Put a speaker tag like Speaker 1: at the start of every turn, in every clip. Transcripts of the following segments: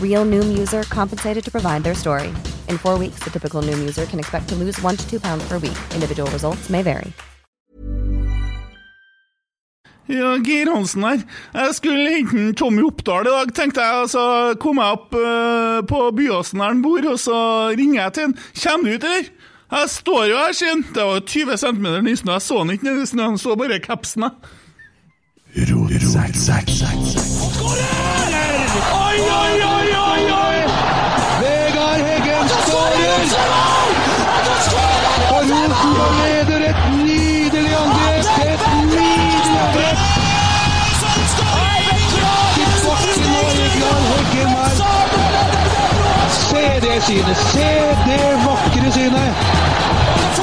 Speaker 1: Real Noom user compensated to provide their story. In four weeks, the typical Noom user can expect to lose one to two pounds per week. Individual results may vary.
Speaker 2: Ja, Geir Hansen her. Jeg skulle hente en Tommy Oppdal i dag, tenkte jeg. og Så kom jeg opp eh, på Byåsen der han bor, og så ringer jeg til han. Kjem du ut, eller? Jeg står jo her, sier han. Det var jo 20 cm nysnø. Jeg så han ikke nedi snøen, så bare kapsen, jeg.
Speaker 3: Oi, oi, oi, oi, oi! Vegard Heggen skårer! Og Rosenborg leder et nydelig angrep! Et nydelig angrep! Tilbake nå, Vegard Heggen her. Se det synet! Se det vakre synet!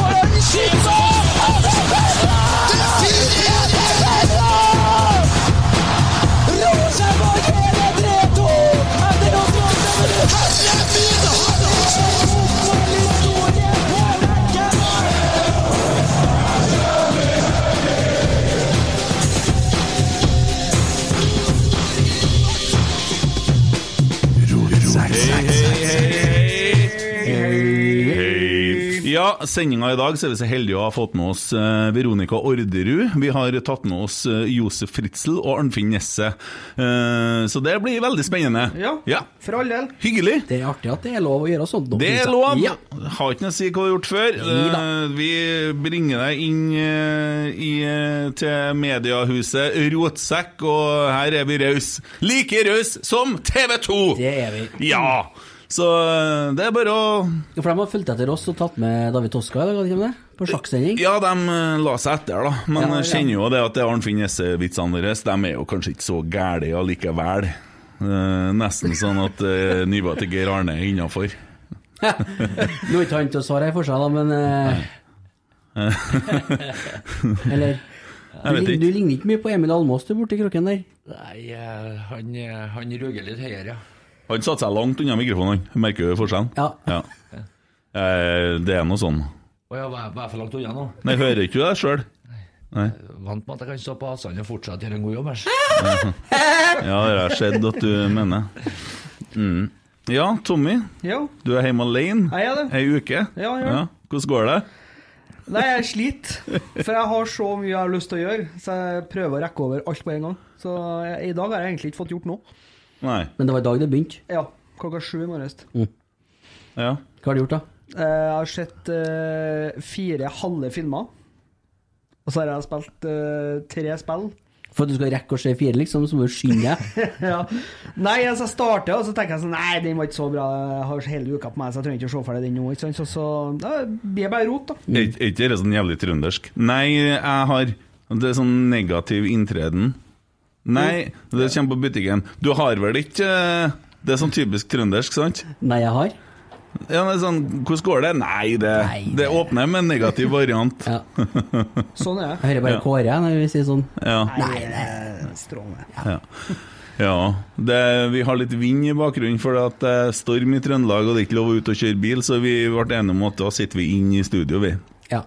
Speaker 2: Ja, sendinga i dag så er vi så heldige å ha fått med oss eh, Veronica Orderud. Vi har tatt med oss eh, Josef Fritzel og Arnfinn Nesset. Eh, så det blir veldig spennende.
Speaker 4: Ja, for all del.
Speaker 2: Hyggelig.
Speaker 4: Det er artig at det er lov å gjøre sånt. nå,
Speaker 2: Det
Speaker 4: synes
Speaker 2: er
Speaker 4: jeg.
Speaker 2: lov!
Speaker 4: Ja.
Speaker 2: Har ikke noe å si hva du har gjort før.
Speaker 4: Nei da.
Speaker 2: Eh, Vi bringer deg inn eh, i, eh, til mediehuset Rotsekk, og her er vi rause. Like rause som TV 2!
Speaker 4: Det er vi.
Speaker 2: Ja! Så eh, det er bare å
Speaker 4: For de har fulgt etter oss og tatt med David Toska i dag, har de ikke det? På sjakksending.
Speaker 2: Ja, de eh, la seg etter, da. Men
Speaker 4: Ja,
Speaker 2: jeg
Speaker 4: ja.
Speaker 2: kjenner jo det at det er Arnfinn Jesse-vitsene deres De er jo kanskje ikke så gæle allikevel. Eh, nesten sånn at uh, nivået til Geir Arne er innafor.
Speaker 4: Nå er ikke han til å svare her for seg, da, men eh, Eller du,
Speaker 2: Jeg vet
Speaker 4: lign-
Speaker 2: ikke.
Speaker 4: du ligner ikke mye på Emil Almås, du, borti kroken der.
Speaker 5: Nei, eh, han, eh, han ruger litt høyere, ja.
Speaker 2: Han satte seg langt unna mikrofonen, han. Merker du forskjellen?
Speaker 4: Ja.
Speaker 2: Ja. Eh, det er noe sånn.
Speaker 5: Å ja, var jeg- var jeg for langt unna nå?
Speaker 2: Nei, hører ikke du deg sjøl?
Speaker 5: Vant med at jeg kan stå på avstand og fortsatt gjøre en god jobb. her.
Speaker 2: Ja, det har skjedd at du mener. Mm. Ja, Tommy.
Speaker 6: Ja.
Speaker 2: Du er hjemme alene
Speaker 6: Jeg er det.
Speaker 2: ei uke.
Speaker 6: Ja, ja.
Speaker 2: Hvordan går det?
Speaker 6: Nei, jeg sliter, for jeg har så mye jeg har lyst til å gjøre, så jeg prøver å rekke over alt på en gang. Så jeg, i dag har jeg egentlig ikke fått gjort noe.
Speaker 2: Nei.
Speaker 4: Men det var i dag det begynte.
Speaker 6: Ja, klokka sju i morges.
Speaker 2: Ja.
Speaker 4: Hva har du gjort, da?
Speaker 6: Eh, Jeg har sett eh, fire halve filmer. Og så har jeg spilt eh, tre spill.
Speaker 4: For at du skal rekke å se fire, liksom, så må du skynde deg.
Speaker 6: ja. Nei, altså jeg starter, og så tenker jeg sånn Nei, den var ikke så bra. Jeg har hele uka på meg, så jeg trenger ikke å se ferdig den nå. Ikke sant? Så, så da blir det bare rot, da.
Speaker 2: Er ikke- er ikke det sånn jævlig trøndersk? Nei, jeg har Det er sånn negativ inntreden. Nei, det kommer på butikken. Du har vel ikke eh, Det er sånn typisk trøndersk, sant?
Speaker 4: Nei, jeg har.
Speaker 2: Ja, det er sånn, Hvordan går det? Nei, det,
Speaker 4: Nei,
Speaker 2: det åpner med en negativ variant.
Speaker 4: Ja.
Speaker 6: Sånn er det.
Speaker 4: Jeg hører bare
Speaker 2: Ja.
Speaker 4: Kåre når vi sier sånn.
Speaker 2: Ja.
Speaker 6: Nei, det er strålende.
Speaker 2: Ja, det, vi har litt vind i bakgrunnen for at det er storm i Trøndelag og det er ikke lov å ut og kjøre bil, så vi ble enige om at da sitter vi inn i studio, vi.
Speaker 4: Ja.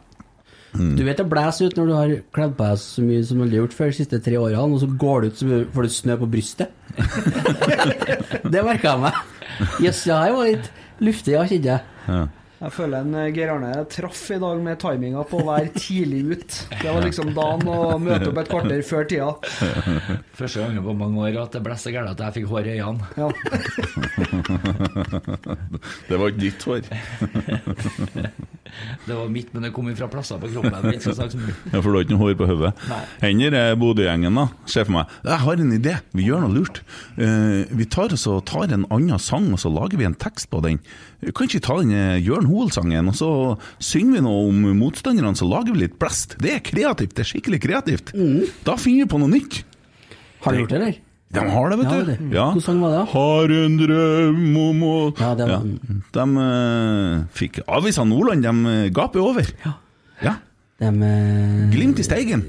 Speaker 4: Du vet det blåser ut når du har kledd på deg så mye som du aldri har gjort før de siste tre årene, og så går det ut så mye- får du snø på brystet. det merka jeg meg. Jøss, yes, ja, jeg var litt luftig, ja, kjente jeg.
Speaker 2: Ja.
Speaker 6: Jeg føler en eh, Geir Arne traff i dag med timinga på å være tidlig ut. Det var liksom dagen å møte opp et kvarter før tida.
Speaker 5: Første gangen på mange år at det blåste så gærent at jeg fikk hår i øynene.
Speaker 6: Ja.
Speaker 2: Det var ikke ditt hår.
Speaker 5: Det var mitt, men det kom fra plasser på kroppen. jeg vet ikke hva slags-
Speaker 2: Ja, For du har ikke noe hår på hodet? Hender er Bodø-gjengen, da. Ser for meg Jeg har en idé, vi gjør noe lurt. Eh, vi tar, og så tar en annen sang, og så lager vi en tekst på den. Kan ikke vi ta den eh, Jørn Hoel-sangen, og så synger vi noe om motstanderne, så lager vi litt blest. Det er kreativt, det er skikkelig kreativt.
Speaker 4: Mm.
Speaker 2: Da finner vi på noe nytt.
Speaker 4: Har du gjort det, eller?
Speaker 2: De har det, vet
Speaker 4: Ja,
Speaker 2: du.
Speaker 4: det. Hvordan sang var det, da?
Speaker 2: Har en drøm om å
Speaker 4: Ja, det var-
Speaker 2: De eh, fikk Avisa Nordland, de eh, gaper over. Ja. ja.
Speaker 4: Det med
Speaker 2: Glimt i steigen.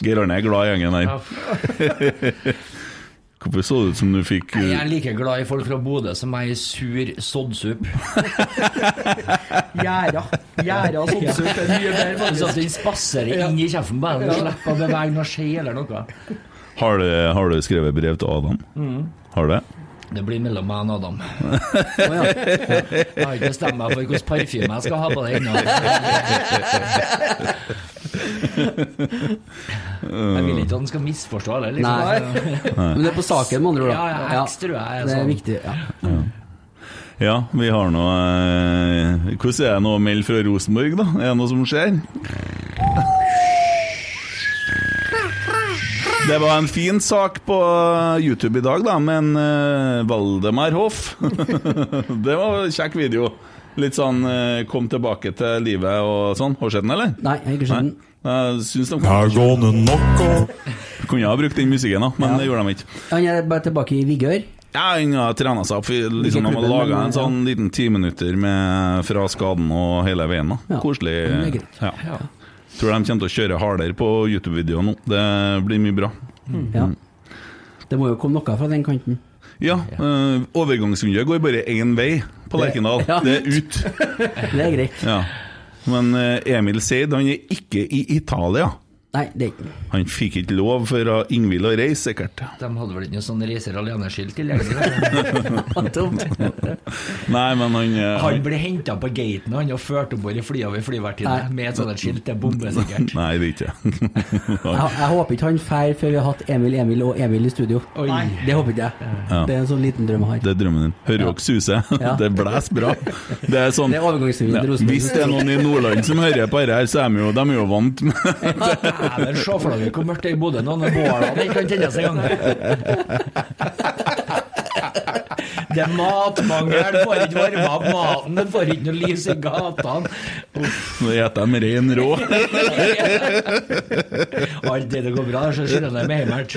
Speaker 2: Geir Arne er glad i gjengen her.
Speaker 5: Ja.
Speaker 2: Hvorfor så det ut som du fikk
Speaker 5: Jeg
Speaker 2: uh,
Speaker 5: er like glad i folk fra Bodø som jeg er i sur soddsup.
Speaker 6: Gjerda. Gjerda og soppsup er mye bedre,
Speaker 5: Så Sånn at
Speaker 6: faktisk.
Speaker 5: den spaserer inn i kjeften på deg, og du slipper å bevege noe skje eller noe.
Speaker 2: eh, har, du, har du skrevet brev til Adam? Har du det?
Speaker 5: Det blir mellom meg og Adam. Jeg har ikke bestemt meg for hvilken parfyme jeg skal ha på det ennå. Jeg vil ikke at han skal misforstå det. Liksom.
Speaker 4: Nei. Men det er på saken, med andre ord. da.
Speaker 5: Ja, ja, heks, tror jeg er
Speaker 4: Det er
Speaker 5: sånn.
Speaker 4: viktig. Ja.
Speaker 2: Ja, vi har nå eh, Hvordan er det nå å melde fra Rosenborg, da? Er det noe som skjer? Det var en fin sak på YouTube i dag, da, med en eh, Valdemar Hoff. det var en kjekk video. Litt sånn eh, kom tilbake til livet og sånn. Har du sett den, eller?
Speaker 4: Nei, jeg har ikke skjønt den.
Speaker 2: Jeg syns de Kunne ha brukt den musikken, da, men det gjorde de ikke.
Speaker 4: Han er bare tilbake i vigør.
Speaker 2: Ja, han har trena seg opp. i- Liksom, de har
Speaker 4: klubben,
Speaker 2: laga
Speaker 4: men,
Speaker 2: en
Speaker 4: ja.
Speaker 2: sånn liten ti minutter med, fra skaden og hele veien. da
Speaker 4: Ja,
Speaker 2: Koselig.
Speaker 4: men det er greit.
Speaker 2: Ja. Tror de kommer til å kjøre hardere på YouTube-videoer nå. Det blir mye bra.
Speaker 4: Ja. Det må jo komme noe fra den kanten.
Speaker 2: Ja, eh, overgangsvinduet går bare én vei på Lerkendal.
Speaker 4: Ja.
Speaker 2: Det er ut.
Speaker 4: Det er greit.
Speaker 2: Ja. Men eh, Emil Seid han er ikke i Italia.
Speaker 4: Nei, det er ikke
Speaker 2: Han fikk ikke lov fra Ingvild å reise, sikkert.
Speaker 5: De hadde vel ikke noe sånn reiser alene-skilt tilgjengelig?
Speaker 2: Nei, men han, eh,
Speaker 5: Han ble henta på gaten han og ført om bord i flyet ved flyvertinne
Speaker 4: Nei.
Speaker 5: med et sånt et skilt. Det er bombe, sikkert.
Speaker 2: Nei, det er ikke
Speaker 4: Jeg, jeg håper ikke han drar før vi har hatt Emil, Emil og Emil i studio.
Speaker 5: Nei.
Speaker 4: Det håper ikke jeg. Det er en sånn liten drøm jeg har.
Speaker 2: Det er drømmen din. Hører dere suse?
Speaker 4: Ja.
Speaker 2: Det blæs bra. Det er sånn
Speaker 4: Det er overgangsvinduet til Rosenborg.
Speaker 2: Hvis det er noen i Nordland som hører på dette, her, så er de jo, de er jo vant med
Speaker 5: Dæven, se for dere hvor mørkt det er i Bodø nå når bålene ikke kan tennes engang. Det er matmangel, du får ikke varme opp maten, du får ikke noe lys i gatene. Uff,
Speaker 2: Nå spiser de rein rå.
Speaker 5: Alt det der går bra, så skylder de med heimert.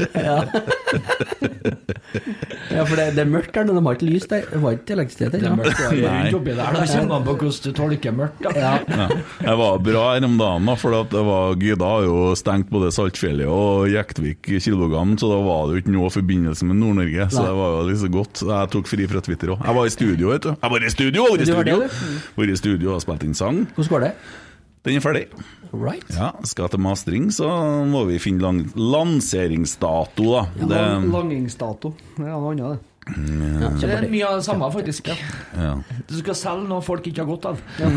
Speaker 4: Ja, for det, det er mørkt her nå, de har ikke lys der. Det var ikke elektrisitet
Speaker 5: Det er
Speaker 4: ennå.
Speaker 5: mørkt det er
Speaker 2: Nei.
Speaker 5: rundt oppi der, da kjenner man på hvordan du tolker mørkt. Da.
Speaker 2: Ja. Jeg var bra her om dagen, da, for at det var Gyda har jo stengt både Saltfjellet og Jektvik Kilbogan, så da var det jo ikke noe forbindelse med Nord-Norge. Så
Speaker 4: Nei.
Speaker 2: det var jo liksom godt. Jeg tok fri fra Twitter òg. Jeg var i studio, vet du. Jeg var i studio! Var i
Speaker 4: Du var det,
Speaker 2: studio,
Speaker 4: du?
Speaker 2: var i studio og spilte inn sang.
Speaker 4: Hvordan går det?
Speaker 2: Den er ferdig.
Speaker 4: Right.
Speaker 2: Ja, skal til mastering, så må vi finne lang lanseringsdato, da.
Speaker 6: Lang-
Speaker 2: det,
Speaker 6: Langingsdato. Det er noe annet, det.
Speaker 4: Ja,
Speaker 5: Det er
Speaker 4: kjempeartig.
Speaker 5: mye av det samme, faktisk.
Speaker 2: ja.
Speaker 5: Du skal selge noe folk ikke har godt av.
Speaker 2: ja,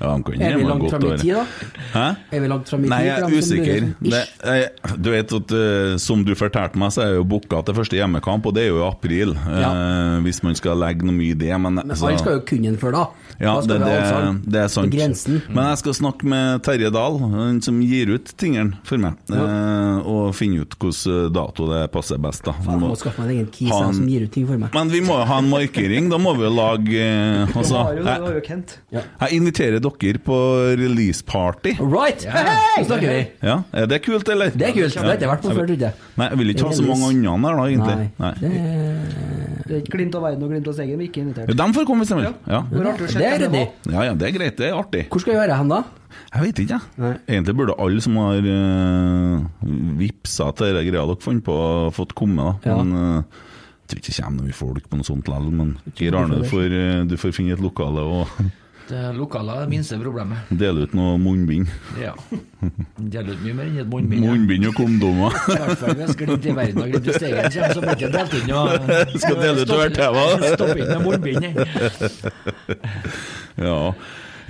Speaker 2: han kan
Speaker 4: Er vi
Speaker 2: gjemme
Speaker 4: langt
Speaker 2: godt
Speaker 4: fram i
Speaker 2: over.
Speaker 4: tid, da?
Speaker 2: Hæ?
Speaker 4: Er vi langt fram i tid?
Speaker 2: Nei, jeg er
Speaker 4: for dem som lurer?
Speaker 2: usikker. Det,
Speaker 4: Ish.
Speaker 2: jeg, du vet at eh, Som du fortalte meg, så er jeg jo booka til første hjemmekamp, og det er jo i april.
Speaker 4: Ja.
Speaker 2: eh, hvis man skal legge noe mye i det. Men,
Speaker 4: Men
Speaker 2: så-
Speaker 4: alle skal jo kunne den før da.
Speaker 2: Ja,
Speaker 4: da
Speaker 2: det,
Speaker 4: skal vi
Speaker 2: det,
Speaker 4: ha allsang.
Speaker 2: det er sant. Mm.
Speaker 4: På grensen.
Speaker 2: Men jeg skal snakke med Terje Dahl, han som gir ut tingene for meg, eh, og finne ut hvilken dato det passer best. da
Speaker 4: Faen, jeg må skaffe meg en egen kis
Speaker 2: Ha
Speaker 4: jeg,
Speaker 2: en-
Speaker 4: som gir ut ting for meg.
Speaker 2: Men vi må jo ha en markering, da må vi jo lage eh,
Speaker 6: Du
Speaker 2: altså,
Speaker 6: har jo, det har
Speaker 2: jeg,
Speaker 6: jo Kent.
Speaker 2: jeg inviterer dere på releaseparty.
Speaker 4: Right! Nå snakker vi!
Speaker 2: Ja, er det kult, eller?
Speaker 4: Det er kult. Det har jeg ikke vært på før, trodde jeg.
Speaker 2: Nei, jeg vil ikke ha så mange andre her, da, egentlig.
Speaker 4: Nei.
Speaker 2: Nei.
Speaker 6: Det er ikke Glimt av verden og Glimt av Steigen, vi er ikke invitert.
Speaker 2: Jo, dem får komme hvis de vil. Ja.
Speaker 6: Hvor artig å
Speaker 4: Det,
Speaker 6: sjekke
Speaker 4: det er
Speaker 6: hvem
Speaker 4: ryddig.
Speaker 6: var.
Speaker 2: ja ja, det er greit, det er artig.
Speaker 4: Hvor skal vi være hen da?
Speaker 2: Jeg vet ikke, jeg. Egentlig burde alle som har uh, vippsa til denne greia dere fant på, fått komme, da.
Speaker 4: Ja.
Speaker 2: Men eh, jeg tror ikke det kommer noen folk på noe sånt likevel. Men Geir Arne, du får, eh, du får finne et lokale og
Speaker 5: Det- Lokaler er det minste problemet.
Speaker 2: Dele ut noe munnbind.
Speaker 5: Ja. Deler ut mye mer enn et munnbind. ja.
Speaker 2: Munnbind og kondomer.
Speaker 5: I hvert fall hvis Glimt i verden og Glimt i Steigen kommer, så blir det delt inn og
Speaker 2: Skal dele ut hvert tema.
Speaker 5: Stopp inn med munnbind.
Speaker 2: Ja.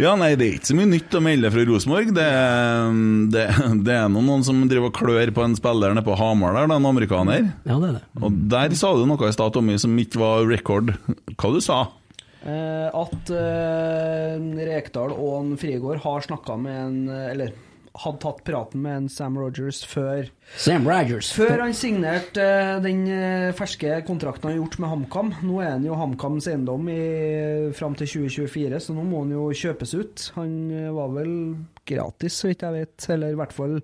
Speaker 2: ja, nei, det er ikke så mye nytt å melde fra Rosenborg. Det, er- det, det er nå noen som driver og klør på en spiller nede på Hamar der, da, en amerikaner.
Speaker 4: Ja, det er det.
Speaker 2: Og der sa du noe i stad, Tommy, som ikke var record. Hva du sa
Speaker 6: Eh, at eh, Rekdal og en Frigård har snakka med en eh, Eller hadde tatt praten med en Sam Rogers før
Speaker 4: Sam Rogers.
Speaker 6: Før han signerte eh, den eh, ferske kontrakten han har gjort med HamKam. Nå er han jo HamKams eiendom i- fram til 2024, så nå må han jo kjøpes ut. Han eh, var vel gratis, så vidt jeg vet, eller i hvert fall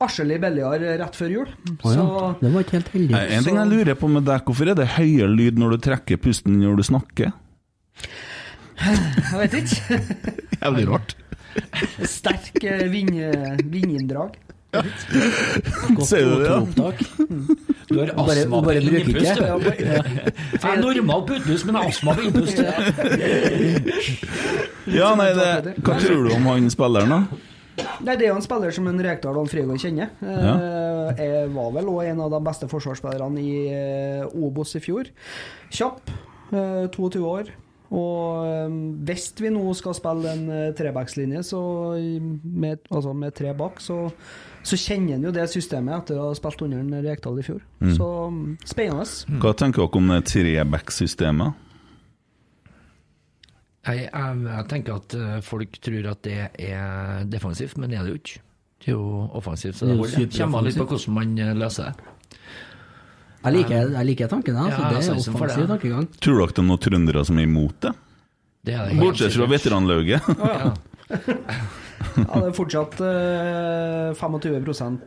Speaker 6: Arselig billigere rett før jul.
Speaker 4: Å ja.
Speaker 6: Så
Speaker 4: Det var ikke helt heldig.
Speaker 2: Nei, En ting jeg lurer på med deg, hvorfor er det høyere lyd når du trekker pusten når du snakker?
Speaker 6: jeg vet ikke.
Speaker 2: Jævlig rart.
Speaker 6: Sterk eh, vind, vindinndrag.
Speaker 4: Godt
Speaker 2: Ser du det, ja?
Speaker 4: O2-opptak.
Speaker 5: Du har astma på
Speaker 4: bare bruker
Speaker 5: innpust.
Speaker 4: ikke.
Speaker 5: du. Jeg er normal på utpust, men jeg har astma på innpust.
Speaker 2: Ja, nei, det, Hva tror du om han spilleren, da?
Speaker 6: Nei, Det er jo en spiller som en Rekdal og en Frigård kjenner. Eh, Jeg var vel òg en av de beste forsvarsspillerne i eh, Obos i fjor. Kjapp, eh, 22 år. Og eh, hvis vi nå skal spille en eh, trebackslinje, så i- med, altså med tre bak, så, så kjenner han jo det systemet etter å ha spilt under en Rekdal i fjor. Så mm, spennende.
Speaker 2: Hva tenker dere om det treback-systemet?
Speaker 5: Jeg, jeg, jeg tenker at eh, folk tror at det er defensivt, men det er det jo ikke. Det er jo offensivt, så
Speaker 4: Det er
Speaker 5: det
Speaker 4: jo
Speaker 5: holder.
Speaker 4: superoffensivt.
Speaker 5: Kommer an litt på hvordan man eh, løser det.
Speaker 4: Jeg liker, jeg liker tanken, altså.
Speaker 5: Ja,
Speaker 4: det er
Speaker 5: jeg synes for det,
Speaker 4: offensiv
Speaker 5: ja.
Speaker 4: tankegang.
Speaker 2: Tror dere det er noen trøndere som er imot det?
Speaker 5: det er det helt
Speaker 2: Bortsett fra
Speaker 5: sikkert.
Speaker 2: veteranlauget.
Speaker 5: Ja.
Speaker 6: Ja, det er fortsatt eh, 25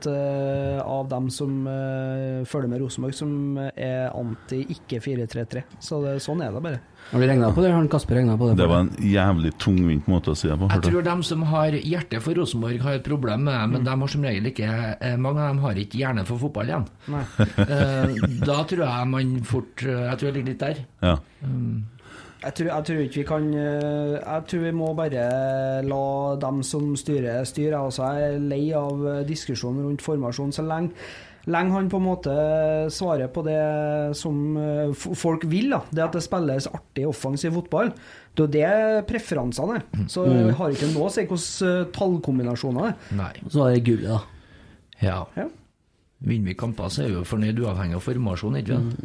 Speaker 6: eh, av dem som eh, følger med Rosenborg, som er anti-ikke-433. Så det, sånn er det bare.
Speaker 4: Har du regnet på det? Har han Kasper regna på det?
Speaker 2: Det var en jævlig tungvint måte å si det på.
Speaker 5: Jeg
Speaker 2: hørte
Speaker 5: tror dem som har hjerte for Rosenborg, har et problem med det,
Speaker 4: Mm.
Speaker 5: men de har som regel ikke eh, Mange av dem har ikke hjerne for fotball igjen.
Speaker 6: Nei.
Speaker 5: Eh, da tror jeg man fort eh, Jeg tror jeg ligger litt der.
Speaker 2: Ja.
Speaker 6: Jeg tror, jeg tror ikke vi kan eh, Jeg tror vi må bare la dem som styrer, styre. Altså, jeg er lei av eh, diskusjonen rundt formasjon så lenge. Lenge han på en måte svarer på det som eh, f- folk vil, da. det at det spilles artig offensiv fotball, det er jo det preferansene
Speaker 5: Mm.
Speaker 6: er. Så vi har ikke noe å si hvordan eh, tallkombinasjoner det er.
Speaker 5: Nei.
Speaker 4: Så var det gullet, da.
Speaker 5: Ja.
Speaker 6: Ja.
Speaker 5: Vinner vi kamper, så er vi jo fornøyd uavhengig av formasjon, ikke sant?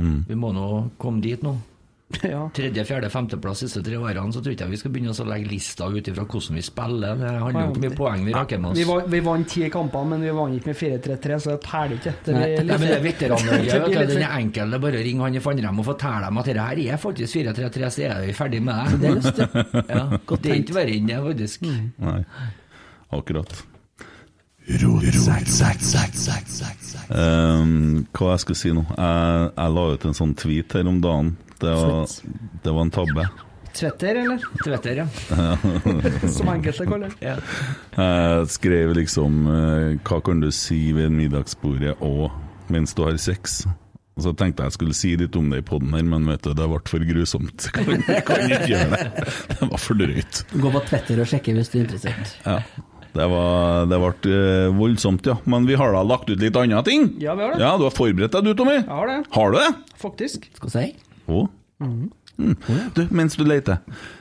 Speaker 4: Mm,
Speaker 5: Vi må nå komme dit nå.
Speaker 6: Ja.
Speaker 5: Tredje, fjerde, femteplass siste tre årene, så tror ikke jeg vi skal begynne å legge lista ut ifra hvordan vi spiller. Det handler jo om hvor mye poeng vi raker med
Speaker 6: Vi,
Speaker 5: oss.
Speaker 6: vant- vi vant ti kamper, men vi vant ikke med 4-3-3, så det teller ikke. Det
Speaker 5: Nei,
Speaker 6: blir
Speaker 5: nei, men det er veteranlaget.
Speaker 6: Det blir
Speaker 5: vet du,
Speaker 6: litt- sånn
Speaker 5: Den er enkel. Det er bare å ringe han i Fannrem og fortelle dem at det her er faktisk 4-3-3, så er vi ferdig med det. Det er, ja, det er ikke verre enn det, faktisk.
Speaker 4: Mm.
Speaker 2: Nei. Akkurat. Um, hva jeg skulle si nå? Jeg, jeg la ut en sånn tweet her om dagen. Det var, det var en tabbe.
Speaker 6: Tvetter, eller?
Speaker 5: Tvetter, ja.
Speaker 6: Som enkelte kaller det.
Speaker 2: Jeg skrev liksom eh, Hva kan du si ved middagsbordet og mens du har sex? Og så tenkte jeg jeg skulle si litt om det i poden her, men vet du, det ble for grusomt. Kan, kan ikke gjøre det. Det var for drøyt.
Speaker 4: Gå på Twitter og sjekke hvis du er interessert.
Speaker 2: Ja. Det, var, det ble eh, voldsomt, ja. Men vi har da lagt ut litt andre ting?
Speaker 6: Ja, vi har det.
Speaker 2: Ja, Du har forberedt deg, du, Tommy?
Speaker 6: Jeg har det,
Speaker 2: Har du det?
Speaker 6: faktisk.
Speaker 4: Skal jeg si?
Speaker 2: Å?
Speaker 6: Mhm.
Speaker 2: Mm. Du, mens du leter.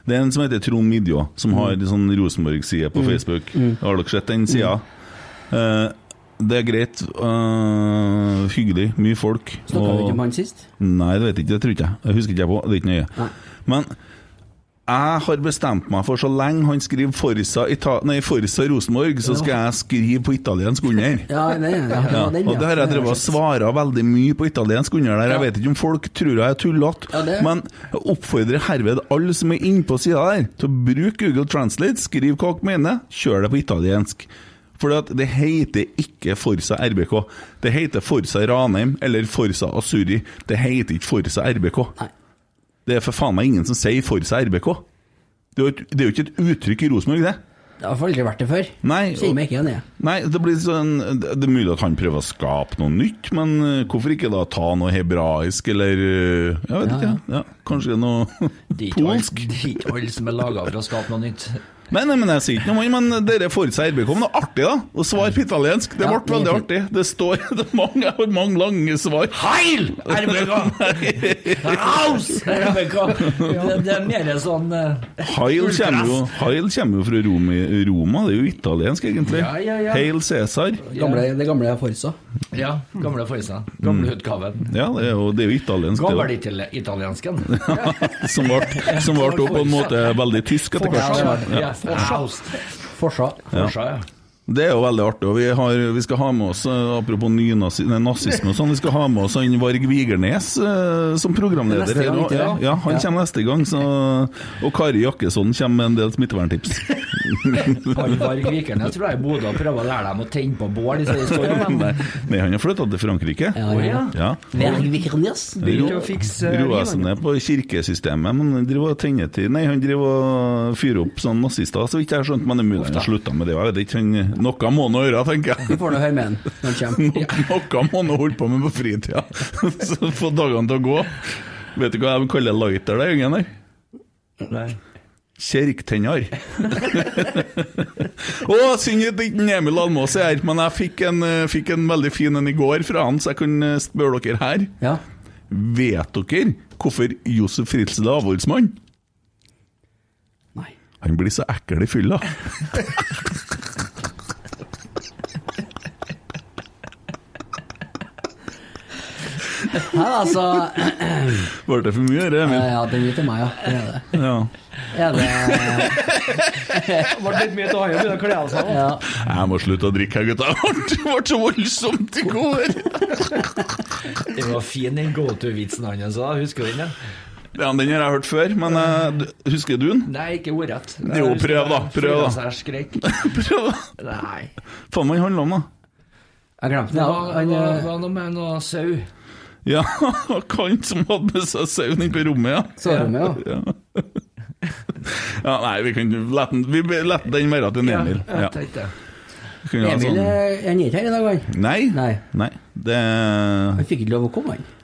Speaker 2: Det er en som heter Trond Midjå, som har en sånn Rosenborg-side
Speaker 6: Mm.
Speaker 2: på Facebook. Har dere sett den sida? Eh, det er greit. eh, hyggelig. Mye folk.
Speaker 4: Snakka vi
Speaker 2: og-
Speaker 4: ikke om han sist?
Speaker 2: Nei, det vet jeg ikke. Det tror ikke jeg. Jeg husker ikke jeg på. Det er ikke nøye. Men jeg har bestemt meg for, så lenge han skriver Forsa, Ita nei, Forsa Rosenborg, så skal jeg skrive på italiensk under.
Speaker 4: Ja, nei, ja, ja,
Speaker 2: Ja,
Speaker 4: den,
Speaker 2: og det har jeg drevet og svara veldig mye på italiensk under der. Jeg vet ikke om folk tror jeg er tullete,
Speaker 4: Ja, det-
Speaker 2: men jeg oppfordrer herved alle som er inne på sida der, til å bruke Google Translate, skriv hva dere mener, kjør det på italiensk. For det heter ikke Forsa RBK. Det heter Forsa Ranheim eller Forsa Asuri. Det heter ikke Forsa RBK.
Speaker 4: Nei.
Speaker 2: Det er for faen meg ingen som sier Forsa RBK. Det er jo, et, det er jo ikke et uttrykk i Rosenborg, det.
Speaker 4: Jeg har aldri vært det før.
Speaker 2: Nei,
Speaker 4: Kjenner
Speaker 2: og,
Speaker 4: meg ikke igjen, jeg.
Speaker 2: nei det, blir sånn, det det er mulig at han prøver å skape noe nytt, men eh, hvorfor ikke da ta noe hebraisk eller eh, Jeg vet ikke. Ja, kanskje noe
Speaker 5: Det er ikke alt-
Speaker 2: polsk?
Speaker 5: Det er ikke alle som er laga for å skape noe nytt.
Speaker 2: Nei, nei, men jeg sier ikke noe, om han, men dere får seg RBK. Men det er artig, da. Å svare på italiensk. Det ble
Speaker 4: Ja,
Speaker 2: veldig
Speaker 4: det
Speaker 2: artig. Det står det er mange, jeg har mange lange svar.
Speaker 5: Heil RBK! Raus RBK! Det, det er mer sånn eh,
Speaker 2: Heil kommer, jo, Heil kommer jo fra Rom, Roma, det er jo italiensk, egentlig.
Speaker 5: Ja, ja, ja.
Speaker 2: Hail Cæsar.
Speaker 4: Gamle, det gamle Forsa.
Speaker 5: Ja, gamle Forsa. Gamle utgaven.
Speaker 2: Ja, det er jo, det er jo italiensk. det da.
Speaker 5: Gammel-italiensken.
Speaker 2: som ble, som ble på en måte veldig tysk etter
Speaker 5: Forsa.
Speaker 2: hvert.
Speaker 5: Ja, Raus.
Speaker 4: Forsa.
Speaker 5: Forsa, ja.
Speaker 2: Det er jo veldig artig. Og vi, har, vi skal ha med oss, eh, apropos nynazi- nei, nazisme og sånn, vi skal ha med oss han Varg Vigernes eh, som programleder.
Speaker 4: Neste gang,
Speaker 2: her også.
Speaker 4: ikke
Speaker 2: ja,
Speaker 4: det?
Speaker 2: ja, han
Speaker 4: Ja.
Speaker 2: kommer neste gang. Så, og Kari Jakkesson kommer med en del smitteverntips.
Speaker 5: Han Varg Vikernes tror jeg er i Bodø og prøver å lære dem å tenne på bål i stedet for å stå
Speaker 2: Nei, nei, han har flytta til Frankrike.
Speaker 4: Ja, ja, ja.
Speaker 2: Ja.
Speaker 4: Verg Vikernes.
Speaker 6: Begynte
Speaker 2: Ro-
Speaker 6: å fikse
Speaker 4: eh,
Speaker 2: Roa
Speaker 6: livet.
Speaker 2: seg ned på kirkesystemet, men han driver og tenner til Nei, han driver og fyrer opp sånn nazister, så vidt jeg har skjønt, men det er mulig han har slutta med det. Jeg vet ikke, han, noe må han gjøre, tenker
Speaker 4: Vi
Speaker 2: jeg.
Speaker 4: får nå høre med han når han kommer.
Speaker 2: No, noe må han holde på med på fritida, så få dagene til å gå. Vet du hva de kaller lighter, det gjengen der?
Speaker 5: Nei.
Speaker 2: Kjerktenner. Å, synd at ikke Emil Almås er her, men jeg fikk en, eh, fikk en veldig fin en i går fra han, så jeg kunne eh, spørre dere her.
Speaker 4: Ja.
Speaker 2: Vet dere hvorfor Josef Fritzl er avholdsmann?
Speaker 4: Nei.
Speaker 2: Han blir så ekkel i fylla.
Speaker 4: Nei, altså
Speaker 2: Ble det for mye, det,
Speaker 4: Ja,
Speaker 2: Emil?
Speaker 4: ja, den gir til meg, ja. Det er det.
Speaker 2: Ja.
Speaker 4: Er det
Speaker 6: Det ble litt mye til haien, begynner å kle av seg. da.
Speaker 4: ja.
Speaker 2: Jeg må slutte å drikke, her, gutta. Det ble så voldsomt i går.
Speaker 5: Det var fin den go-to-vitsen hans da, husker du den? ja?
Speaker 2: Ja, Den har jeg hørt før, men eh, du- husker du den?
Speaker 5: Nei, ikke ordrett.
Speaker 2: Jo, prøv da, prøv da.
Speaker 5: Fyra seg skrek.
Speaker 2: Prøv, da.
Speaker 5: sånn Nei.
Speaker 2: Faen, hva handler om, da?
Speaker 4: Jeg glemte den.
Speaker 5: Det
Speaker 4: ja.
Speaker 5: var,
Speaker 4: Han,
Speaker 5: var,
Speaker 4: eh,
Speaker 5: var noe med noe sau.
Speaker 2: Ja, han som hadde med seg sauen inn på rommet, ja.
Speaker 4: Soverommet, ja.
Speaker 2: Ja. ja, nei, vi kan la den, vi be- la den være til en Emil.
Speaker 5: Ja,
Speaker 2: Ja,
Speaker 5: jeg tenkte det.
Speaker 2: vi kan ha
Speaker 4: Emil
Speaker 2: sånn-
Speaker 4: eh, han er ikke her i dag, han.
Speaker 2: Nei.
Speaker 4: Nei.
Speaker 2: Nei. Det
Speaker 4: Han fikk ikke lov å komme, han.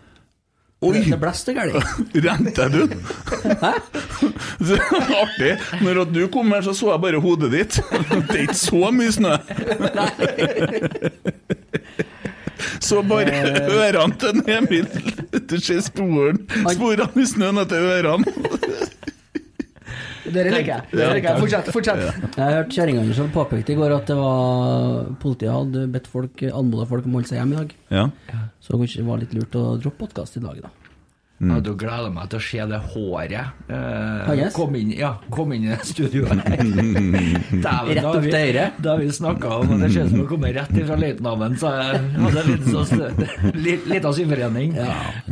Speaker 2: Oi!
Speaker 4: Det blåste galt.
Speaker 2: Rente du? Så Artig. Når at du kom her, så så jeg bare hodet ditt. Det er ikke så mye snø. Så bare
Speaker 4: Eh.
Speaker 2: ørene til en Emil. Du ser sporen. sporene i snøen etter ørene.
Speaker 6: Dere liker jeg. Dere liker jeg. Fortsett. fortsett.
Speaker 4: Jeg hørte kjerringa hennes som påpekte i går at det var politiet hadde bedt folk, anmoda folk om å holde seg hjemme i dag.
Speaker 2: Ja.
Speaker 4: Så kanskje det var litt lurt å droppe podkast i dag, da.
Speaker 2: Mm.
Speaker 5: Ja, da gleder jeg meg til å se det håret eh,
Speaker 4: Hans?
Speaker 5: kom, inn, ja, kom inn i studioet her. Dæven,
Speaker 4: Rett
Speaker 5: da
Speaker 4: opp
Speaker 5: vi-
Speaker 4: til øyre.
Speaker 5: Da vi snakka om at det ser ut som å komme rett ifra løytnanten, så eh, jeg hadde en liten sånn li- lita syforening.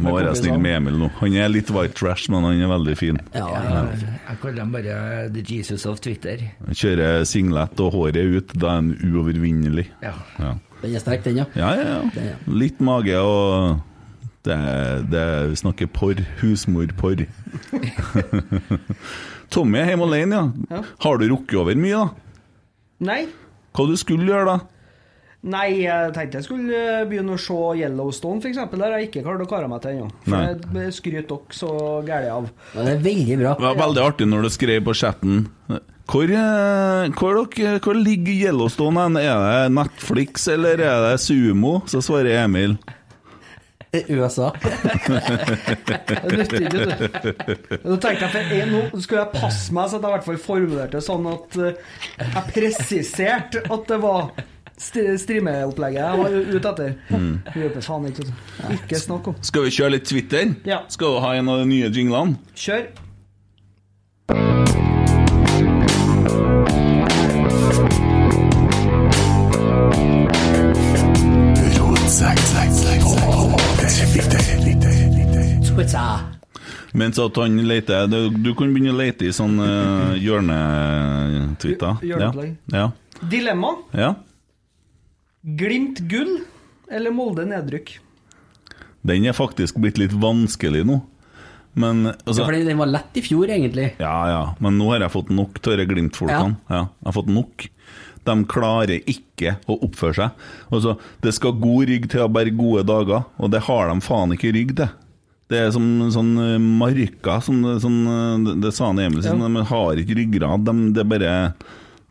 Speaker 2: Må være snill med Emil nå. Han er litt white trash, men han er veldig fin.
Speaker 4: sånn. Ja,
Speaker 5: Jeg, jeg kaller dem bare The Jesus of Twitter.
Speaker 2: Han kjører singlet og håret ut, da er han uovervinnelig.
Speaker 5: Ja.
Speaker 2: Ja.
Speaker 4: Den er sterk, den, ja.
Speaker 2: Ja, ja, ja. Litt mage og det, er- det er- Vi snakker porr. Husmorporr. Tommy er hjemme alene, ja. Har du rukket over mye, da?
Speaker 6: Nei.
Speaker 2: Hva du skulle gjøre, da?
Speaker 6: Nei, jeg tenkte jeg skulle eh, begynne å se Yellowstone, f.eks. Der har jeg ikke klart å kare meg til ennå.
Speaker 2: Nei.
Speaker 6: For det skryter dere så gæli av.
Speaker 4: Men det er veldig bra.
Speaker 2: Det var veldig artig når du skrev på chatten hvor, eh, hvor, dere, hvor ligger Yellowstone hen? Er det Netflix, eller er det Sumo? Så svarer Emil.
Speaker 4: Eh, USA.
Speaker 6: Det nytter ikke, vet du. Nå tenkte jeg for en, nå skulle jeg passe meg så at jeg i hvert fall formulerte det sånn at eh, jeg presiserte at det var st- streameopplegget jeg var ute etter.
Speaker 2: Mm.
Speaker 6: Det hjelper faen ikke. vet du. Ikke snakk om.
Speaker 2: Skal vi kjøre litt Twitter?
Speaker 6: Ja.
Speaker 2: Skal du ha en av de nye jinglene?
Speaker 6: Kjør.
Speaker 4: Twitter.
Speaker 2: Mens at han leter Du, du kan begynne å lete i sånn uh, hjørnetwitter.
Speaker 6: Hjør- hjørneopplegg.
Speaker 2: Ja.
Speaker 6: Dilemma.
Speaker 2: ja. ja.
Speaker 6: Glimt gull eller Molde nedrykk?
Speaker 2: Den er faktisk blitt litt vanskelig nå. Men, altså,
Speaker 4: Ja, fordi den var lett i fjor, egentlig.
Speaker 2: ja, ja, men nå har jeg fått nok av disse Glimt-folkene. Ja. jeg har fått nok. De klarer ikke å oppføre seg. Altså, det skal god rygg til å bære gode dager, og det har de faen ikke rygg til. Det er som sånn eh, marka, som sånn, eh, det sa han Emilsen. De har ikke ryggrad. De, det er bare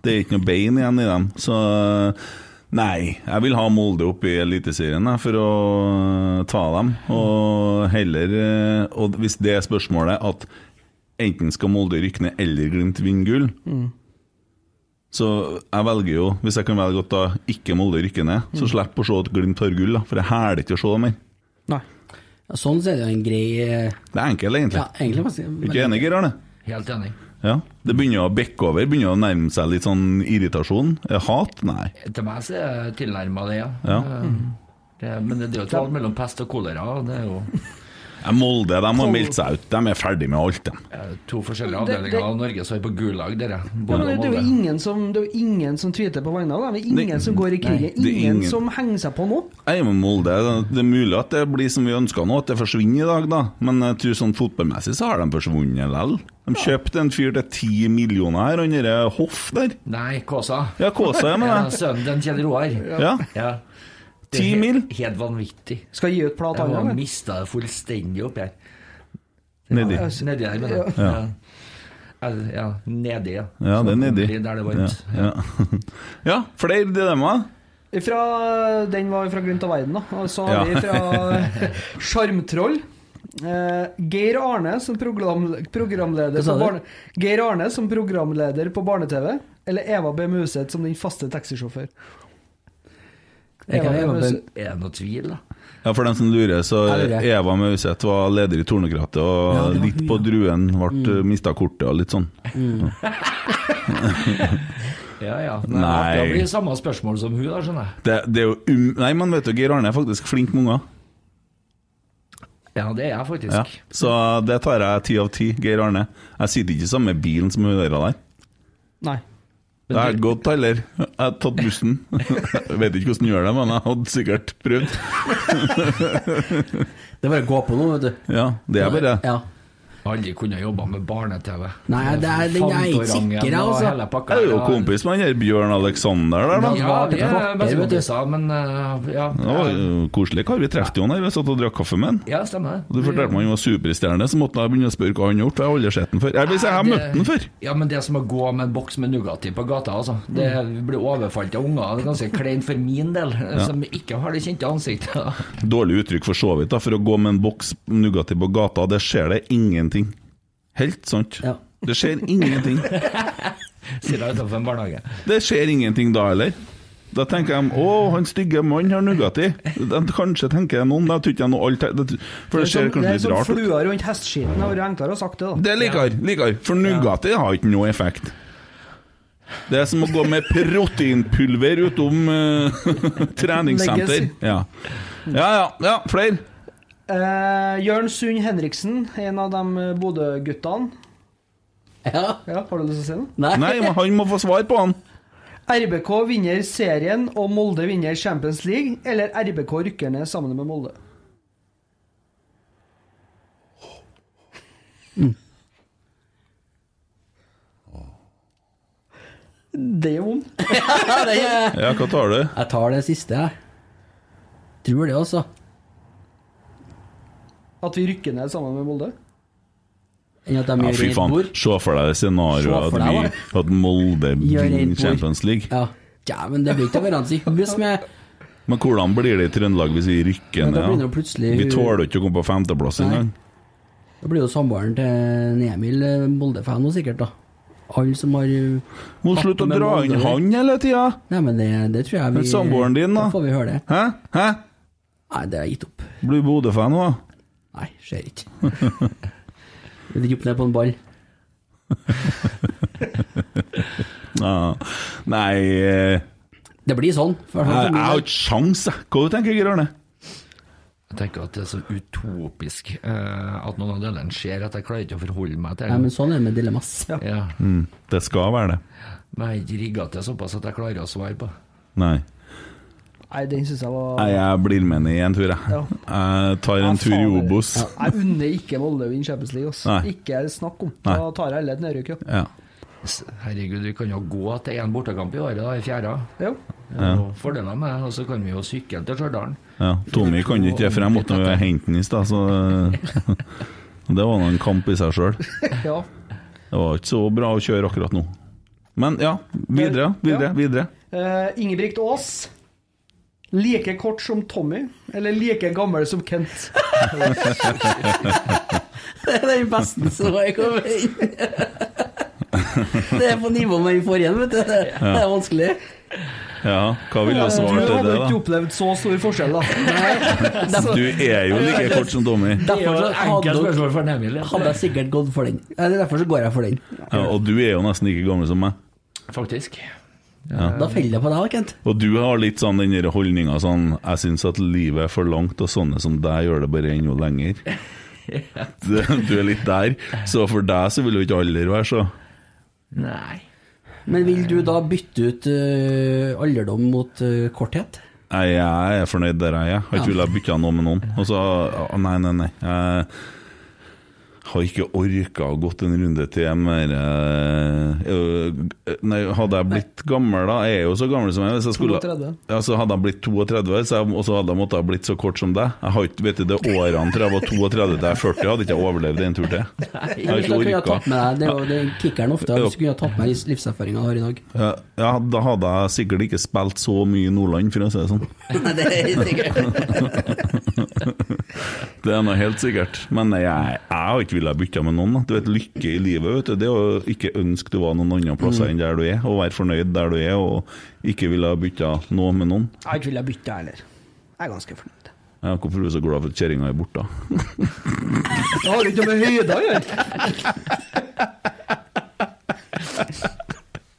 Speaker 2: Det er ikke noe bein igjen i dem. Så eh, nei, jeg vil ha Molde opp i Eliteserien jeg, for å eh, ta dem. Og heller eh, Og hvis det er spørsmålet at enten skal Molde rykke ned eller Glimt vinne gull,
Speaker 4: Mm.
Speaker 2: så jeg velger jo, hvis jeg kan velge at da ikke Molde rykker ned,
Speaker 4: Mm.
Speaker 2: så slipper å se at Glimt har gull, da, for jeg hæler ikke å se dem mer.
Speaker 6: Nei.
Speaker 4: Ja, sånn så er det jo en grei eh,
Speaker 2: Det er enkelt, egentlig.
Speaker 4: Ja, egentlig ganske- men-
Speaker 2: Ikke enig, Geir Arne?
Speaker 5: Helt enig.
Speaker 2: Ja. Det begynner å bekke over, begynner å nærme seg litt sånn irritasjon. Eh, Hat? Nei.
Speaker 5: Til meg så er jeg tilnærma det, ja.
Speaker 2: Ja.
Speaker 5: Eh, Det, men det er jo et valg mellom pest og kolera. og Det er jo
Speaker 2: Eh, Molde de har meldt seg ut, de er ferdig med alt, de.
Speaker 5: eh, to forskjellige
Speaker 6: det-
Speaker 5: avdelinger av Norge som er på gulag, dere.
Speaker 6: Ja,
Speaker 5: Både
Speaker 6: men det,
Speaker 5: og
Speaker 6: det, er jo
Speaker 5: Molde.
Speaker 6: ingen som, det er jo ingen som tweeter på vegne av dem. Det er ingen
Speaker 2: Nei.
Speaker 6: som går i krigen.
Speaker 2: det er
Speaker 6: Ingen,
Speaker 2: ingen.
Speaker 6: som henger seg på nå.
Speaker 2: Jeg er med Molde. Det er mulig at det blir som vi ønska nå, at det forsvinner i dag, da. Men jeg tror sånn fotballmessig så har de forsvunnet likevel. De kjøpte en fyr til ti millioner her, han derre Hoff der.
Speaker 5: Nei, Kåsa.
Speaker 2: Ja, Kåsa er med
Speaker 5: Ja,
Speaker 2: det.
Speaker 5: Sønnen til Kjell Roar.
Speaker 2: Ja.
Speaker 5: Ja. Det er
Speaker 2: Ti
Speaker 5: he-
Speaker 2: mil.
Speaker 5: Helt vanvittig.
Speaker 6: Skal gi ut plat,
Speaker 5: Jeg
Speaker 6: han
Speaker 5: har
Speaker 6: òg.
Speaker 5: mista det fullstendig opp her.
Speaker 2: Nedi.
Speaker 5: Ja, Nedi der, mener jeg. Ja. Ja. ja. Nedi, ja.
Speaker 2: Ja, det er nedi.
Speaker 5: Der det er varmt.
Speaker 2: Ja, ja. ja flere dilemmaer.
Speaker 6: Fra, den var fra Glimt av verden, da. Og så
Speaker 2: Ja.
Speaker 6: har vi fra eh, Sjarmtroll. Eh, Geir Arne som program,
Speaker 4: Hva
Speaker 6: programleder
Speaker 4: sa
Speaker 6: på
Speaker 4: du?
Speaker 6: barne, Geir Arne som programleder på barne-TV, eller Eva B. Museth som din faste taxisjåfør?
Speaker 4: Jeg kan
Speaker 6: Eva
Speaker 4: jo
Speaker 6: B.
Speaker 4: bare-
Speaker 6: Museth.
Speaker 5: Er det noe tvil, da?
Speaker 2: Ja, For dem som lurer, så
Speaker 4: Jeg lurer.
Speaker 2: Eva Mauseth var leder i Tornekrattet, og
Speaker 4: Ja, det var
Speaker 2: litt
Speaker 4: hun,
Speaker 2: på
Speaker 4: ja.
Speaker 2: druen ble mm. mista kortet og litt sånn.
Speaker 5: Ja, ja.
Speaker 2: Nei.
Speaker 5: Det blir samme spørsmål som hun, da, skjønner jeg.
Speaker 2: Det, det er jo um... Nei, men vet du, Geir Arne er faktisk flink med unger.
Speaker 5: Ja, det er jeg faktisk.
Speaker 2: Ja. Så det tar jeg ti av ti, Geir Arne. Jeg sitter ikke i samme bilen som hun der der.
Speaker 6: Nei.
Speaker 2: Det er godt, heller. Jeg har tatt bussen. Jeg vet ikke hvordan du gjør det, men jeg hadde sikkert prøvd.
Speaker 4: Det er bare å gå på nå, vet du.
Speaker 2: Ja, det er bare
Speaker 4: Ja.
Speaker 5: Aldri kunne jobba med barne-TV.
Speaker 4: Nei, det er- den er ikke
Speaker 5: Fantorangen
Speaker 4: sikker,
Speaker 5: og
Speaker 4: altså.
Speaker 5: hele pakka.
Speaker 2: Jeg er jo
Speaker 5: Ja,
Speaker 2: kompis med han der Bjørn Alexander der, da.
Speaker 5: Ja, vi er
Speaker 4: Klapper,
Speaker 5: beste
Speaker 4: vet du.
Speaker 5: kompiser, men eh, ja.
Speaker 2: Det var jo koselig kar. Vi trefte jo han her, vi satt og drakk kaffe med han.
Speaker 5: Ja, stemmer
Speaker 2: Og Du fortalte meg han var superstjerne, så måtte jeg begynne å spørre hva han gjort. for Jeg har aldri sett han før. Jeg vil si jeg har
Speaker 5: Det-
Speaker 2: møtt han før.
Speaker 5: Ja, men det er som å gå med en boks med Nugatti på gata, altså. Det
Speaker 4: Mm.
Speaker 5: blir overfalt av unger. Det er ganske kleint for min del, som ikke har det kjente ansiktet.
Speaker 2: Dårlig uttrykk for så vidt, da, for å gå med en boks Nugatti på gata, det skjer det ingenting. Helt sant.
Speaker 4: Ja.
Speaker 2: Det skjer ingenting.
Speaker 5: Sier jeg utenfor en barnehage.
Speaker 2: Det skjer ingenting da heller. Da tenker de 'Å, han stygge mannen har Nugatti'. De- Kanskje tenker de noen, da tror ikke jeg noe alt det- For det ser
Speaker 6: som, det
Speaker 2: kanskje
Speaker 6: er sånn
Speaker 2: litt
Speaker 6: som
Speaker 2: rart ut.
Speaker 6: flua rundt hesteskitten. Det hadde vært enklere å sagt det, da.
Speaker 2: Det er likere, likere. For Nugatti har ikke noe effekt. Det er som å gå med proteinpulver utom eh, treningssenter.
Speaker 6: Legacy.
Speaker 2: Ja. ja, ja. ja Flere?
Speaker 6: Eh, Jørn Sund Henriksen, en av de Bodø-guttene.
Speaker 4: Ja.
Speaker 6: Ja, har du lyst til å si noe?
Speaker 4: Nei.
Speaker 2: Nei, men han må få svar på han.
Speaker 6: RBK vinner serien og Molde vinner Champions League, eller RBK rykker ned sammen med Molde? Det er vondt.
Speaker 4: Ja, det er-
Speaker 2: Ja, hva tar du?
Speaker 4: Jeg tar det siste, jeg. Tror det, altså.
Speaker 6: At vi rykker ned sammen med Molde.
Speaker 4: Enn at de
Speaker 2: Ja,
Speaker 4: gjør
Speaker 2: fy
Speaker 4: rent
Speaker 2: faen.
Speaker 4: bord.
Speaker 2: Se for deg det scenarioet
Speaker 4: Se
Speaker 2: at,
Speaker 4: for deg,
Speaker 2: vi- at Molde
Speaker 4: Gjør
Speaker 2: vinner
Speaker 4: rent bord.
Speaker 2: Champions League.
Speaker 4: Ja. ja, men det blir ikke hverandre i hus med
Speaker 2: Men hvordan blir det i Trøndelag hvis vi rykker
Speaker 4: Men da
Speaker 2: ned?
Speaker 4: begynner
Speaker 2: da?
Speaker 4: jo plutselig-
Speaker 2: Vi tåler ikke å komme på femteplass
Speaker 4: Nei.
Speaker 2: engang.
Speaker 4: Da blir jo samboeren til Emil eh, Molde-fan nå sikkert, da. Alle som har eh,
Speaker 2: Må slutte å
Speaker 4: med
Speaker 2: dra
Speaker 4: Molde,
Speaker 2: inn
Speaker 4: eller?
Speaker 2: han hele tida!
Speaker 4: Nei, men det, det tror jeg vi
Speaker 2: Men samboeren din, da?
Speaker 4: får vi høre det.
Speaker 2: Hæ? Hæ?
Speaker 4: Nei, det har jeg gitt opp.
Speaker 2: Blir Bodø-fan nå?
Speaker 4: Nei, skjer ikke. Vil ikke opp ned på en ball.
Speaker 2: Ja. Nei eh,
Speaker 4: Det blir sånn. i hvert fall
Speaker 2: Jeg
Speaker 4: for min
Speaker 2: jeg har
Speaker 4: del.
Speaker 2: ikke sjans, jeg. Hva du tenker du, Arne?
Speaker 5: Jeg tenker at det er så utopisk eh, at noen av delene skjer at jeg klarer ikke å forholde meg til
Speaker 4: Nei, men
Speaker 5: det.
Speaker 4: sånn er det med dilemmas.
Speaker 5: Ja.
Speaker 4: Mm.
Speaker 2: Det skal være det.
Speaker 5: Men jeg er ikke rigga til såpass at jeg klarer å svare på.
Speaker 2: Nei.
Speaker 6: Nei, den syns jeg var
Speaker 2: Nei, jeg blir med ned i en tur, jeg.
Speaker 6: Ja.
Speaker 2: Jeg tar en tur i Obos.
Speaker 6: Jeg unner ikke Molde å vinne Champions League. Ass.
Speaker 2: Nei.
Speaker 6: Ikke snakk om.
Speaker 2: Nei.
Speaker 6: Da tar jeg heller et nedrykk, ja.
Speaker 2: Ja.
Speaker 5: Herregud, vi kan jo gå til én bortekamp i året, da, i fjerde.
Speaker 6: ja.
Speaker 5: Det er jo Fordeler med det, og så kan vi jo sykle til Stjørdal.
Speaker 2: Ja, Tommy kan ikke det, for jeg måtte jo hente den i stad, så eh, Det var nå en kamp i seg sjøl.
Speaker 6: ja.
Speaker 2: Det var ikke så bra å kjøre akkurat nå. Men ja, videre, videre, videre.
Speaker 6: Eh, Ingebrigt Aas. Like kort som Tommy, eller like gammel som Kent.
Speaker 4: Det er den beste som har kommet inn. Det er på nivå med den forrige, vet du. Det det er vanskelig.
Speaker 2: Ja, hva vil du
Speaker 6: du
Speaker 2: svare til
Speaker 6: hadde
Speaker 2: det, da?
Speaker 6: ikke opplevd så stor forskjell, da.
Speaker 2: Du er jo like kort som Tommy,
Speaker 4: Derfor så hadde,
Speaker 5: Enkelt
Speaker 4: nok-
Speaker 5: spørsmål for Emil. ja.
Speaker 4: hadde jeg sikkert gått for den. Eller derfor så går jeg for den.
Speaker 2: ja, og du er jo nesten like gammel som meg.
Speaker 5: Faktisk.
Speaker 4: Da faller jeg på deg, Kent.
Speaker 2: Og du har litt sånn den der holdninga sånn Jeg syns at livet er for langt, og sånne som deg gjør det bare enda lenger. Du du er litt der. Så for deg så vil jo ikke alder være så
Speaker 5: Nei.
Speaker 4: Men vil du da bytte ut eh, alderdom mot eh, korthet?
Speaker 2: Nei, jeg er fornøyd der jeg er. Jeg Har ikke villet bytte noe med noen. Og så å, Nei, nei, nei. Jeg har ikke orka å gått en runde til mer eh, øh, Nei, hadde jeg blitt gammel da Jeg er jo så gammel som jeg er. Hvis jeg skulle,
Speaker 6: 32.
Speaker 2: ja, så hadde jeg blitt 32, så jeg, og så hadde jeg måttet ha blitt så kort som deg. Jeg har ikke, vet du, Det årene fra jeg var 32 til jeg er 40, hadde ikke jeg overlevd en tur til. Jeg har
Speaker 4: Hvis da
Speaker 2: ikke
Speaker 4: kunne jeg
Speaker 2: orka.
Speaker 4: tatt med deg, Det er jo den kickeren ofte. Hvis du kunne jeg tatt med deg livserfaringa jeg har i dag.
Speaker 2: Ja, ja, da hadde jeg sikkert ikke spilt så mye i Nordland, for å si det sånn.
Speaker 4: Nei, det er sikkert.
Speaker 2: Det er noe helt sikkert. Men jeg, jeg har ikke villet bytte med noen. da. Du vet, Lykke i livet, vet du. det er å ikke ønske du var noen andre plasser enn der du er, og være fornøyd der du er, og ikke ville bytte noe med noen.
Speaker 6: Jeg ikke vil jeg bytte, jeg heller. Jeg er ganske fornøyd.
Speaker 2: Ja, hvorfor er du så glad for at kjerringa er borte? da?
Speaker 6: Det har ikke noe med høyder å gjøre.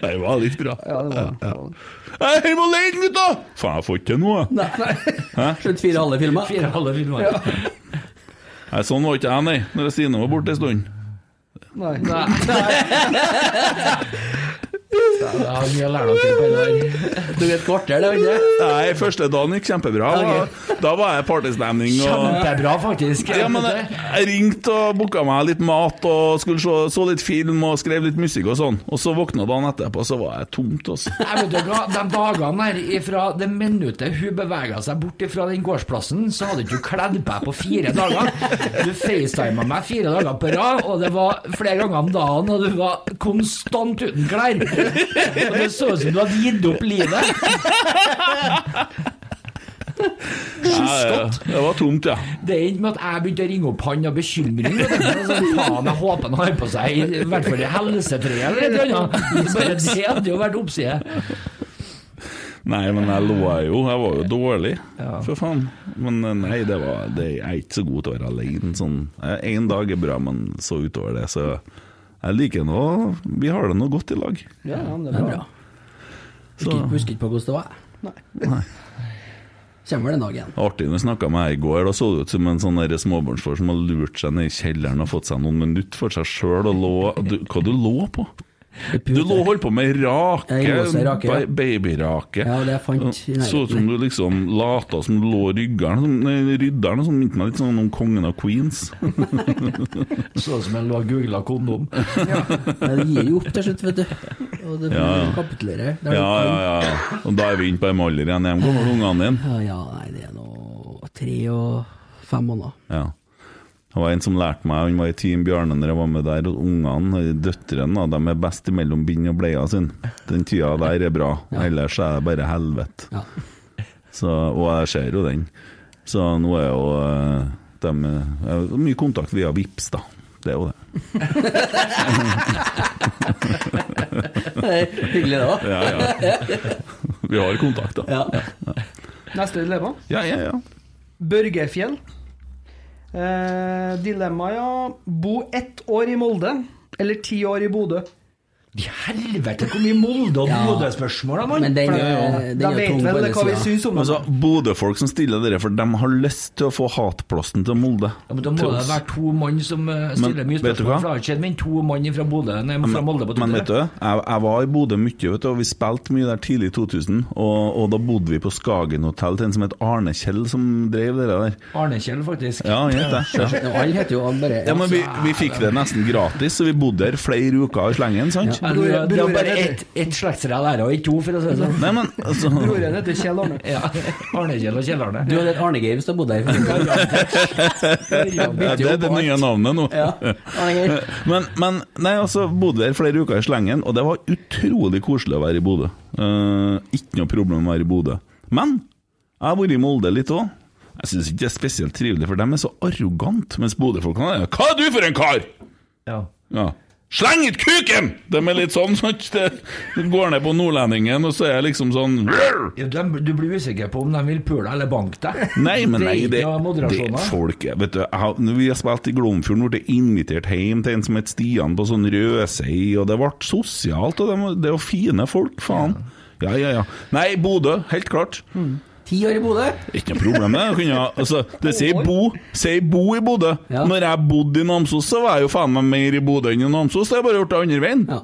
Speaker 2: Det var litt bra.
Speaker 6: Ja, det var det. var det.
Speaker 2: Hei, jeg må leie den, gutta! Faen, jeg får ikke til noe. jeg.
Speaker 4: Slutt fire halve filmer.
Speaker 5: Fire halve filmer.
Speaker 2: Nei, sånn var ikke jeg, nei, når Stine var borte en stund.
Speaker 6: Nei.
Speaker 5: Jeg har mye lærdom på det der.
Speaker 4: Du vet kvarter, det er jo ikke?
Speaker 2: Nei, første dagen gikk kjempebra. Da, da var jeg partystemning og
Speaker 5: Kjempebra, faktisk.
Speaker 2: Ja, men jeg, jeg ringte og booka meg litt mat og skulle se, så litt film og skrev litt musikk og sånn. Og så våkna dagen etterpå, så var jeg tomt, altså.
Speaker 5: Nei, vet du hva, De dagene her, ifra det minuttet hun bevega seg bort fra den gårdsplassen, så hadde ikke hun kledd på deg på fire dager. Du facetima meg fire dager på rad, og det var flere ganger om dagen, og du var konstant uten klær. Og Det så ut som du hadde gitt opp livet.
Speaker 2: Jeg, det var tomt, ja.
Speaker 5: Det er ikke med at jeg begynte å ringe opp han av bekymring. vet du. Altså, faen, jeg håper han har på seg i hvert fall i helsetreet eller et eller annet. Bare det hadde jo vært oppside.
Speaker 2: Nei, men jeg lå jo. Jeg var jo dårlig, for faen. Men eh, nei, det var det, Jeg er ikke så god til å være alene. Sånn. Én dag er bra, men så utover det, så jeg liker nå Vi har det nå godt i lag.
Speaker 6: Ja, ja, men det er bra.
Speaker 2: Så
Speaker 4: Husker ikke- Husker ikke på hvordan det var. Kommer vel en dag igjen.
Speaker 2: Artig når jeg snakka med deg i går, da så det ut som en sånn der småbarnsfar som har lurt seg ned i kjelleren og fått seg noen minutter for seg sjøl og lå du, Hva du lå på? Du lå og holdt på med rake,
Speaker 4: Jeg lå og så rake, ja.
Speaker 2: ba- babyrake.
Speaker 4: Ja, det jeg fant i nærheten.
Speaker 2: Så ut som du liksom lata som du lå ryggeren, som, sånn, nei, rydderen, som minte meg litt sånn om kongen av Queens.
Speaker 5: Så ut som jeg lå og googla kondom.
Speaker 4: Men det gir jo opp til slutt, vet du. Og det kapitulerer. Det er
Speaker 2: Ja, ja,
Speaker 4: jo-
Speaker 2: ja. ja. Og da er vi inne på en alder igjen. Hvor gammel er ungene dine?
Speaker 4: ja. ja, nei, det er nå tre og fem måneder.
Speaker 2: Ja. Det var en som lærte meg, han var i Team Bjarne når jeg var med der, og ungene, døtrene, da, de er best mellom bind og bleia sin. Den tida der er bra, ellers er det bare helvete.
Speaker 4: Ja.
Speaker 2: Så, og jeg ser jo den. Så nå er jo eh, de jeg har Mye kontakt via Vips da. Det er jo det.
Speaker 4: Hyggelig, det òg.
Speaker 2: Ja, ja. Vi har kontakt, da.
Speaker 4: Ja.
Speaker 6: Neste dilemma.
Speaker 2: Ja, ja, ja.
Speaker 6: Børgefjell. Eh, dilemma, ja. Bo ett år i Molde eller ti år i Bodø?
Speaker 5: Helvete, hvor mye Molde- og
Speaker 4: Ja.
Speaker 5: Bodø-spørsmål de har!
Speaker 4: Men den,
Speaker 6: For
Speaker 4: er- den
Speaker 6: de
Speaker 4: er jo
Speaker 6: vet
Speaker 4: tung på
Speaker 6: vel
Speaker 4: den
Speaker 6: hva vi
Speaker 4: sida.
Speaker 6: syns om
Speaker 2: Altså,
Speaker 6: det.
Speaker 2: Bodø-folk som stiller dere, for de har lyst til å få hatplassen til Molde.
Speaker 5: Ja, men da må
Speaker 2: Til
Speaker 5: det
Speaker 2: oss.
Speaker 5: være to mann som eh, stiller
Speaker 2: Men,
Speaker 5: mye
Speaker 2: vet du
Speaker 5: spørsmål.
Speaker 2: hva?
Speaker 5: For det har ikke skjedd med to mann fra, Bodø, nei, fra Molde på
Speaker 2: Men vet du,
Speaker 5: Twitter.
Speaker 2: jeg, jeg var i Bodø mye, vet du, og vi spilte mye der tidlig i 2000. Og, og da bodde vi på Skagen hotell til en som het Arne Kjell, som drev det der.
Speaker 5: Arne Kjell, faktisk.
Speaker 2: Ja, han het det. Ja.
Speaker 4: Ja, Alle heter jo alle bare
Speaker 2: Ja, men vi, vi fikk det nesten gratis, så vi bodde der flere uker i slengen, sant?
Speaker 5: Men det er- det er
Speaker 6: Broren
Speaker 5: bare
Speaker 6: heter-
Speaker 5: ett et slektsrev der, og ikke to, for å si det sånn.
Speaker 2: Nei, men altså
Speaker 6: Broren heter Kjell Arne.
Speaker 5: Ja. Arne Kjell og Kjell Arne.
Speaker 4: Du hadde et Arne Geir hvis du bodde her.
Speaker 2: ja, Det er det nye navnet nå.
Speaker 4: Ja, Arne Geir.
Speaker 2: Men, men nei, altså, bodde der flere uker i slengen, og det var utrolig koselig å være i Bodø. Eh, ikke noe problem å være i Bodø. Men jeg har vært i Molde litt òg. Jeg syns ikke det er spesielt trivelig, for dem er så arrogante, mens Bodø-folkene er 'Hva er du for en kar?!'
Speaker 5: Ja.
Speaker 2: Ja. Sleng ut kuken! De er litt sånn, sant? Det det går ned på nordlendingen, og så er jeg liksom sånn «Rrr!»
Speaker 5: Ja, de- Du blir usikker på om de vil pule eller banke deg.
Speaker 2: Nei, men nei, det,
Speaker 5: det er ikke noe moderasjon
Speaker 2: det
Speaker 5: her.
Speaker 2: folk er- Vet du, jeg, har- når vi har spilt i Glomfjorden, ble invitert hjem til en som het Stian på sånn Røsei, og det ble sosialt, og det var, det var fine folk, faen. Ja, ja, ja. Nei, Bodø, helt klart.
Speaker 4: Ti år i Bodø.
Speaker 2: Ikke noe problem med det. kunne jeg- Altså, det sier bo, sier bo i Bodø.
Speaker 4: Ja.
Speaker 2: Når jeg bodde i Namsos, så var jeg jo faen meg mer i Bodø enn i Namsos. Det har jeg bare gjort det andre veien.
Speaker 4: Ja.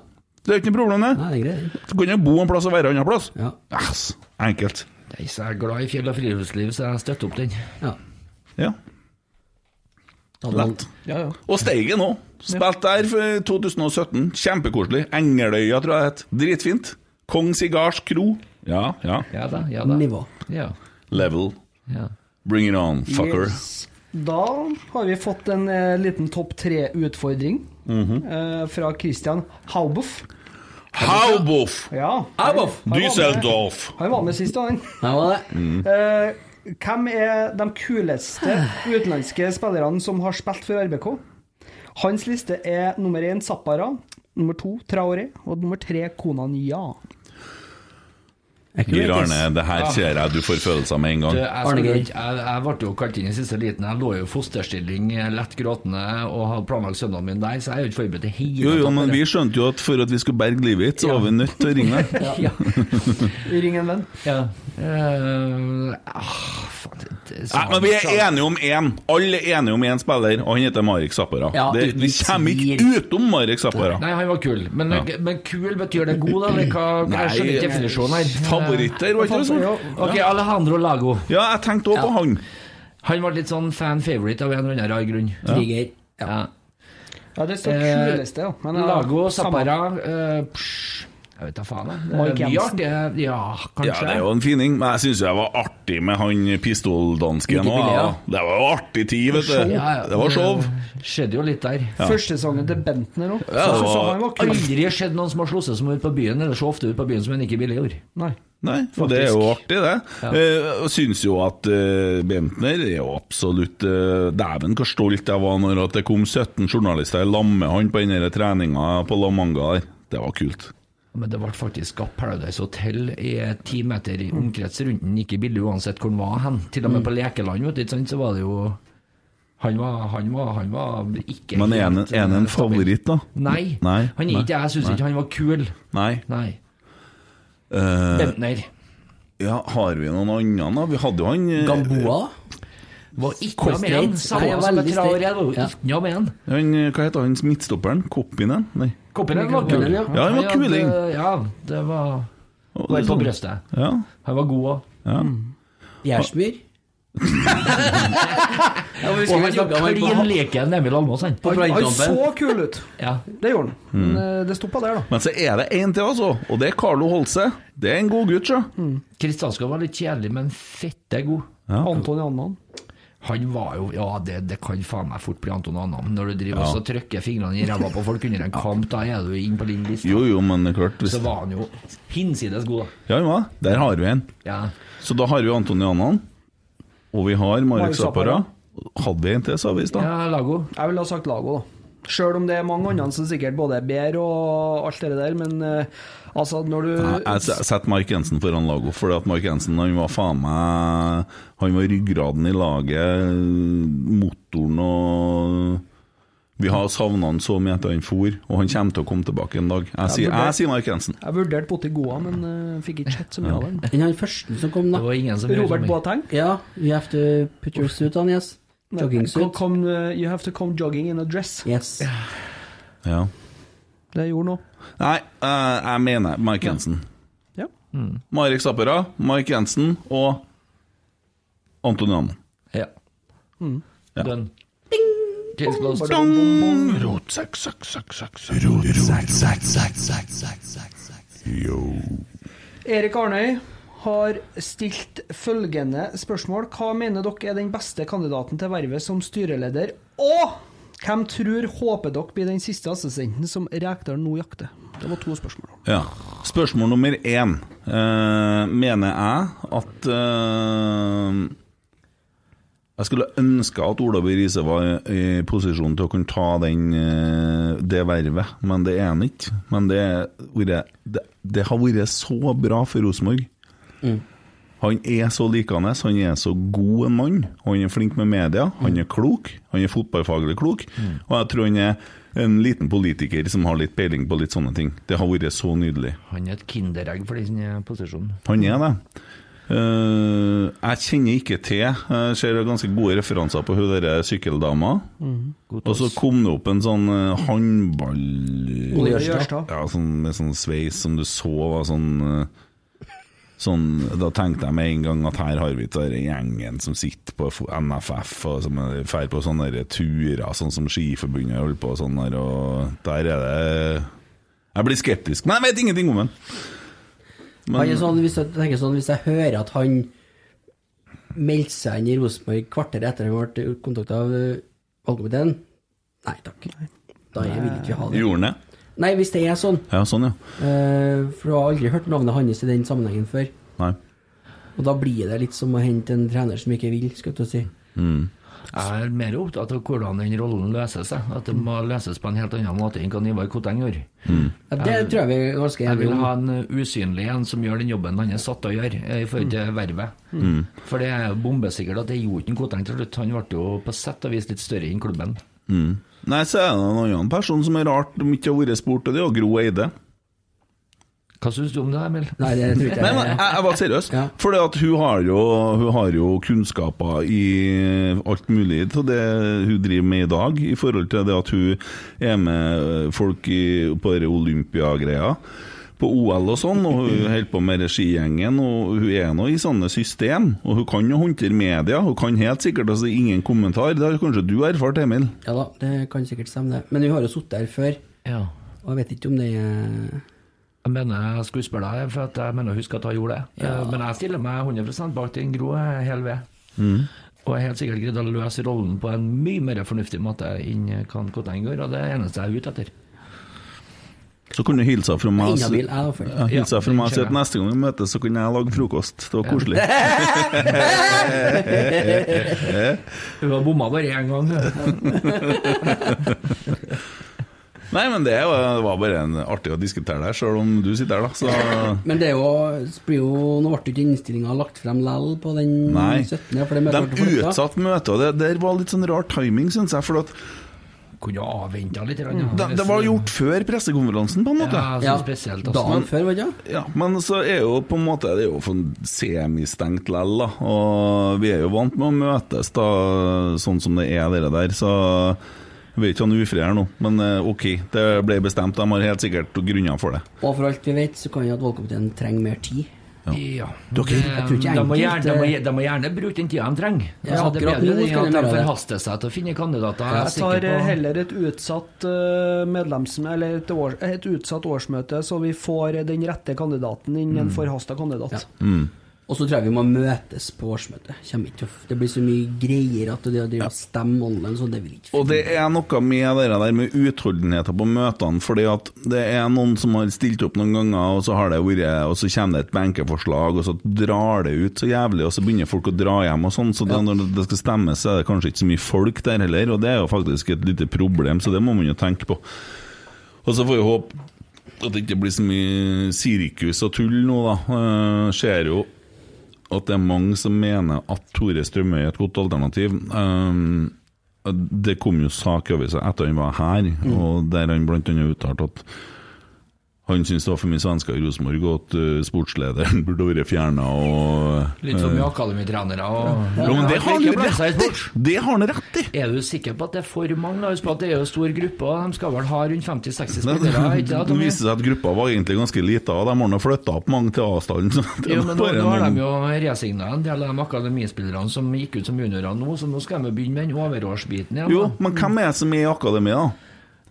Speaker 2: Det er ikke noe problem, det.
Speaker 4: Nei, det er greit.
Speaker 2: Så kan jeg bo en plass og være en annen plass.
Speaker 4: Ja.
Speaker 2: Ass, enkelt.
Speaker 5: Nei, så Jeg er glad i fjell og friluftsliv, så jeg støtter opp den.
Speaker 4: Ja.
Speaker 2: Ja.
Speaker 4: Da hadde man-
Speaker 2: Lett. Og Steigen òg. Spilt der for eh, 2017. Kjempekoselig. Engeløya, tror jeg det het. Dritfint. Kong Sigars kro. Ja, ja.
Speaker 5: Ja da, ja da.
Speaker 4: Nivå.
Speaker 5: Ja,
Speaker 2: Level.
Speaker 5: ja.
Speaker 2: Bring it on, fucker.
Speaker 6: Yes. Da har vi fått en eh, liten topp tre-utfordring
Speaker 2: Mhm.
Speaker 6: eh, fra Christian Hauboff.
Speaker 2: Hauboff!
Speaker 6: Ja,
Speaker 4: Hauboff.
Speaker 6: han var med-
Speaker 2: Düsseldorf!
Speaker 6: Han var med sist, han.
Speaker 4: Nei, hva var det?
Speaker 6: Eh, hvem
Speaker 4: Eh,
Speaker 6: er de kuleste utenlandske spillerne som har spilt for RBK? Hans liste er nummer én Zappara, nummer to Traore og nummer tre Konanya.
Speaker 4: Er ikke
Speaker 2: Geir
Speaker 4: det, ass?
Speaker 2: Arne, det
Speaker 5: Ah.
Speaker 2: her ser jeg du får følelser med en
Speaker 5: Du,
Speaker 2: gang.
Speaker 5: jeg,
Speaker 4: Arne
Speaker 5: skulle
Speaker 4: Geir.
Speaker 5: ikke- jeg, jeg ble jo kalt inn i siste liten. Jeg lå jo i fosterstilling, eh, lett gråtende, og hadde planlagt søndagen min der, så jeg er jo ikke forberedt til hele
Speaker 2: Jo, jo,
Speaker 5: tatt på
Speaker 2: men
Speaker 5: det.
Speaker 2: vi skjønte jo at for at vi skulle berge livet ditt, så var vi nødt til å ringe deg.
Speaker 5: ja.
Speaker 6: Ring en venn.
Speaker 5: ja. Eh, ah, faen, det, det,
Speaker 2: Nei, men vi er enige om én. Alle er enige om én spiller, og han heter Marek Zappara.
Speaker 4: Ja,
Speaker 2: Det, vi
Speaker 4: uten
Speaker 2: kommer ikke
Speaker 4: tvil.
Speaker 2: utom Marek Zappara.
Speaker 5: Nei, han var kul. Men,
Speaker 2: Ja. eh,
Speaker 5: men kul betyr det god, da? Eller hva? Jeg skjønner ikke definisjonen her. Eh,
Speaker 2: Favoritter, var ikke det sånn?
Speaker 5: Ok, Alejandro Lago.
Speaker 2: Ja, jeg tenkte òg på han.
Speaker 5: Han var litt sånn fan favorite av en eller annen rar grunn.
Speaker 4: Trigger. Ja.
Speaker 5: Ja.
Speaker 6: Ja, det står
Speaker 5: Eh,
Speaker 6: kuleste, ja. Men, ja,
Speaker 5: Lago,
Speaker 6: samme.
Speaker 5: Zappara eh, psh, Jeg vet da faen. jeg. Det
Speaker 6: Mike
Speaker 5: er mye
Speaker 6: Jensen.
Speaker 5: artig. Ja,
Speaker 2: Ja,
Speaker 5: kanskje.
Speaker 2: det er jo en fining, men jeg syns jeg var artig med han pistoldansken òg.
Speaker 4: Ikke billig,
Speaker 2: Ja.
Speaker 4: ja.
Speaker 2: Det var jo artig tid, vet
Speaker 5: Ja,
Speaker 2: du.
Speaker 5: ja.
Speaker 2: Det var show.
Speaker 5: Skjedde jo litt der.
Speaker 6: Første sangen til Bentner òg.
Speaker 2: Ja, det var-
Speaker 6: han var kul.
Speaker 5: Aldri skjedd noen som har slått seg som ut på byen, eller så ofte ut på byen som en ikke ville gjøre.
Speaker 6: Nei.
Speaker 2: Nei, for det er jo artig, det. Eh, Og syns jo at eh, Bentner er jo absolutt eh, Dæven, hvor stolt jeg var når at det kom 17 journalister i lag med han på den der treninga på La Manga der. Det var kult.
Speaker 5: Men det ble faktisk skapt Paradise Hotel i ti meter i omkrets rundt den, ikke billig uansett hvor den var hen. Til og med på
Speaker 6: Mm.
Speaker 5: lekeland, vet du, ikke sant, så var det jo Han var, han var, han var ikke
Speaker 2: Men er han
Speaker 5: helt,
Speaker 2: en- er han en
Speaker 5: eh, stabil.
Speaker 2: favoritt, da?
Speaker 5: Nei,
Speaker 2: Nei,
Speaker 5: han er
Speaker 2: nei,
Speaker 5: ikke det. Jeg syns
Speaker 2: nei.
Speaker 5: ikke han var kul.
Speaker 2: Nei.
Speaker 5: Nei.
Speaker 2: Eh,
Speaker 5: Bentner
Speaker 2: ja, har vi noen andre, da? Vi hadde jo han eh,
Speaker 4: Gamboa.
Speaker 5: var ikke noe med
Speaker 4: Korsdreit.
Speaker 5: han. Samme
Speaker 4: Nei,
Speaker 5: som
Speaker 4: veldig
Speaker 5: jeg tror jeg var jo
Speaker 4: sterk.
Speaker 5: ikke noe med han.
Speaker 2: han eh, Hva heter han midtstopperen? Koppinen? Nei.
Speaker 5: Koppelen var kul.
Speaker 4: Koppelen, ja.
Speaker 2: Ja, han var
Speaker 5: hadde-
Speaker 2: kuling.
Speaker 5: Ja, det var
Speaker 2: Og
Speaker 5: Var
Speaker 2: det
Speaker 5: på
Speaker 2: sånn-
Speaker 5: brøstet.
Speaker 2: Ja.
Speaker 5: Han var god òg.
Speaker 4: Gjersmyr. ja, men vi
Speaker 5: Og
Speaker 4: skulle
Speaker 5: han
Speaker 4: snakke om
Speaker 5: var
Speaker 4: han
Speaker 5: klin
Speaker 4: på,
Speaker 5: leken Emil Almås, han.
Speaker 4: på
Speaker 6: Han
Speaker 4: brannkampen.
Speaker 6: så kul ut.
Speaker 5: Ja.
Speaker 6: Det gjorde han. Men eh, det stoppa der, da.
Speaker 2: Men så er det én til, altså. Og det er Carlo Holse. Det er en god gutt, sjø.
Speaker 5: Kristianskog var litt kjedelig, men fette god.
Speaker 6: Anton Jannan.
Speaker 5: Han var jo Ja, det, det kan faen meg fort bli Anton Annan. Når du driver og så trykker fingrene i ræva på folk under en kamp, da er du inne på din liste.
Speaker 2: Jo, jo, men det er klart hvis...
Speaker 5: Så var han jo hinsides god, da.
Speaker 2: Ja, ja, der har vi en.
Speaker 5: Ja.
Speaker 2: Så da har vi Anton Janan, og vi har Marek
Speaker 6: Marek
Speaker 2: Zappara.
Speaker 6: Zappara.
Speaker 2: Hadde vi en til, sa vi i stad.
Speaker 5: ja, Lago.
Speaker 6: Jeg ville ha sagt Lago, da. Sjøl om det er mange andre som sikkert både er bedre og alt det der, men eh, altså, når du
Speaker 2: Nei, Jeg se- setter Mark Jensen foran Lago, fordi at Mark Jensen han var faen meg Han var ryggraden i laget, motoren og Vi har savna han så mye etter han for, og han kommer til å komme tilbake en dag. Jeg sier,
Speaker 6: vurderer-
Speaker 2: jeg sier Mark Jensen.
Speaker 6: Jeg vurderte Botti Goa, men eh, fikk ikke sett så mye av den.
Speaker 4: Enn han første som kom, da.
Speaker 5: Det var ingen som
Speaker 6: Robert
Speaker 5: meg.
Speaker 6: Boateng.
Speaker 4: Ja, you have to put your suit on, yes. Jogging
Speaker 6: Come-
Speaker 4: suit.
Speaker 6: come, eh, you have to come jogging in a dress.
Speaker 4: Yes.
Speaker 2: Ja.
Speaker 6: Det gjorde han òg.
Speaker 2: Nei, eh, jeg mener Mark Jensen.
Speaker 6: Ja.
Speaker 2: Marek Zappera, Mark Jensen og Anton Johansen.
Speaker 5: Ja.
Speaker 2: Ja.
Speaker 5: Done. Case closed.
Speaker 2: Rot, sekk, sekk, sekk, sekk, sekk. Rot, sekk, sekk, sekk, sekk, sekk, sekk. Jo.
Speaker 6: Erik Arnøy har stilt følgende spørsmål. Hva mener dere er den beste kandidaten til vervet som styreleder, og hvem tror håper dere blir den siste assistenten som Rekdal nå jakter? Det var to spørsmål.
Speaker 2: Ja. Spørsmål nummer én. Eh, mener jeg at eh, Jeg skulle ønske at Ola B. Riise var i, i posisjon til å kunne ta den, eh, det vervet, men det er han ikke. Men det, er- vært- det, det har vært så bra for Rosenborg. Han er så likende, han er så god en mann. Han er flink med media, han er klok. Han er fotballfaglig klok. Og jeg tror han er en liten politiker som har litt peiling på litt sånne ting. Det har vært så nydelig.
Speaker 5: Han er et kinderegg for den eh, posisjonen.
Speaker 2: Han er det. Eh, jeg kjenner ikke til Jeg ser ganske gode referanser på hun derre sykkeldama.
Speaker 5: God
Speaker 2: Og så
Speaker 5: toss.
Speaker 2: kom det opp en sånn eh, håndball...
Speaker 6: Ole Jørstad.
Speaker 2: Ja, sånn, med sånn sveis som du så var sånn eh, Sånn, da tenkte jeg med en gang at her har vi den gjengen som sitter på fo- NFF og som drar på sånne der turer, sånn som Skiforbundet holder på og sånn der, og der er det Jeg blir skeptisk, men jeg vet ingenting om den.
Speaker 4: Han er sånn, hvis jeg tenker sånn, hvis jeg hører at han meldte seg inn i Rosenborg kvarteret etter han ble kontakta av eh, valgkomiteen Nei takk. Da er- vil ikke vi ha det.
Speaker 2: Gjorde han det?
Speaker 4: Nei, hvis det er sånn.
Speaker 2: Ja, sånn, ja.
Speaker 4: eh, For du har aldri hørt navnet hans i den sammenhengen før.
Speaker 2: Nei.
Speaker 4: Og da blir det litt som å hente en trener som ikke vil, skal jeg til å si.
Speaker 5: Jeg er mer opptatt av hvordan den rollen løses. jeg. At det må løses på en helt annen måte enn hva Ivar Koteng gjorde.
Speaker 4: Ja, det tror jeg vi er ganske
Speaker 5: Jeg vil
Speaker 4: enige om.
Speaker 5: ha en eh, usynlig en som gjør den jobben han er satt til å gjøre, eh, i forhold
Speaker 2: Mm.
Speaker 5: til vervet. For det er jo bombesikkert at det gjorde ikke Koteng til slutt. Han ble jo på sett og vis litt større enn klubben.
Speaker 2: Nei, så er det en annen person som er rart de ikke har vært spurt, og det er jo Gro Eide.
Speaker 5: Hva syns du om det, Emil?
Speaker 4: Nei, det tror ikke
Speaker 2: Nei, men
Speaker 4: jeg.
Speaker 2: jeg, jeg var seriøs.
Speaker 4: Ja.
Speaker 2: For hun, har jo- hun har jo kunnskaper i alt mulig til det hun driver med i dag, i forhold til det at hun er med folk i, på denne Olympia-greia. På OL og sånn, og hun holder på med regigjengen, og hun er nå i sånne system. Og hun kan jo håndtere media, hun kan helt sikkert altså ingen kommentar. Det har kanskje du erfart, Emil?
Speaker 4: Ja da, det kan sikkert stemme, det. Men vi har jo sittet her før,
Speaker 5: Ja.
Speaker 4: og jeg vet ikke om det er
Speaker 5: Jeg mener jeg skulle spørre deg, for at jeg mener å huske at hun gjorde det. Eh, Men jeg stiller meg 100 bak den Gro eh, hele ved. Og jeg er helt sikkert greid å løse rollen på en mye mer fornuftig måte enn eh, hva Koteng gjorde, og det er det eneste jeg er ute etter.
Speaker 2: Så kan du hilse fra meg. og si-
Speaker 4: inhabil, jeg da, føler jeg.
Speaker 2: Ja, hilse
Speaker 5: altså- Ja,
Speaker 2: fra meg og si at
Speaker 5: skjønner jeg.
Speaker 2: neste gang vi møtes, så kan jeg lage frokost. Det var koselig.
Speaker 5: Hun har bomma bare én gang. hun.
Speaker 2: Nei, men det var, det var bare en artig å diskutere det her, sjøl om du sitter her, da. Så
Speaker 4: Men det er jo, det blir jo Nå ble jo ikke innstillinga lagt frem lell på den
Speaker 2: Nei.
Speaker 4: 17. For det møtet ble
Speaker 2: De
Speaker 4: flyttet.
Speaker 2: utsatte møtet, og det der var litt sånn rar timing, syns jeg. For at
Speaker 5: Kunne jo avventa litt. grann, ja.
Speaker 2: det, Mm. det var gjort før pressekonferansen, på en måte.
Speaker 5: Ja,
Speaker 4: Ja,
Speaker 5: så spesielt. Altså.
Speaker 4: dagen før, var det ikke?
Speaker 2: Ja, men så er jo på en måte Det er jo sånn semistengt lell, da. Og vi er jo vant med å møtes, da, sånn som det er, dere der. Så jeg vil ikke ha noe ufred her nå, men eh, OK. Det ble bestemt. De har helt sikkert grunner for det.
Speaker 4: Og for alt vi vet, så kan jo at valgkomiteen trenger mer tid.
Speaker 5: Ja.
Speaker 2: Dere,
Speaker 5: Det-
Speaker 2: jeg
Speaker 4: tror ikke
Speaker 5: de, må
Speaker 4: enkelt,
Speaker 5: gjerne, de, må,
Speaker 4: eh,
Speaker 5: de må gjerne bruke den tida de trenger.
Speaker 4: Ja,
Speaker 5: altså, det er
Speaker 4: akkurat nå
Speaker 5: bedre det
Speaker 4: skal de
Speaker 5: enn at de
Speaker 4: gjøre det.
Speaker 5: forhaster seg til å finne kandidater. Jeg er
Speaker 6: Jeg tar eh,
Speaker 5: sikker på
Speaker 6: heller et utsatt eh, medlems... Eller et, år, et utsatt årsmøte, så vi får eh, den rette kandidaten innen
Speaker 5: Mm.
Speaker 6: en forhasta kandidat.
Speaker 4: Og så tror jeg vi må møtes på årsmøtet. Kommer ikke til å- Det blir så mye greier at det å drive og stemme online, så det vil ikke
Speaker 2: Og det er noe med det der med utholdenheten på møtene, fordi at det er noen som har stilt opp noen ganger, og så har det vært, og så kommer det et benkeforslag, og så drar det ut så jævlig, og så begynner folk å dra hjem og sånn, så det, når det skal stemmes, så er det kanskje ikke så mye folk der heller, og det er jo faktisk et lite problem, så det må man jo tenke på. Og så får vi håpe at det ikke blir så mye sirkus og tull nå, da. Eh, Ser jo at det er mange som mener at Tore Strømøy er et godt alternativ. Eh, Det kom jo sak over seg etter han var her, og der han blant annet uttalte at han syntes det var for mye svensker i Rosenborg, og at eh, sportslederen burde vært fjerna.
Speaker 5: Litt som mye akademitrenere og
Speaker 2: Ja, men det har
Speaker 5: Mm. Ikke
Speaker 2: han
Speaker 5: blande seg i
Speaker 2: rett i!
Speaker 5: sport.
Speaker 2: Det har han rett i!
Speaker 5: Er du sikker på at det er for mange? da? Husk på at det er jo stor gruppe, og de skal vel ha rundt 50-60
Speaker 2: Det,
Speaker 5: spillere? ikke
Speaker 2: det
Speaker 5: sant, Tommy?
Speaker 2: viste seg at gruppa var egentlig ganske lita, og de har nå flytta opp mange til avstanden. Så det
Speaker 5: Jo,
Speaker 2: er
Speaker 5: men nå,
Speaker 2: bare
Speaker 5: nå har
Speaker 2: noen-
Speaker 5: de jo resigna en del av de akademispillerne som gikk ut som juniorer nå, så nå skal de jo begynne med den overårsbiten igjen.
Speaker 2: Jo,
Speaker 5: da.
Speaker 2: men hvem er det som er i akademia?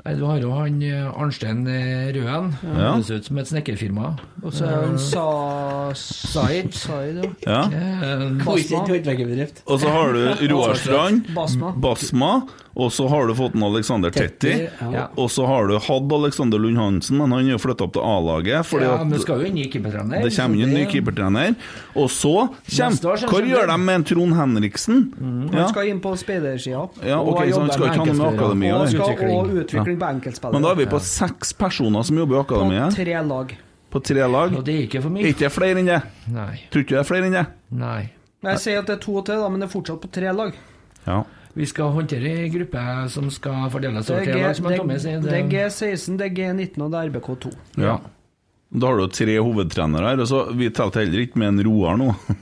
Speaker 5: Nei, Du har jo han eh, Arnstein eh, Røen.
Speaker 2: Ja.
Speaker 5: Høres ut som et snekkerfirma.
Speaker 6: Og så er han sa... Said. Said, ja.
Speaker 2: Ja.
Speaker 5: Eh,
Speaker 6: Basma.
Speaker 4: Håndverkerbedrift.
Speaker 2: Og så har du
Speaker 5: Altså,
Speaker 2: Roar Strand,
Speaker 6: Basma.
Speaker 2: Basma, og så har du fått en Alexander Tetti.
Speaker 4: ja.
Speaker 5: Ja.
Speaker 2: Og så har du hatt Alexander Lund Hansen, men han er jo flytta opp til A-laget. Fordi
Speaker 5: ja,
Speaker 2: at
Speaker 5: men det skal jo inn i keepertrener.
Speaker 2: det kommer inn en ny keepertrener. Og så
Speaker 5: Neste år
Speaker 2: kommer
Speaker 5: så
Speaker 2: Hva
Speaker 5: kommer
Speaker 2: gjør de
Speaker 5: det- Mm,
Speaker 2: med en Trond Henriksen? Ja.
Speaker 6: Han skal inn på speidersida.
Speaker 2: Ja, ok,
Speaker 5: Og
Speaker 2: så han
Speaker 5: jobber
Speaker 2: skal
Speaker 5: med
Speaker 2: ikke ha noe med
Speaker 5: enkeltspillere.
Speaker 2: akademia
Speaker 6: Og
Speaker 2: å
Speaker 6: han
Speaker 2: gjøre.
Speaker 6: skal
Speaker 5: Utvikling.
Speaker 6: også utvikling på
Speaker 2: Men da
Speaker 6: enkeltspillere.
Speaker 2: er vi på seks personer som jobber i
Speaker 6: På
Speaker 2: akademiet,
Speaker 6: tre lag.
Speaker 2: på tre lag.
Speaker 5: Og det er ikke for
Speaker 2: Er
Speaker 5: mye.
Speaker 2: ikke det flere enn det?
Speaker 5: Nei.
Speaker 2: Tror ikke det er flere enn det.
Speaker 5: Nei.
Speaker 6: Jeg sier at det er to til, da, men det er fortsatt på tre lag.
Speaker 2: Ja.
Speaker 5: Vi skal håndtere ei gruppe som skal fordeles
Speaker 6: Det
Speaker 5: over
Speaker 6: er,
Speaker 5: tre
Speaker 6: G,
Speaker 5: lag, som
Speaker 6: det,
Speaker 5: han Tommy sier.
Speaker 6: det er G16, det er G19 og det er RBK2.
Speaker 2: ja. Da har du jo tre hovedtrenere her, og så vi telte heller ikke med en Roar nå.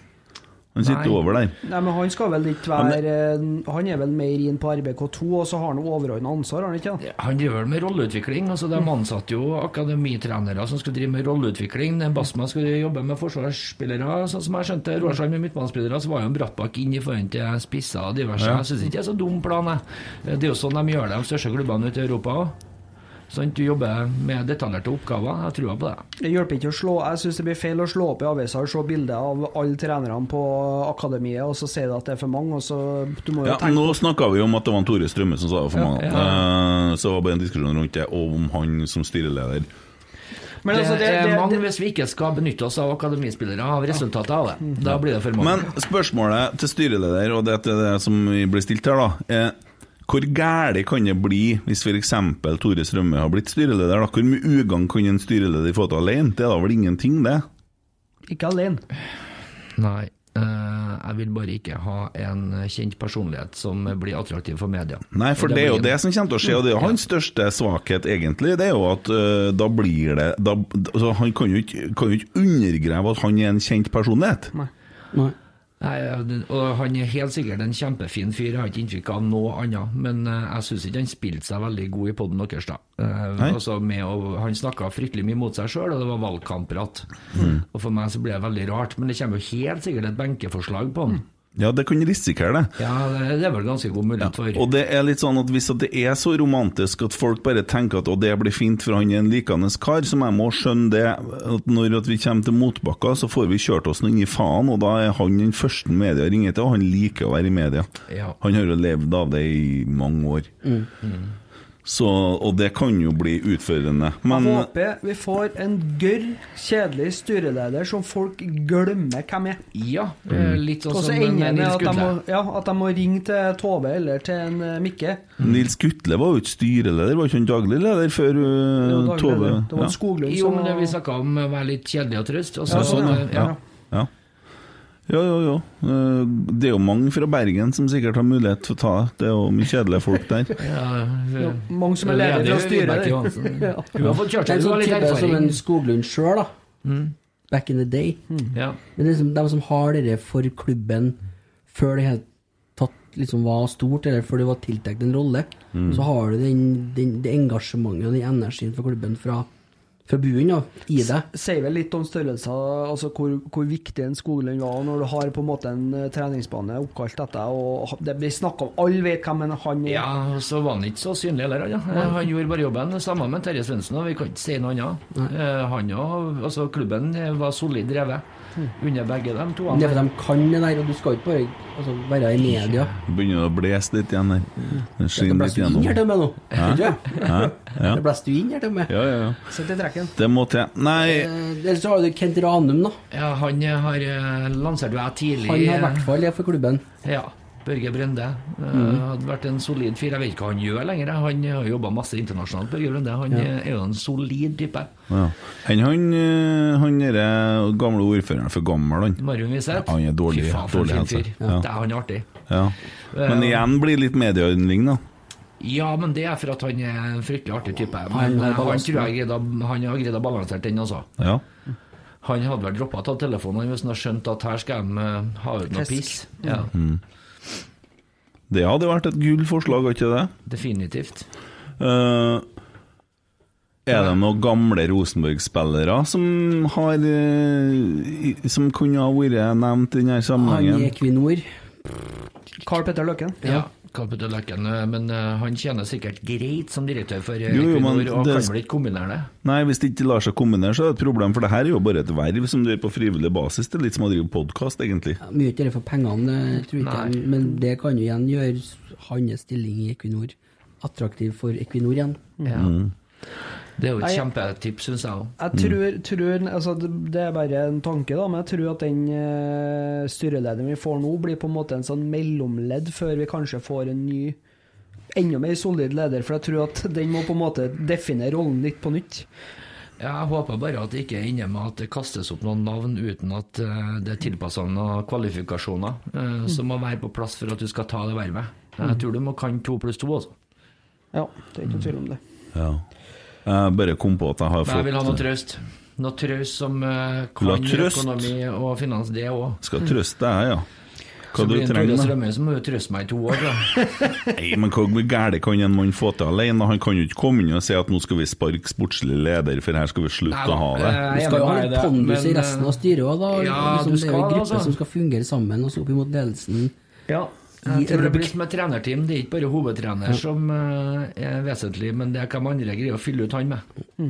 Speaker 2: Han sitter
Speaker 5: Nei.
Speaker 2: over der.
Speaker 6: Nei, men Han skal vel ikke
Speaker 2: Men
Speaker 6: være eh, Han er vel mer inn på RBK2, og så har han overordna ansvar, har han ikke? det?
Speaker 5: Han driver vel med rolleutvikling. altså
Speaker 6: Mm.
Speaker 5: De ansatte jo akademitrenere som skulle drive med rolleutvikling. Den Basma skulle jobbe med forsvarsspillere, sånn som jeg skjønte. Roarsheim med midtbanespillere, så var jo en Brattbakk inn i forhold til spisser og diverse. Jeg syns ikke det er så dum plan, jeg. Det er jo sånn de gjør det, de største klubbene ute i Europa òg. Sånn, du jobber med detaljerte oppgaver. Jeg tror på det.
Speaker 6: Det hjelper ikke å slå Jeg syns det blir feil å slå opp i avisa og se bilde av alle trenerne på akademiet, og så sier du at det er for mange, og så Du må jo
Speaker 2: Ja,
Speaker 6: tenke
Speaker 2: nå snakka vi jo om at det var en Tore Strømme som sa det for mange. Eh, Så det var bare en diskusjon rundt det, og om han som styreleder.
Speaker 6: Men altså,
Speaker 5: det, er mange
Speaker 6: det,
Speaker 5: hvis vi ikke skal benytte oss av akademispillere, av resultatet av det.
Speaker 6: Mm.
Speaker 5: Da blir det for mange.
Speaker 2: Men spørsmålet til styreleder, og det er til det som blir stilt her, da, er hvor gæli kan det bli hvis f.eks. Tore Strømme har blitt styreleder? Da? Hvor mye ugagn kan en styreleder få til alene? Det er da vel ingenting, det?
Speaker 6: Ikke alene.
Speaker 5: Nei. eh, jeg vil bare ikke ha en kjent personlighet som blir attraktiv for media.
Speaker 2: Nei, for
Speaker 5: Og
Speaker 2: det er jo
Speaker 5: blir-
Speaker 2: det som kommer til å skje, og det er jo hans største svakhet, egentlig. Det er jo at øh, da blir det da, altså, Han kan jo, ikke, kan jo ikke undergrave at han er en kjent personlighet.
Speaker 4: Nei.
Speaker 5: Nei, eh, og Han er helt sikkert en kjempefin fyr, jeg har ikke inntrykk av noe annet. Men eh, jeg syns ikke han spilte seg veldig god i poden deres, da. Eh,
Speaker 2: Nei.
Speaker 5: altså med å, han snakka fryktelig mye mot seg sjøl, og det var valgkampprat.
Speaker 2: Mm.
Speaker 5: Og For meg så ble det veldig rart, men det kommer jo helt sikkert et benkeforslag på han.
Speaker 2: Mm. Ja, det kan risikere det.
Speaker 5: Ja, det, det er vel ganske god mulighet for.
Speaker 2: Og det er litt sånn at hvis at det er så romantisk at folk bare tenker at å, det blir fint, for han er en likende kar, så jeg må skjønne det at når at vi kommer til motbakka, så får vi kjørt oss nå inn i faen, og da er han den første media ringer til, og han liker å være i media.
Speaker 5: Ja.
Speaker 2: Han har jo levd av det i mange år. Så, og det kan jo bli utførende. Men
Speaker 6: Jeg håper vi får en gørr, kjedelig styreleder som folk glemmer hvem er.
Speaker 5: ja eh,
Speaker 2: Mm.
Speaker 5: litt sånn
Speaker 6: Og så
Speaker 5: som
Speaker 6: ender det
Speaker 5: eh,
Speaker 6: med
Speaker 5: Nils
Speaker 6: at de,
Speaker 5: Gutle.
Speaker 6: må, ja, at de må ringe til Tove eller til en eh, Mikke.
Speaker 2: Nils Gutle var jo ikke styreleder, var ikke han daglig leder før uh,
Speaker 6: Det var daglig
Speaker 2: Tove
Speaker 6: leder. Det var en Skoglund
Speaker 5: Jo,
Speaker 6: som
Speaker 5: men det vi
Speaker 6: var-
Speaker 5: snakka om å være litt kjedelig og trøst. Og så,
Speaker 6: Ja, sånn,
Speaker 5: ja.
Speaker 2: ja. Ja. Ja, ja, ja. Eh, Det er jo mange fra Bergen som sikkert har mulighet til å ta det. Det er jo mye kjedelige folk der.
Speaker 5: Ja,
Speaker 6: Ja, mange som er leder
Speaker 5: leder
Speaker 6: fra
Speaker 5: jo
Speaker 6: styret.
Speaker 5: Vibeke Johansen. Hun har fått kjørt
Speaker 4: Det er
Speaker 5: seg,
Speaker 4: en
Speaker 5: hun
Speaker 4: sånn type
Speaker 5: har litt Mm.
Speaker 4: som en
Speaker 5: erfaring.
Speaker 4: Skoglund sjøl, da. Back in the day.
Speaker 5: Ja.
Speaker 4: Men det er liksom, de som har det for klubben før det helt tatt liksom var stort, eller før det var tiltenkt en rolle,
Speaker 2: Mm.
Speaker 4: så har du den, den, det engasjementet og den energien for klubben fra, fra bunnen av i deg.
Speaker 6: Sier vel litt om størrelser, altså hvor, hvor viktig en Skoglund var når du har på en måte en eh, treningsbane oppkalt etter deg, og ha- det blir snakk om Alle vet hvem en han er.
Speaker 5: ja, og så var han ikke så synlig heller, han. Ja. Han gjorde bare jobben. Samme med Terje Svendsen, og vi kan ikke si noe annet. Eh, Han og altså, klubben var solid drevet under begge de to.
Speaker 4: Det er for de kan det der, og du skal ikke bare altså, være i media.
Speaker 2: Begynner å blåse litt igjen der. Den
Speaker 4: Det
Speaker 2: skinner litt
Speaker 4: blåser jo inn her
Speaker 2: gjennom.
Speaker 4: til meg nå. Ja.
Speaker 2: Ja, ja.
Speaker 4: Det blåser jo inn her til meg.
Speaker 2: Ja, ja, ja.
Speaker 6: Sitt i trekken.
Speaker 2: Det må til. Nei,
Speaker 4: Eh, Ellers så har du Kent Ranum, da.
Speaker 5: Ja, han eh, har eh, lansert meg tidlig.
Speaker 4: Han har i
Speaker 5: eh,
Speaker 4: hvert fall det for klubben.
Speaker 5: Ja. Børge Brende eh,
Speaker 2: Mm.
Speaker 5: hadde vært en solid fyr. Jeg vet ikke hva han gjør lenger. Han har jobba masse internasjonalt, Børge Brende. Han eh, er jo en solid type.
Speaker 2: ja. Han, han, eh, han derre gamle ordføreren for gammel, han.
Speaker 5: Marion Wiseth.
Speaker 2: Han er dårlig-
Speaker 5: Fy faen, for en
Speaker 2: dårlig
Speaker 5: fin
Speaker 2: helse.
Speaker 5: fyr.
Speaker 2: Ja.
Speaker 5: Det er han er artig.
Speaker 2: Ja. Men igjen blir det litt medieyndling, da.
Speaker 5: Ja, men det er for at han er en fryktelig artig type.
Speaker 4: Han
Speaker 5: Men
Speaker 4: har
Speaker 5: eh, han
Speaker 4: balansen.
Speaker 5: tror jeg greide å- han har greid å balansere den, altså.
Speaker 2: Ja.
Speaker 5: Han hadde vel droppa å ta telefonen hvis han hadde skjønt at her skal de eh, ha ut noe
Speaker 6: Fisk.
Speaker 5: piss. Ja,
Speaker 2: Mm. Det hadde vært et gull forslag, hadde ikke det?
Speaker 5: definitivt.
Speaker 2: Eh, er det noen gamle Rosenborg-spillere som har eh, i- Som kunne ha vært nevnt i denne
Speaker 4: Han i
Speaker 2: sammenhengen?
Speaker 4: Equinor.
Speaker 6: Carl Petter Løkken.
Speaker 5: Ja, Capital Løkken, eh, men eh, han tjener sikkert greit som direktør for eh,
Speaker 2: Jo, jo, men
Speaker 5: Equinor, og
Speaker 2: det-
Speaker 5: kan vel ikke kombinere det?
Speaker 2: Nei, hvis det ikke lar seg kombinere, så er det et problem, for det her er jo bare et verv som du gjør på frivillig basis. Det er litt som å drive podkast, egentlig.
Speaker 4: Ja, Mye ikke det for pengene, eh, tror ikke jeg, men det kan jo igjen gjøre hans stilling i Equinor attraktiv for Equinor igjen.
Speaker 5: Ja.
Speaker 2: Mm.
Speaker 5: Det er jo et
Speaker 6: Nei.
Speaker 5: kjempetips, syns jeg òg.
Speaker 6: Jeg tror, tror altså, Det det er bare en tanke, da, men jeg tror at den eh, styrelederen vi får nå, blir på en måte en sånn mellomledd før vi kanskje får en ny, enda mer solid leder. For jeg tror at den må på en måte definere rollen litt på nytt.
Speaker 5: Jeg håper bare at det ikke ender med at det kastes opp noen navn uten at eh, det er tilpassa noen kvalifikasjoner eh, som må være på plass for at du skal ta det vervet. Jeg tror du må kan to pluss to, altså.
Speaker 6: Ja, det er ikke noe tvil om det.
Speaker 2: Ja. Jeg bare kom på at jeg har
Speaker 5: Men jeg vil ha noe
Speaker 2: fått
Speaker 5: traust. Noe traust som eh,
Speaker 2: La
Speaker 5: kan
Speaker 2: trøst.
Speaker 5: økonomi og finans, det òg.
Speaker 2: Skal trøste deg, ja. Hva
Speaker 5: Så
Speaker 2: du
Speaker 5: blir det en Tore
Speaker 2: trenger da?
Speaker 5: Strømme som må jo trøste meg i to år, da.
Speaker 2: Nei, men hva gærent kan en mann få til alene? Han kan jo ikke komme inn og si at nå skal vi sparke sportslig leder, for her skal vi slutte å ha
Speaker 6: eh,
Speaker 5: Eh,
Speaker 2: det.
Speaker 4: Du skal jo ha litt pondus i resten av styret òg, da.
Speaker 5: Ja,
Speaker 4: liksom, det er
Speaker 5: du
Speaker 4: jo
Speaker 5: skal,
Speaker 4: en gruppe
Speaker 5: altså.
Speaker 4: som skal fungere sammen, også opp imot ledelsen.
Speaker 6: Ja.
Speaker 4: i
Speaker 5: Jeg tror det
Speaker 4: Rubik.
Speaker 5: blir som et trenerteam. Det er ikke bare hovedtrener som eh, er vesentlig, men det er hvem andre greier å fylle ut han med.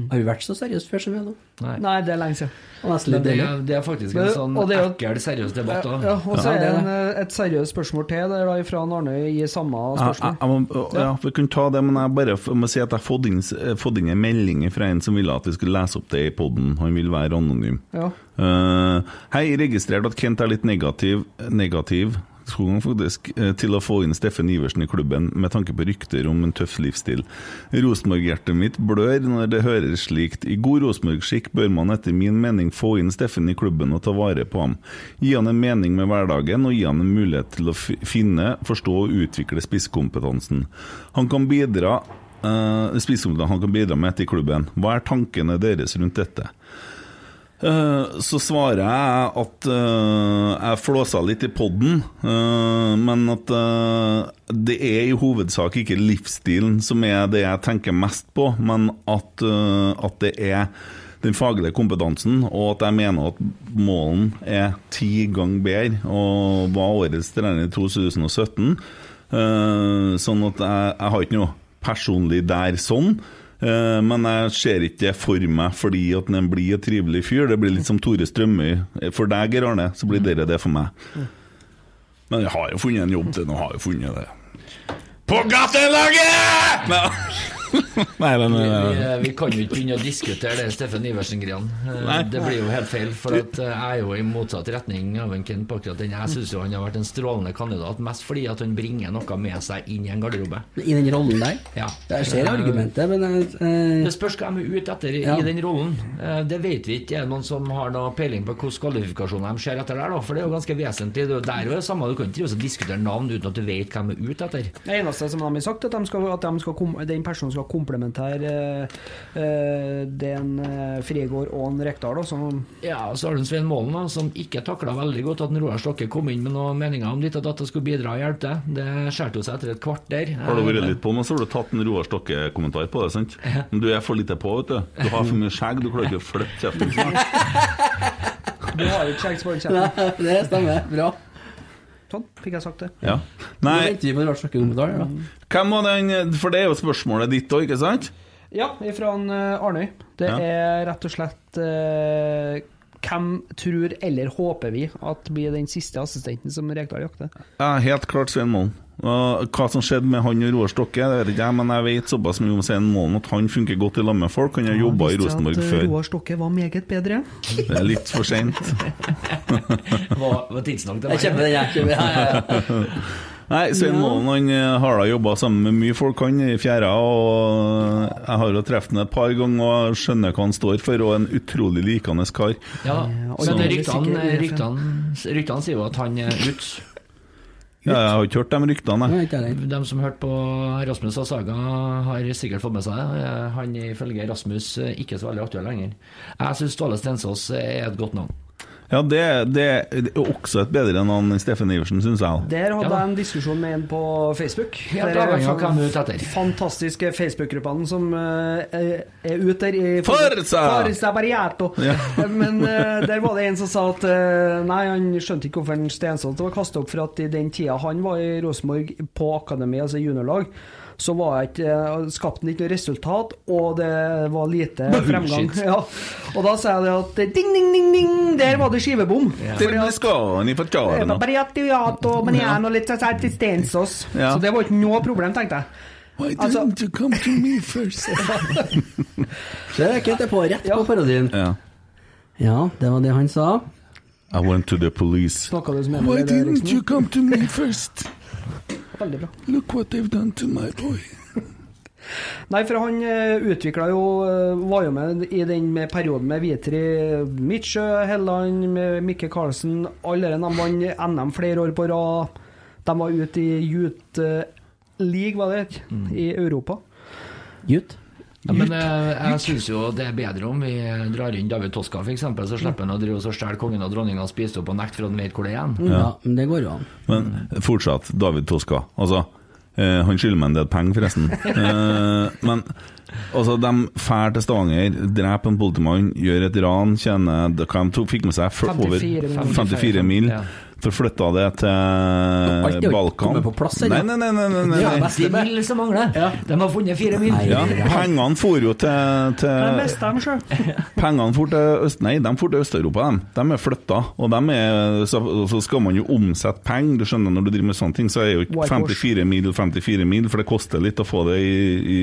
Speaker 4: Har du vært så seriøs før som jeg nå?
Speaker 5: Nei.
Speaker 6: Mm. Nei, det er lenge siden.
Speaker 4: Og nesten
Speaker 5: Men
Speaker 4: litt
Speaker 5: det,
Speaker 4: deilig.
Speaker 5: er- det er faktisk
Speaker 6: Men-
Speaker 5: en sånn
Speaker 6: og det er jo-
Speaker 5: ekkel, seriøs debatt. Da.
Speaker 6: Ja, og så
Speaker 4: Ja,
Speaker 6: er
Speaker 4: det
Speaker 6: det
Speaker 4: er
Speaker 6: en, eh, et seriøst spørsmål til det er da fra Arnøy i samme
Speaker 2: Jeg, jeg,
Speaker 6: spørsmål.
Speaker 2: jeg må, ja, vi kunne ta det, men jeg bare f- må si at jeg har fått inn, eh, fått inn en melding fra en som ville at vi skulle lese opp det i poden. Han vil være anonym.
Speaker 6: Ja.
Speaker 2: Eh, hei, registrert at Kent er litt negativ, negativ tror han faktisk, eh, til å få inn Steffen Iversen i klubben med tanke på rykter om en tøff livsstil. Rosenborg-hjertet mitt blør når det hører slikt. I god Rosenborg-skikk bør man etter min mening få inn Steffen i klubben og ta vare på ham. Gi han en mening med hverdagen og gi han en mulighet til å fi- finne, forstå og utvikle spisskompetansen. Han kan bidra eh, spisskompetansen han kan bidra med til klubben. Hva er tankene deres rundt dette? Eh, Så svarer jeg at eh, jeg flåsa litt i podden, eh, men at eh, det er i hovedsak ikke livsstilen som er det jeg tenker mest på, men at, eh, at det er den faglige kompetansen, og at jeg mener at målen er ti ganger bedre, og var årets trener i 2017. Eh, Sånn at jeg, jeg har ikke noe personlig der sånn. Eh, Men jeg ser ikke det for meg fordi at den blir en trivelig fyr. Det blir litt som Tore Strømøy. Eh, For deg, Geir Arne, så blir dere det for meg. Men jeg har jo funnet en jobb til nå. Har jeg jo funnet det. På gatelaget! Nei. Nei, den
Speaker 5: Vi,
Speaker 2: eh,
Speaker 5: vi kan jo ikke begynne å diskutere det Steffen Iversen-greiene. Eh,
Speaker 2: Nei.
Speaker 5: Det blir jo helt feil, for at eh, jeg er jo i motsatt retning av en Kent på akkurat den. Jeg syns han har vært en strålende kandidat, mest fordi at han bringer noe med seg inn i en garderobe.
Speaker 4: I den rollen der.
Speaker 5: Ja.
Speaker 4: Jeg ser
Speaker 5: Eh.
Speaker 4: argumentet, men eh, jeg,
Speaker 5: Det spørs hva de er ute etter
Speaker 4: Ja.
Speaker 5: i den rollen. Eh, Det vet vi ikke. Er det noen som har noe peiling på hvilke kvalifikasjoner de ser etter der, da? For det er jo ganske vesentlig. Det er jo der jo det samme. Du kan ikke drive og diskutere navn uten at du vet hva de er ute etter.
Speaker 6: Det eneste som de har sagt, at, de skal, at de skal kom, den personen skal komplementere eh, eh, det en eh, Frigård og en Rekdal. da, som-
Speaker 5: Ja, og så har du en Svein Målen da, som ikke takla veldig godt at en Roar Stokke kom inn med noen meninger om ditt og datt og skulle bidra og hjelpe til. Det skjærte jo seg etter et kvarter.
Speaker 2: har du vært litt på nå, så har du tatt en Roar Stokke-kommentar på det. sant? Men du er for lite på, vet du. Du har for mye skjegg, du klarer ikke å flytte kjeften.
Speaker 6: Du har ikke skjegg, så bare
Speaker 4: eh,
Speaker 6: kjeft.
Speaker 4: Det stemmer. Bra.
Speaker 6: Sånn, fikk jeg sagt det.
Speaker 2: Ja.
Speaker 4: Nå
Speaker 2: Nei,
Speaker 4: venter vi på en rart slakkekommentar. da.
Speaker 2: hvem var den For det er jo spørsmålet ditt òg, ikke sant?
Speaker 6: Ja, ifra en, eh, Arnøy. Det
Speaker 2: Ja.
Speaker 6: er rett og slett eh, hvem tror eller håper vi at blir den siste assistenten som Rekdal jakter?
Speaker 2: Ja, helt klart Svein Målen. Og hva som skjedde med han og Roar Stokke, det vet ikke jeg, men jeg vet såpass mye om Svein Målen at han funker godt i lag med folk. Han har jobba i Rosenborg før.
Speaker 6: Roar Stokke var meget bedre.
Speaker 2: Det er litt for seint.
Speaker 5: Var, var tidsnok til
Speaker 4: Jeg kjemper den, jeg. Kjemper, ja, ja, ja.
Speaker 2: Nei, Svein Målen han eh, har da jobba sammen med mye folk, han i fjæra. Og jeg har jo truffet ham et par ganger og skjønner hva han står for, og en utrolig likende kar.
Speaker 5: Ja,
Speaker 6: Eh, og
Speaker 5: men
Speaker 6: så-
Speaker 5: ryktene, ryktene, ryktene sier jo at han er ute.
Speaker 2: Ja, jeg har ikke hørt de ryktene,
Speaker 4: Nei,
Speaker 2: jeg.
Speaker 4: ikke jeg heller.
Speaker 5: De som hørte på Rasmus og Saga, har sikkert fått med seg det. Eh, Han er ifølge Rasmus eh, ikke så veldig aktuell lenger. Jeg syns Ståle Stensås er et godt navn.
Speaker 2: Ja, det, det er også et bedre navn enn Steffen Iversen, syns jeg.
Speaker 6: Der hadde
Speaker 5: Ja da.
Speaker 6: jeg en diskusjon med en på Facebook.
Speaker 5: Helt
Speaker 6: Der er
Speaker 5: avhengig av
Speaker 6: fan-
Speaker 5: hvem du er ute etter.
Speaker 6: Fantastiske Facebook-gruppene som eh, er- er ute der. i-
Speaker 2: Forza!
Speaker 6: Forza Barriato!
Speaker 2: Ja.
Speaker 6: Men eh, der var det en som sa at eh, nei, han skjønte ikke hvorfor en Stensholt var kastet opp, for at i den tida han var i Rosenborg på akademi, altså juniorlag, så var jeg ikke, eh, skapte han ikke noe resultat, og det var lite fremgang. Ja. Og da sa jeg det at eh, ding, ding, ding, ding, der var det skivebom.
Speaker 2: Til og med Skåne i
Speaker 6: Eh,
Speaker 2: Fajarna.
Speaker 6: Barriattiato, men jeg er nå litt sånn til Stensås.
Speaker 2: Ja.
Speaker 6: Så det var ikke noe problem, tenkte jeg.
Speaker 2: Why
Speaker 6: Altså-
Speaker 2: didn't you come to me first?
Speaker 4: Så jeg kødder på rett på parodien.
Speaker 2: ja.
Speaker 4: Ja, det var det han sa.
Speaker 2: I went to the police.
Speaker 6: Snakka du som en med det, Eriksen?
Speaker 2: come to me first?
Speaker 6: Veldig bra.
Speaker 2: Look what they've done to my boy.
Speaker 6: Nei, for han utvikla jo eh, Var jo med i den med perioden med Vitri, Mitchø, Helland, med Mikke Karlsen. Alle de vant NM flere år på rad. De var ute i Youth eh, League, var det het,
Speaker 2: Mm.
Speaker 6: i Europa.
Speaker 4: Gutt.
Speaker 5: Ja, men eh, jeg syns jo det er bedre om vi drar inn David Toska, f.eks., så slipper han å drive og stjele kongen og dronninga og spise opp og nekte for at han vet hvor det er igjen.
Speaker 4: Ja. men det går jo an.
Speaker 2: Men fortsatt, David Toska. Altså, eh, han skylder meg en del penger, forresten. Eh, men altså, de drar til Stavanger, dreper en politimann, gjør et ran, tjener Hva de tok, fikk med seg? For,
Speaker 6: 54 mil.
Speaker 2: over 54 mil.
Speaker 5: Ja.
Speaker 2: Forflytta det
Speaker 4: Alt er jo
Speaker 2: til
Speaker 4: ikke
Speaker 2: Balkan.
Speaker 4: kommet på plass ennå.
Speaker 2: nei, nei, nei, nei, nei, nei.
Speaker 4: Det er best.
Speaker 5: Det er mil som mangler. De har funnet fire mil.
Speaker 4: Nei.
Speaker 2: Ja, pengene for jo til,
Speaker 6: De
Speaker 2: til
Speaker 6: mista dem sjøl.
Speaker 2: Pengene for til Øst... Nei, de for til Øst-Europa, de. De er flytta. Og de er, så, så skal man jo omsette penger. Du skjønner, når du driver med sånne ting, så er jo ikke
Speaker 6: Whitewash.
Speaker 2: 54 mil 54 mil, for det koster litt å få det i, i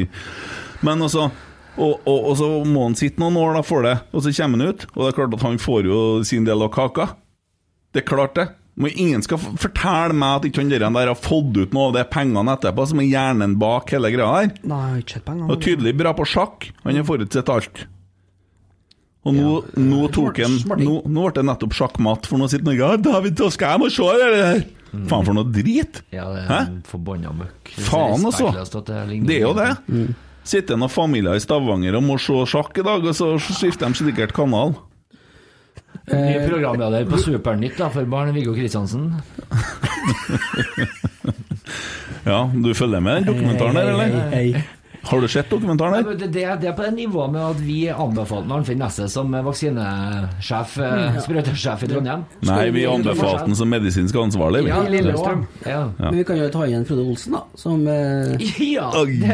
Speaker 2: Men altså og, og, og så må han sitte noen år da for det, og så kommer han ut. Og det er klart at han får jo sin del av kaka. Det er klart, det. Men ingen skal f- fortelle meg at ikke han der han der har fått ut noe av de pengene etterpå, som er hjernen bak hele greia her.
Speaker 6: Nei, jeg har ikke sett
Speaker 2: Han var
Speaker 6: pengene.
Speaker 2: tydelig bra på sjakk. Han har forutsett alt. Og nå, nå tok han nå, nå ble det nettopp sjakkmatt, for nå sitter Norge her. David Toska, jeg må se det der! Faen, for noe drit!
Speaker 5: Ja, det er
Speaker 2: Hæ?
Speaker 5: en forbanna møkk. Det er
Speaker 2: Faen, altså.
Speaker 5: respektløst at ligner-
Speaker 2: Det er jo det. Sitter noen familier i Stavanger og må se sjakk i dag, og så skifter de sikkert kanal.
Speaker 5: Ny programleder på Supernytt da, for barn, Viggo Kristiansen.
Speaker 2: Ja, du følger med i dokumentaren der, eller?
Speaker 4: Hei, hei.
Speaker 2: Har du sett dokumentaren
Speaker 5: Ja,
Speaker 2: der?
Speaker 5: men Det, det, er- det er på det nivået med at vi anbefalte Arnfinn Nesset som vaksinesjef, eh, sprøytesjef i Trondheim.
Speaker 2: Nei, vi anbefalte den som medisinsk ansvarlig. vi.
Speaker 5: Ja,
Speaker 4: I Lillestrøm.
Speaker 5: Ja.
Speaker 4: Men vi kan jo ta igjen Frode Olsen, da. Som eh,
Speaker 5: Ja,
Speaker 2: Oi.
Speaker 5: eh,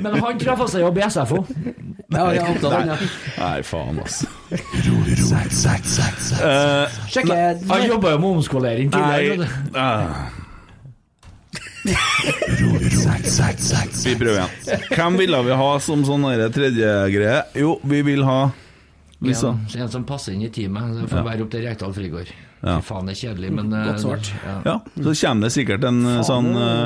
Speaker 5: men han traff seg jobb i SFO.
Speaker 4: Ja, jeg er opptatt av den, ja.
Speaker 2: Nei, faen, altså.
Speaker 4: Sjekk eh,
Speaker 5: Han jobba jo med omskolering
Speaker 2: Nei
Speaker 5: tidligere.
Speaker 2: ah. Vi prøver igjen. Hvem ville vi ha som sånn derre tredje greie? Jo, vi vil ha Lisa.
Speaker 5: Ja, en som passer inn i teamet. Det får være opp til Rekdal Frigård. Fy faen, det er kjedelig, men eh,
Speaker 4: Godt svart.
Speaker 5: Ja.
Speaker 2: Ja, så kommer det sikkert en eh, sånn uh,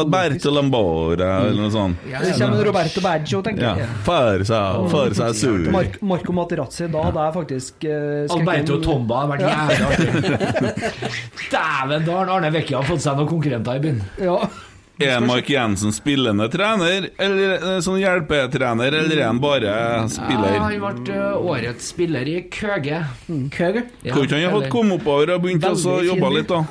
Speaker 2: Alberto Lambore eller noe sånt.
Speaker 5: Mm. Ja,
Speaker 6: Det
Speaker 5: ja,
Speaker 6: kommer
Speaker 5: men-
Speaker 6: Roberto Baggio, tenker
Speaker 2: Ja.
Speaker 6: jeg.
Speaker 2: Far seg, far seg sur.
Speaker 6: Mark Marco Materazzi, da hadde jeg faktisk eh, skrekken-
Speaker 5: Alberto Tomba har vært jævlig artig. Dæven, da har Arne Vecchia fått seg noen konkurrenter i byen.
Speaker 6: Ja.
Speaker 2: Er Mark Jensen spillende trener, eller eh, sånn hjelpetrener, eller er han bare
Speaker 5: Mm. Ja,
Speaker 2: spiller?
Speaker 5: han ble ø, årets spiller i Køge.
Speaker 4: Køger.
Speaker 5: Ja,
Speaker 2: Tror ikke han har fått komme oppover og begynt også å
Speaker 6: Veldig fin
Speaker 2: jobbe
Speaker 6: by.
Speaker 2: litt, da.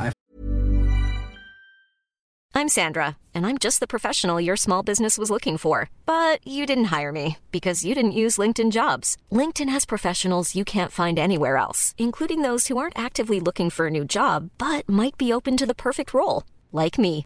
Speaker 7: I'm Sandra, and I'm just the professional your small business was looking for. But you didn't hire me because you didn't use LinkedIn jobs. LinkedIn has professionals you can't find anywhere else, including those who aren't actively looking for a new job but might be open to the perfect role, like me.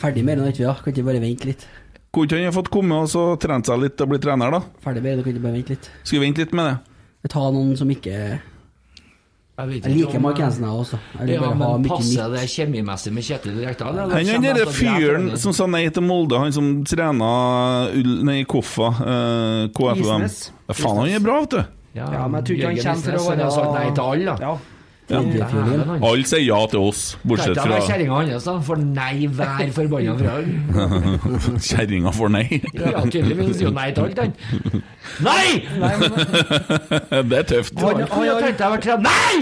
Speaker 4: Ferdig med det nå, ikke vi da? Kan ikke bare vente litt?
Speaker 2: Kunne ikke han ha fått komme og så trent seg litt og bli trener, da?
Speaker 4: Ferdig med det, kan ikke bare vente litt?
Speaker 2: Skal vi vente litt med det?
Speaker 4: Vi tar noen som ikke Jeg
Speaker 5: Jeg, vet ikke
Speaker 4: liker
Speaker 5: om- eh,
Speaker 4: Mark Hansen, jeg også. Jeg vil
Speaker 5: Ja,
Speaker 4: bare ha
Speaker 5: men
Speaker 4: mye
Speaker 5: passer
Speaker 4: nytt.
Speaker 5: det kjemimessig med Kjetil Rekdal? eller?
Speaker 2: Han han
Speaker 5: Kommer
Speaker 2: derre
Speaker 5: til å drepe
Speaker 2: fyren
Speaker 5: hverandre.
Speaker 2: som sa nei til Molde, han som trena Ull... Nei, Koffa, eh, KFUM.
Speaker 6: Isnes.
Speaker 2: Ja, faen, han er bra, vet du.
Speaker 6: Ja, men jeg tror ikke han
Speaker 5: Jørgen
Speaker 6: kommer til å
Speaker 5: Isnes, han har sagt nei til alle, da.
Speaker 6: Ja.
Speaker 4: Tredjefjorden.
Speaker 5: Dæven, han.
Speaker 2: Alle sier ja til oss, bortsett
Speaker 5: Dette var
Speaker 2: fra
Speaker 5: kjerringa hans, da. For nei hver forbanna fra
Speaker 2: kjerringa for nei.
Speaker 5: Ja, tydeligvis sier jo nei til alt, han. Nei!
Speaker 6: Nei, men,
Speaker 2: Det er tøft.
Speaker 6: Han-
Speaker 5: Jeg kunne tenkt deg å være trener. Nei!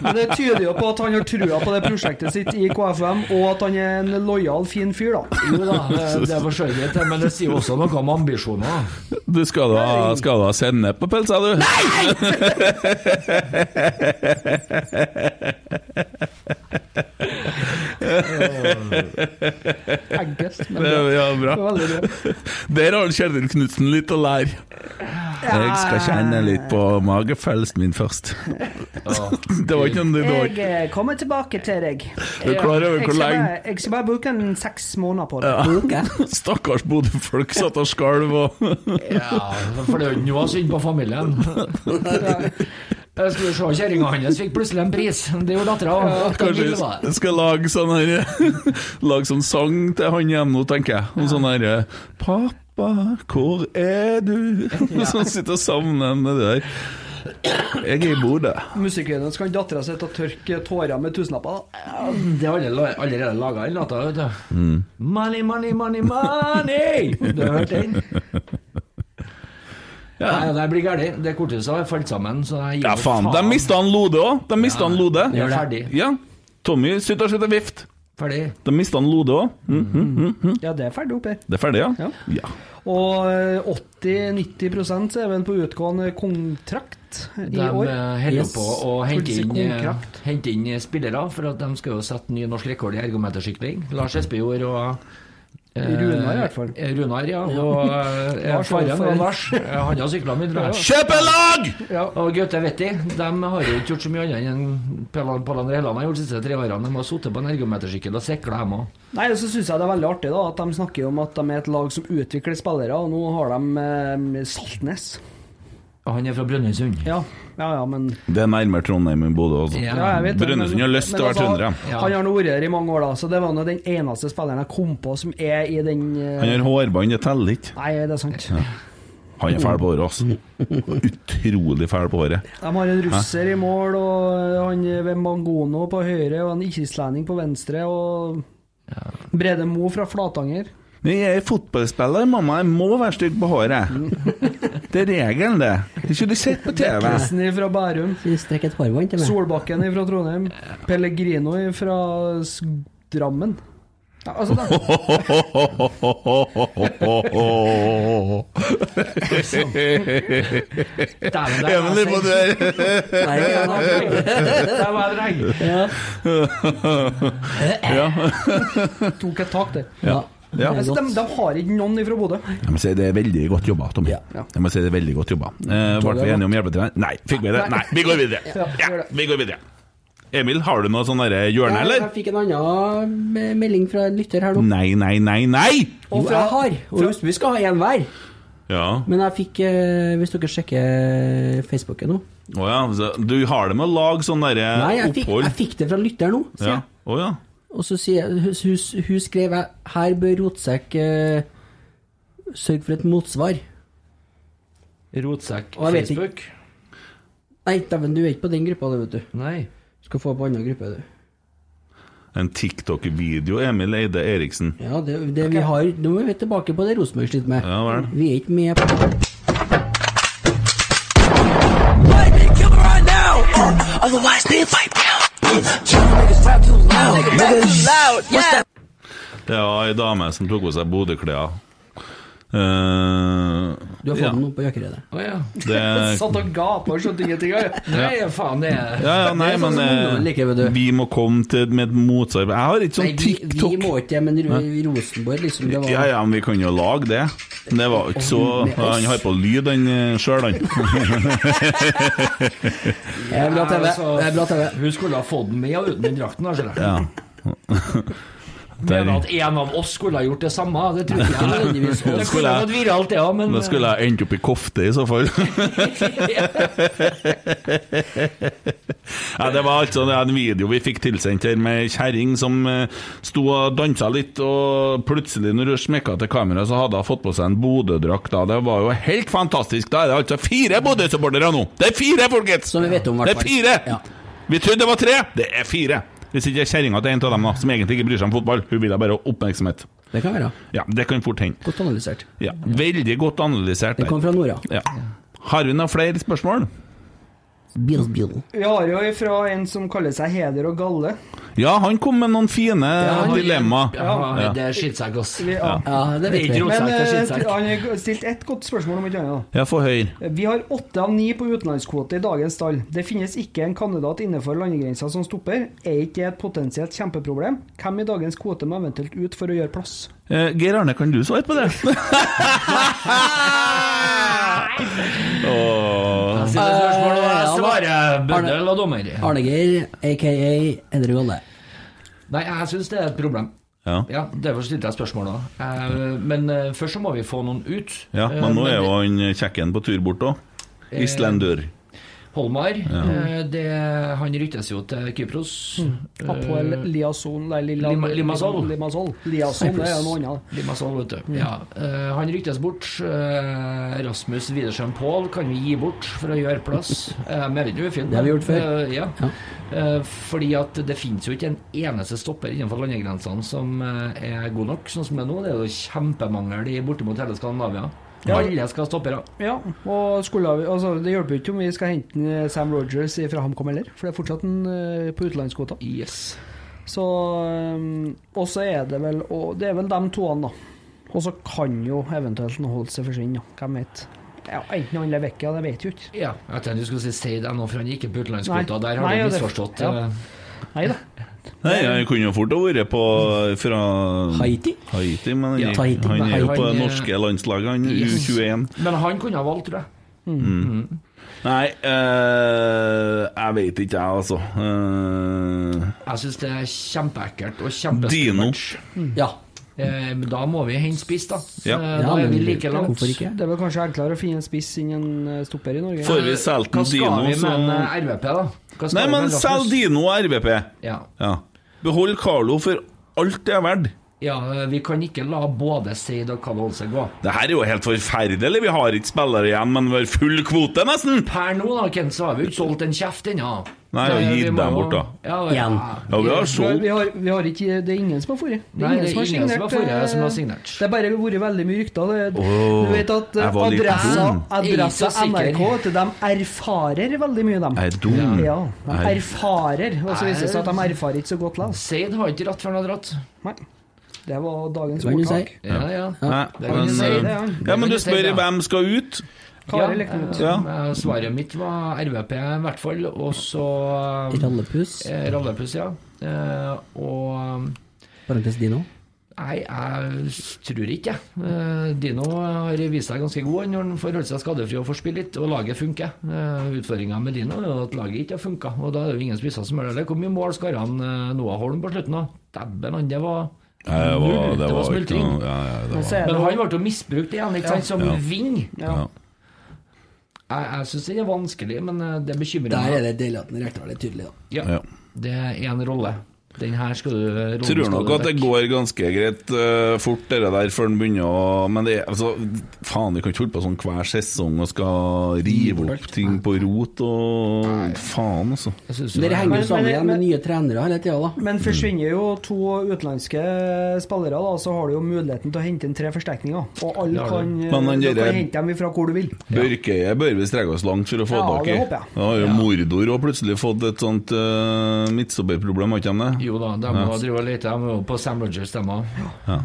Speaker 6: men det tyder jo på at han har trua på det prosjektet sitt i KFM, og at han er en lojal, fin fyr, da.
Speaker 5: Jo da, det- det forsørger jeg til, men det sier også noe om ambisjoner. da.
Speaker 2: Du skal da, skal da sende på pelsa, du? Nei!
Speaker 6: Eggest, men
Speaker 2: Det
Speaker 6: det
Speaker 2: er ja,
Speaker 6: er
Speaker 2: bra.
Speaker 6: veldig bra.
Speaker 2: Der har Kjetil Knutsen litt å lære. Jeg skal kjenne litt på magefølelsen min først. Det var ikke noe det var.
Speaker 6: Jeg eh, kommer tilbake til deg.
Speaker 2: Du er klar over
Speaker 6: Jeg
Speaker 2: hvor
Speaker 6: skal
Speaker 2: lenge
Speaker 6: bare- Jeg skal bare bruke en seks måneder på det.
Speaker 2: Stakkars Bodø-folk satt og skalv og
Speaker 5: Ja, for det er jo ikke noe synd på familien. Jeg skulle se Kjerringa hans fikk plutselig en pris. Det gjorde dattera.
Speaker 2: Kanskje jeg skal lage sånn her Lage sånn sang til han hjemme nå, tenker jeg. Om sånn herre Pappa, hvor er du? Sånn sitter og savner han med det der. Jeg er i Bodø.
Speaker 6: Musikkvideoen skal dattera si til å tørke tårer med tusenlapper. da.
Speaker 5: Det er alle- allerede laga en låt, vet du.
Speaker 2: Mm.
Speaker 5: Money, money, money, money! Du har hørt den? Nei, det blir galt. Det korthuset har falt sammen, så jeg gir
Speaker 2: Ja,
Speaker 5: meg
Speaker 2: faen. De mista han Lode òg. De mista han Lode.
Speaker 5: Ja, ferdig.
Speaker 2: Ja. Tommy, slutt å slutte å vifte.
Speaker 5: Ferdig.
Speaker 2: De mista han Lode òg. Mm.
Speaker 6: Ja, det er ferdig oppi.
Speaker 2: Det er ferdig, ja?
Speaker 6: Ja.
Speaker 2: Ja.
Speaker 6: Og eh, 80-90 er vel på utgående kontrakt i
Speaker 5: De eh,
Speaker 6: år.
Speaker 5: holder
Speaker 6: Yes.
Speaker 5: på å hente
Speaker 6: Fullsiktig
Speaker 5: inn, eh,
Speaker 6: kontrakt.
Speaker 5: hente inn spillere, for at de skal jo sette ny norsk rekord i ergometersykling. Lars Espejord og eh,
Speaker 6: Runar i hvert fall.
Speaker 5: eh, Runar, ja. Og eh,
Speaker 6: Lars
Speaker 5: faren
Speaker 6: Alfred.
Speaker 5: og Lars. eh, Han har sykla mye, tror jeg.
Speaker 2: Kjøpelag!
Speaker 5: Og Gaute Vetti. De har jo ikke gjort så mye annet enn Pelle- Pål André Helland har gjort de siste tre årene. De har sittet på en ergometersykkel og sikla hjemme.
Speaker 6: Nei, og så syns jeg det er veldig artig da at de snakker om at de er et lag som utvikler spillere, og nå har de eh, Saltnes.
Speaker 5: Og han er fra Brønnøysund.
Speaker 6: Ja, ja, ja men
Speaker 2: Det er nærmere Trondheim enn Bodø, altså.
Speaker 5: Ja.
Speaker 6: ja, jeg vet det,
Speaker 2: Brønnøysund
Speaker 6: men-
Speaker 2: har lyst til å
Speaker 6: men
Speaker 2: være trøndere.
Speaker 5: Ja.
Speaker 6: Han har nå vært her i mange år, da, så det var nå den eneste spilleren jeg kom på som er i den eh,
Speaker 2: Han har hårbånd, det teller ikke.
Speaker 6: Nei, det er sant.
Speaker 2: Han er fæl på håret, altså. Utrolig fæl på håret.
Speaker 6: De har en russer i mål, og eh, han ved Mangono på høyre, og en islending på venstre, og Brede Mo fra Flatanger.
Speaker 2: Nei, jeg er fotballspiller, mamma. Jeg må være stygg på håret. Det er regelen, det. Det er ikke du sett på TV.
Speaker 6: Nissen fra Bærum.
Speaker 4: Strekk et hårbånd til meg.
Speaker 6: Solbakken fra Trondheim. Pellegrino fra S- Drammen. Ja, altså, da,
Speaker 5: Dæven, der var
Speaker 2: Emil
Speaker 5: jeg
Speaker 2: på
Speaker 5: sent.
Speaker 2: dør.
Speaker 4: Nei, ja, da.
Speaker 5: Der var jeg dreng.
Speaker 2: Ja.
Speaker 6: tok et tak der.
Speaker 4: Ja.
Speaker 2: Ja.
Speaker 4: Det er
Speaker 6: Altså, de,
Speaker 4: godt.
Speaker 6: de har ikke noen fra Bodø.
Speaker 2: Jeg må si det er veldig godt jobba, Tommy. Jeg må si det er veldig godt jobba. Eh, ble vi enige om hjelpetrener? Nei. Fikk vi det? Nei. Vi går videre.
Speaker 6: vi
Speaker 2: Ja,
Speaker 6: gjør det.
Speaker 2: vi går videre. Emil, har du noe sånn derre hjørne,
Speaker 4: Jeg,
Speaker 2: eller? Mm.
Speaker 4: jeg fikk en annen eh, melding fra en lytter her nå.
Speaker 2: Nei, nei, nei, nei!
Speaker 4: Jo, jeg har. Og husk, vi skal ha én hver.
Speaker 2: Ja.
Speaker 4: Men jeg fikk, eh, hvis dere sjekker eh, Facebooken nå
Speaker 2: Å ja. så Du har det med å lage sånn
Speaker 4: Nei,
Speaker 2: derre
Speaker 4: jeg fikk, jeg
Speaker 2: opphold?
Speaker 4: fikk det fra lytter nå, sier
Speaker 2: Ja.
Speaker 4: jeg.
Speaker 2: Å ja.
Speaker 4: Og så sier jeg, hun, hun, hun skrev jeg, Her bør Rotsekk eh, sørge for et motsvar.
Speaker 5: Rotsekk
Speaker 4: Og jeg vet
Speaker 5: Facebook.
Speaker 4: Nei, dæven, du er ikke på den gruppa, du, vet du.
Speaker 5: Nei.
Speaker 4: Du skal få på annen gruppe, du.
Speaker 2: En TikTok-video, Emil Eide Eriksen.
Speaker 4: Ja, det, det vi har Nå er vi tilbake på det Rosenborg sliter med.
Speaker 2: Ja vel.
Speaker 4: Vi er ikke med på
Speaker 3: my speedpipe down. Too loud, nigga. Too loud, yeah.
Speaker 2: Det var ei dame som tok på seg Bodø-klær. Eh,
Speaker 4: Du har fått
Speaker 2: ja.
Speaker 4: den opp på Jakkeredet.
Speaker 5: Å ja.
Speaker 2: Det-
Speaker 4: sånn.
Speaker 5: Satt og gapa og skjønte ingenting. ja. Nei, faen, det er
Speaker 2: Ja, ja, nei,
Speaker 4: Det
Speaker 2: men
Speaker 4: er sånn som ungdommen
Speaker 2: eh,
Speaker 4: liker, vet du.
Speaker 2: vi må komme til med et motarbeid. Jeg har ikke
Speaker 4: Nei,
Speaker 2: sånn
Speaker 4: vi,
Speaker 2: TikTok.
Speaker 4: vi må ikke det, men Ro- Rosenborg, liksom. Det var
Speaker 2: Ja, ja, men vi kan jo lage det. Men Det var ikke så Han har på lyd, han sjøl, eh, han.
Speaker 4: Det er bra TV.
Speaker 5: altså.
Speaker 4: Det er bra TV.
Speaker 5: Hun skulle ha fått den med og uten den drakten. Altså.
Speaker 2: Ja.
Speaker 5: Mener at en av oss skulle ha gjort det samme, det tror ikke jeg.
Speaker 4: nødvendigvis.
Speaker 5: Det kunne ha gått viralt, det òg, men
Speaker 2: Da skulle jeg endt opp i kofte, i så fall. ja, det var altså det er en video vi fikk tilsendt her med ei kjerring som eh, sto og dansa litt, og plutselig, når hun smekka til kameraet, så hadde hun fått på seg en Bodø-drakt. da. Det var jo helt fantastisk. Da er det altså fire Bodø-supportere nå! Det er fire, folkens!
Speaker 4: Som vi vet om, i hvert
Speaker 2: Det er
Speaker 4: fall.
Speaker 2: fire!
Speaker 4: Ja.
Speaker 2: Vi trodde det var tre! Det er fire! Hvis ikke kjerringa til en av dem da, som egentlig ikke bryr seg om fotball, hun ville bare ha oppmerksomhet.
Speaker 4: Det kan være.
Speaker 2: Ja, det kan fort hende.
Speaker 4: Godt analysert.
Speaker 2: Ja, veldig godt analysert.
Speaker 4: Det
Speaker 2: der.
Speaker 4: kom fra Nora.
Speaker 2: Ja. Har vi noen flere spørsmål?
Speaker 4: Bil, bil.
Speaker 6: Vi har jo ifra en som kaller seg Heder og Galle.
Speaker 2: Ja, han kom med noen fine dilemma.
Speaker 5: Ja, det er skittsekk, ass.
Speaker 6: Vi, ja.
Speaker 4: Ja, det vet vi.
Speaker 6: Men
Speaker 5: Skittsekk, det er
Speaker 6: eh,
Speaker 5: skittsekk.
Speaker 6: han har stilt ett godt spørsmål, om ikke annet.
Speaker 2: Ja, få høre.
Speaker 6: Vi har åtte av ni på utenlandskvote i dagens stall. Det finnes ikke en kandidat innenfor landegrensa som stopper. Er ikke det et potensielt kjempeproblem? Hvem i dagens kvote må eventuelt ut for å gjøre plass?
Speaker 2: Eh, Geir Arne, kan du svare på det? Åh.
Speaker 5: Siste spørsmål, og jeg svarer bøddel og dommer.
Speaker 4: Eh, Arne Geir, aka Endre Galle.
Speaker 5: Nei, jeg syns det er et problem.
Speaker 2: Ja.
Speaker 5: Ja, Derfor stilte jeg spørsmål da. Eh, Men eh, først så må vi få noen ut.
Speaker 2: ja,
Speaker 5: Eh,
Speaker 2: men nå er jo han kjekken på tur bort òg. Islendør.
Speaker 5: Holmar, eh, det, han ryktes jo til Kypros.
Speaker 6: Apoel Liason Nei, Lilla,
Speaker 5: Lima- Limassol.
Speaker 6: Limassol. Liason det er jo noe annet. Mm.
Speaker 5: Limassol, vet du. Ja, eh, han ryktes bort. Eh, Rasmus Widersen Pål kan vi gi bort for å gjøre plass. Eh, men jeg vet jo, vi finner
Speaker 4: Det har vi gjort før.
Speaker 5: Eh, ja.
Speaker 4: Ja.
Speaker 5: Eh, fordi at det finnes jo ikke en eneste stopper innenfor landegrensene som eh, er god nok, sånn som det er nå. Det er jo kjempemangel i bortimot hele Skandinavia.
Speaker 6: Ja.
Speaker 5: Alle skal ha stoppere.
Speaker 6: Ja, og skulle vi, altså, Det hjelper jo ikke om vi skal hente en Sam Rogers fra HamKam heller, for det er fortsatt en eh, på utenlandskvota.
Speaker 5: Yes.
Speaker 6: Så um, Og så er det vel og Det er vel de toene, da. Og så kan jo eventuelt noe holde seg forsvinne, da. hvem vet. Ja, enten han eller Vekka, det vet jo ikke.
Speaker 5: Ja, jeg tenkte du skulle si si deg noe, for han gikk ikke på utenlandskvota.
Speaker 6: Nei.
Speaker 5: Der har
Speaker 6: Nei, ja,
Speaker 5: du
Speaker 6: det-
Speaker 5: misforstått.
Speaker 6: ja.
Speaker 5: eh,
Speaker 6: Nei da.
Speaker 2: Nei, han kunne jo fort ha vært på fra
Speaker 4: Haiti?
Speaker 2: Haiti, men
Speaker 5: Ja,
Speaker 2: han,
Speaker 4: Tahiti.
Speaker 2: han er jo på det
Speaker 5: Han, eh,
Speaker 2: norske landslaget, han
Speaker 5: Yes.
Speaker 2: U21.
Speaker 5: Men han kunne ha valgt, tror jeg.
Speaker 2: Nei, eh, jeg vet ikke, jeg, altså. Eh,
Speaker 5: Jeg syns det er kjempeekkelt og kjempeskummelt.
Speaker 2: Dino.
Speaker 4: Ja.
Speaker 5: Eh, men da må vi hente spiss, da.
Speaker 2: Ja.
Speaker 5: Eh,
Speaker 4: ja
Speaker 5: da er
Speaker 4: men
Speaker 5: vi like langt.
Speaker 4: Hvorfor ikke?
Speaker 6: Det er vel kanskje enklere å finne en spiss enn en eh, stopper i Norge?
Speaker 2: Får vi solgt
Speaker 5: Hva
Speaker 2: en
Speaker 5: skal
Speaker 2: Dino,
Speaker 5: vi
Speaker 2: så
Speaker 5: med en eh, RVP, da? Hva skal
Speaker 2: Nei,
Speaker 5: vi med
Speaker 2: men
Speaker 5: Rasmus?
Speaker 2: selg Dino og RBP.
Speaker 5: Ja.
Speaker 2: Ja. Behold Carlo for alt det er verdt.
Speaker 5: ja, eh, vi kan ikke la både Seid og Kalle Olse gå.
Speaker 2: Det her er jo helt forferdelig. Vi har ikke spillere igjen, men vi har full kvote, nesten.
Speaker 5: Per nå, da, Ken, så har vi jo ikke solgt en kjeft ennå.
Speaker 2: Nei,
Speaker 5: Eh,
Speaker 2: gi
Speaker 5: vi må
Speaker 2: dem
Speaker 5: jo-
Speaker 2: bort, da.
Speaker 5: Ja, ja.
Speaker 4: Igjen.
Speaker 2: Ja, vi har
Speaker 6: Men
Speaker 2: solgt
Speaker 6: vi har, vi har ikke, det er ingen som har forrige.
Speaker 5: Nei, det er ingen som har forrige
Speaker 6: eh,
Speaker 5: som har signert.
Speaker 6: Det har bare vært veldig mye rykter. Det,
Speaker 2: Åh,
Speaker 6: du vet at eh,
Speaker 2: jeg var litt
Speaker 6: adressa,
Speaker 2: dum.
Speaker 6: adressa
Speaker 5: Jeg er ikke så
Speaker 6: NRK,
Speaker 5: sikker.
Speaker 6: vet du, de erfarer veldig mye, dem.
Speaker 2: Jeg er dum.
Speaker 6: Ja, de
Speaker 2: Nei.
Speaker 6: erfarer, og så viser det seg at de erfarer ikke så godt likevel.
Speaker 5: Seid har ikke dratt før han har dratt.
Speaker 6: Nei. Det var dagens
Speaker 4: Hva kan du si?
Speaker 6: ordtak.
Speaker 5: Ja, ja.
Speaker 2: Nei,
Speaker 5: Det kan
Speaker 2: men,
Speaker 5: du si,
Speaker 2: eh,
Speaker 6: det, ja.
Speaker 2: ja, men du
Speaker 5: Det kan du
Speaker 2: spør
Speaker 5: si, ja.
Speaker 2: hvem skal ut?
Speaker 6: Kari
Speaker 5: Ja,
Speaker 6: lekte ut.
Speaker 2: Ja.
Speaker 5: Eh, Svaret mitt var RVP, i hvert fall. Og så
Speaker 4: Rallepus,
Speaker 5: eh, Rallepuss, ja. Eh, Og
Speaker 4: parentes Dino.
Speaker 5: Nei, jeg tror ikke jeg. Eh, Dino har vist seg ganske god når han får holde seg skadefri og får spille litt, og laget funker. Eh, Utfordringa med Dino er jo at laget ikke har funka, og da er det jo ingen spisser som gjør det. Hvor mye mål skar han eh, Noah Holm på slutten, da? Dæven, han, det var
Speaker 2: Nei, det var,
Speaker 5: null.
Speaker 2: det var ikke
Speaker 5: smultring.
Speaker 2: noe ja, ja, det
Speaker 6: Men
Speaker 2: var.
Speaker 6: så er
Speaker 5: Men
Speaker 6: det
Speaker 5: han ble jo misbrukt igjen, ikke sant, som ving.
Speaker 6: ja.
Speaker 5: Jeg, jeg syns det er vanskelig, men eh, det bekymrer
Speaker 4: Der
Speaker 5: meg.
Speaker 4: er det deilig at den Rekdal er tydelig, da.
Speaker 5: Ja,
Speaker 2: Ja.
Speaker 5: det er én rolle. Den her skal du rollen
Speaker 2: Tror
Speaker 5: skal
Speaker 2: nok
Speaker 5: du
Speaker 2: at det
Speaker 5: dekke.
Speaker 2: går ganske greit eh, fort, det der, før den begynner å Men det er altså Faen, vi kan ikke holde på sånn hver sesong og skal rive opp ting på rot og Faen, altså.
Speaker 5: Jeg synes jo
Speaker 4: Dere henger
Speaker 6: Men-
Speaker 4: jo sammen
Speaker 6: men-
Speaker 4: igjen med
Speaker 6: men-
Speaker 4: nye trenere hele tida, da.
Speaker 6: Men forsvinner jo to utenlandske spillere, da, så har du jo muligheten til å hente inn tre forsterkninger. Og
Speaker 5: Det
Speaker 6: alle
Speaker 5: har du.
Speaker 6: kan, eh,
Speaker 2: Men han
Speaker 6: du
Speaker 2: gjør-
Speaker 6: kan hente dem ifra hvor du vil.
Speaker 2: Børkeøye bør vi strekke oss langt for å få
Speaker 6: Ja,
Speaker 2: tak i.
Speaker 6: det håper jeg.
Speaker 2: Da har jo Mordor òg plutselig fått et sånt uh, midtstopperproblem, har ikke de det?
Speaker 5: Jo da, de må drive og lete. De er jo på Sam Rogers, de òg.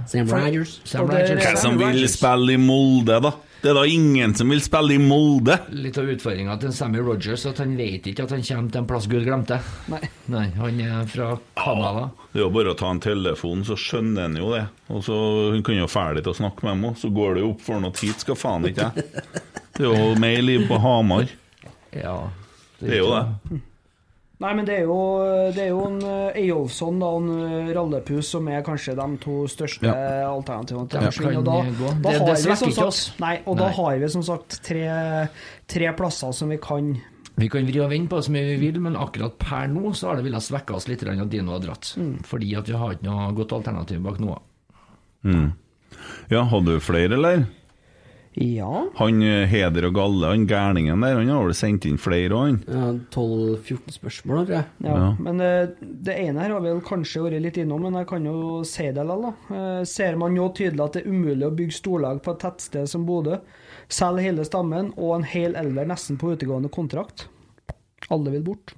Speaker 4: Sam Rogers.
Speaker 5: Sam
Speaker 6: Og det-
Speaker 5: Rogers.
Speaker 2: Hvem som vil
Speaker 5: Rogers.
Speaker 2: spille i Molde, da? Det er da ingen som vil spille i Molde!
Speaker 5: Litt av utfordringa til Sammy Rogers at han vet ikke at han kommer til en plass Gud glemte.
Speaker 6: Nei.
Speaker 5: Nei, han er fra Canada.
Speaker 2: Det er jo bare å ta en telefon, så skjønner han jo det. Og så Hun kan jo fæle til å snakke med meg, så går det jo opp for han at hit skal faen ikke jeg. Det er jo mer liv på Hamar.
Speaker 5: Ja,
Speaker 2: Det er jo det.
Speaker 6: Nei, men det er jo, det er jo en eh, Eyolfsson da, og en eh, Rallepus som er kanskje de to største
Speaker 2: Ja.
Speaker 6: alternativene til
Speaker 5: Ja.
Speaker 6: forsvinn. Og da,
Speaker 5: Kan, eh, gå.
Speaker 6: da
Speaker 5: Det- det
Speaker 6: har vi
Speaker 5: svekker
Speaker 6: som
Speaker 5: ikke oss.
Speaker 6: sagt, nei, og da
Speaker 5: Nei.
Speaker 6: har vi som sagt tre, tre plasser som vi kan
Speaker 5: Vi kan vri og vende på det som vi vil, men akkurat per nå så har det villet svekke oss litt grann at Dino har dratt.
Speaker 4: Mm.
Speaker 5: Fordi at vi har ikke noe godt alternativ bak Noah.
Speaker 2: Ja, hadde du flere, eller?
Speaker 6: Ja.
Speaker 2: Han eh, Heder og Galle, han gærningen der, han har vel sendt inn flere, han?
Speaker 4: Ja, 12-14 spørsmål, tror jeg.
Speaker 6: Ja, Men eh, det ene her har vi vel kanskje vært litt innom, men jeg kan jo si det likevel. da. Eh, ser man jo tydelig at det er umulig å bygge storlag på et tettsted som Bodø, selge hele stammen og en hel elver nesten på utegående kontrakt. Alle vil bort.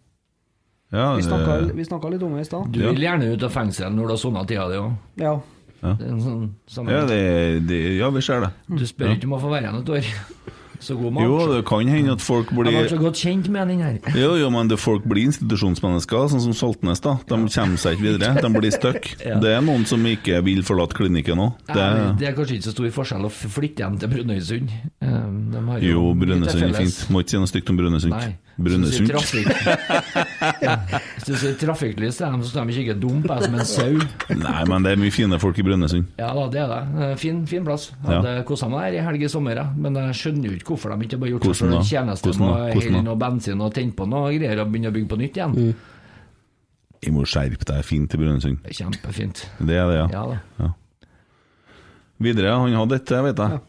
Speaker 2: Ja,
Speaker 6: Vi
Speaker 2: eh,
Speaker 6: snakka- Vi snakka litt om det i stad.
Speaker 5: Du
Speaker 2: Ja.
Speaker 5: vil gjerne ut av fengsel når du har sona tida di òg.
Speaker 6: Ja.
Speaker 5: Sånn,
Speaker 2: ja,
Speaker 5: sammenheng.
Speaker 2: det, det, ja, vi ser det.
Speaker 5: du spør ikke om å få være igjen et år. Så
Speaker 2: Jo,
Speaker 5: god match.
Speaker 2: det kan hende at folk
Speaker 5: Jeg
Speaker 2: blir
Speaker 5: ble så godt kjent med den her.
Speaker 2: Jo, jo, men det folk blir institusjonsmennesker, sånn som Saltnes, da. De kommer seg ikke videre, de blir stuck. Det er noen som ikke vil forlate klinikken òg. Det,
Speaker 5: Nei, Det er kanskje ikke så stor forskjell å f- flytte hjem til Brønnøysund. Um, de har
Speaker 2: jo,
Speaker 5: mye til
Speaker 2: Brønnøysund er
Speaker 5: felles.
Speaker 2: fint. Må ikke si noe stygt om Brønnøysund.
Speaker 5: Nei.
Speaker 2: Brønnøysund.
Speaker 5: Synes det er trafikk- Ja. Synes det er trafikklys, det er de som ikke er dump, jeg er som en sau.
Speaker 2: Nei, men det er mye fine folk i Brønnøysund.
Speaker 5: Ja da, det er det. Eh, Fin, fin plass. Hadde kosa meg der i helg i sommer, jeg. men jeg skjønner jo ikke hvorfor de ikke bare gjort seg
Speaker 2: Hvordan
Speaker 5: selv en
Speaker 2: da?
Speaker 5: tjeneste
Speaker 2: Hvordan
Speaker 5: med å
Speaker 2: da? Hvordan
Speaker 5: helle
Speaker 2: da?
Speaker 5: noe bensin og tenne på noe greier og begynne å bygge på nytt igjen.
Speaker 2: Mm. Jeg må skjerpe deg fint i Brønnøysund.
Speaker 5: Det er Kjempefint.
Speaker 2: Det er det, ja.
Speaker 5: Ja da.
Speaker 2: Videre, han hadde dette, vet jeg.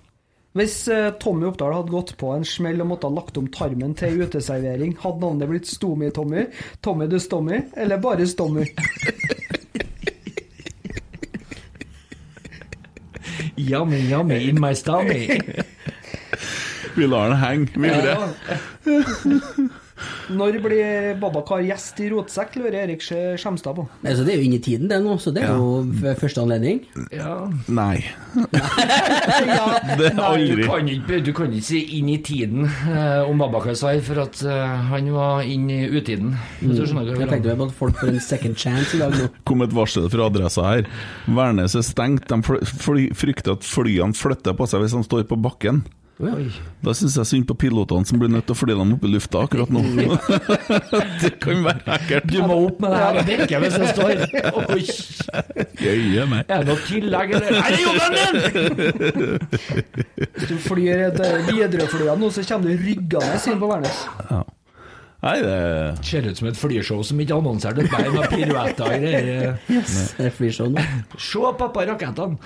Speaker 6: Hvis eh, Tommy Oppdal hadde gått på en smell og måtte ha lagt om tarmen til ei uteservering, hadde navnet blitt Stomi-Tommy, Tommy du Stommy, eller bare Stommy?
Speaker 5: Yummy, yummy in my stomach.
Speaker 2: Vi lar den henge videre.
Speaker 6: Når blir Babakar gjest i Rotsekk, lurer Erik Skje- Skjemstad på.
Speaker 4: Nei, så det er jo inne i tiden, det nå, så det er jo f- første anledning.
Speaker 5: Ja.
Speaker 2: Nei. Det er
Speaker 5: Du
Speaker 2: aldri
Speaker 5: kan, ikke, du kan ikke si 'inn i tiden' eh, om Babakar Sai, for at eh, han var inn i utiden. Hvis Du skjønner hva Mm. jeg
Speaker 4: Jeg
Speaker 5: vil ha.
Speaker 4: tenkte meg på at folk får en second chance i dag nå.
Speaker 2: kom et varsel fra adressa her. Værnes er stengt. De fly- fly- frykter at flyene flytter på seg hvis de står på bakken.
Speaker 4: Oi.
Speaker 2: Da syns jeg synd på pilotene som blir nødt til å fly dem opp i lufta akkurat nå. det kan være ekkelt.
Speaker 5: Du må opp med det her bekket hvis det står Oi,
Speaker 2: Gøye meg.
Speaker 5: Er det noe tillegg, eller? Er det jobben din?!
Speaker 6: Hvis du flyr et eh, Widerøe-flyene nå, så kommer du ryggende inn på Værnes.
Speaker 2: Nei, det
Speaker 5: Ser ut som et flyshow som ikke annonserte et bein med piruetter og greier.
Speaker 4: Det flyr sånn.
Speaker 5: Se, pappa, rakettene!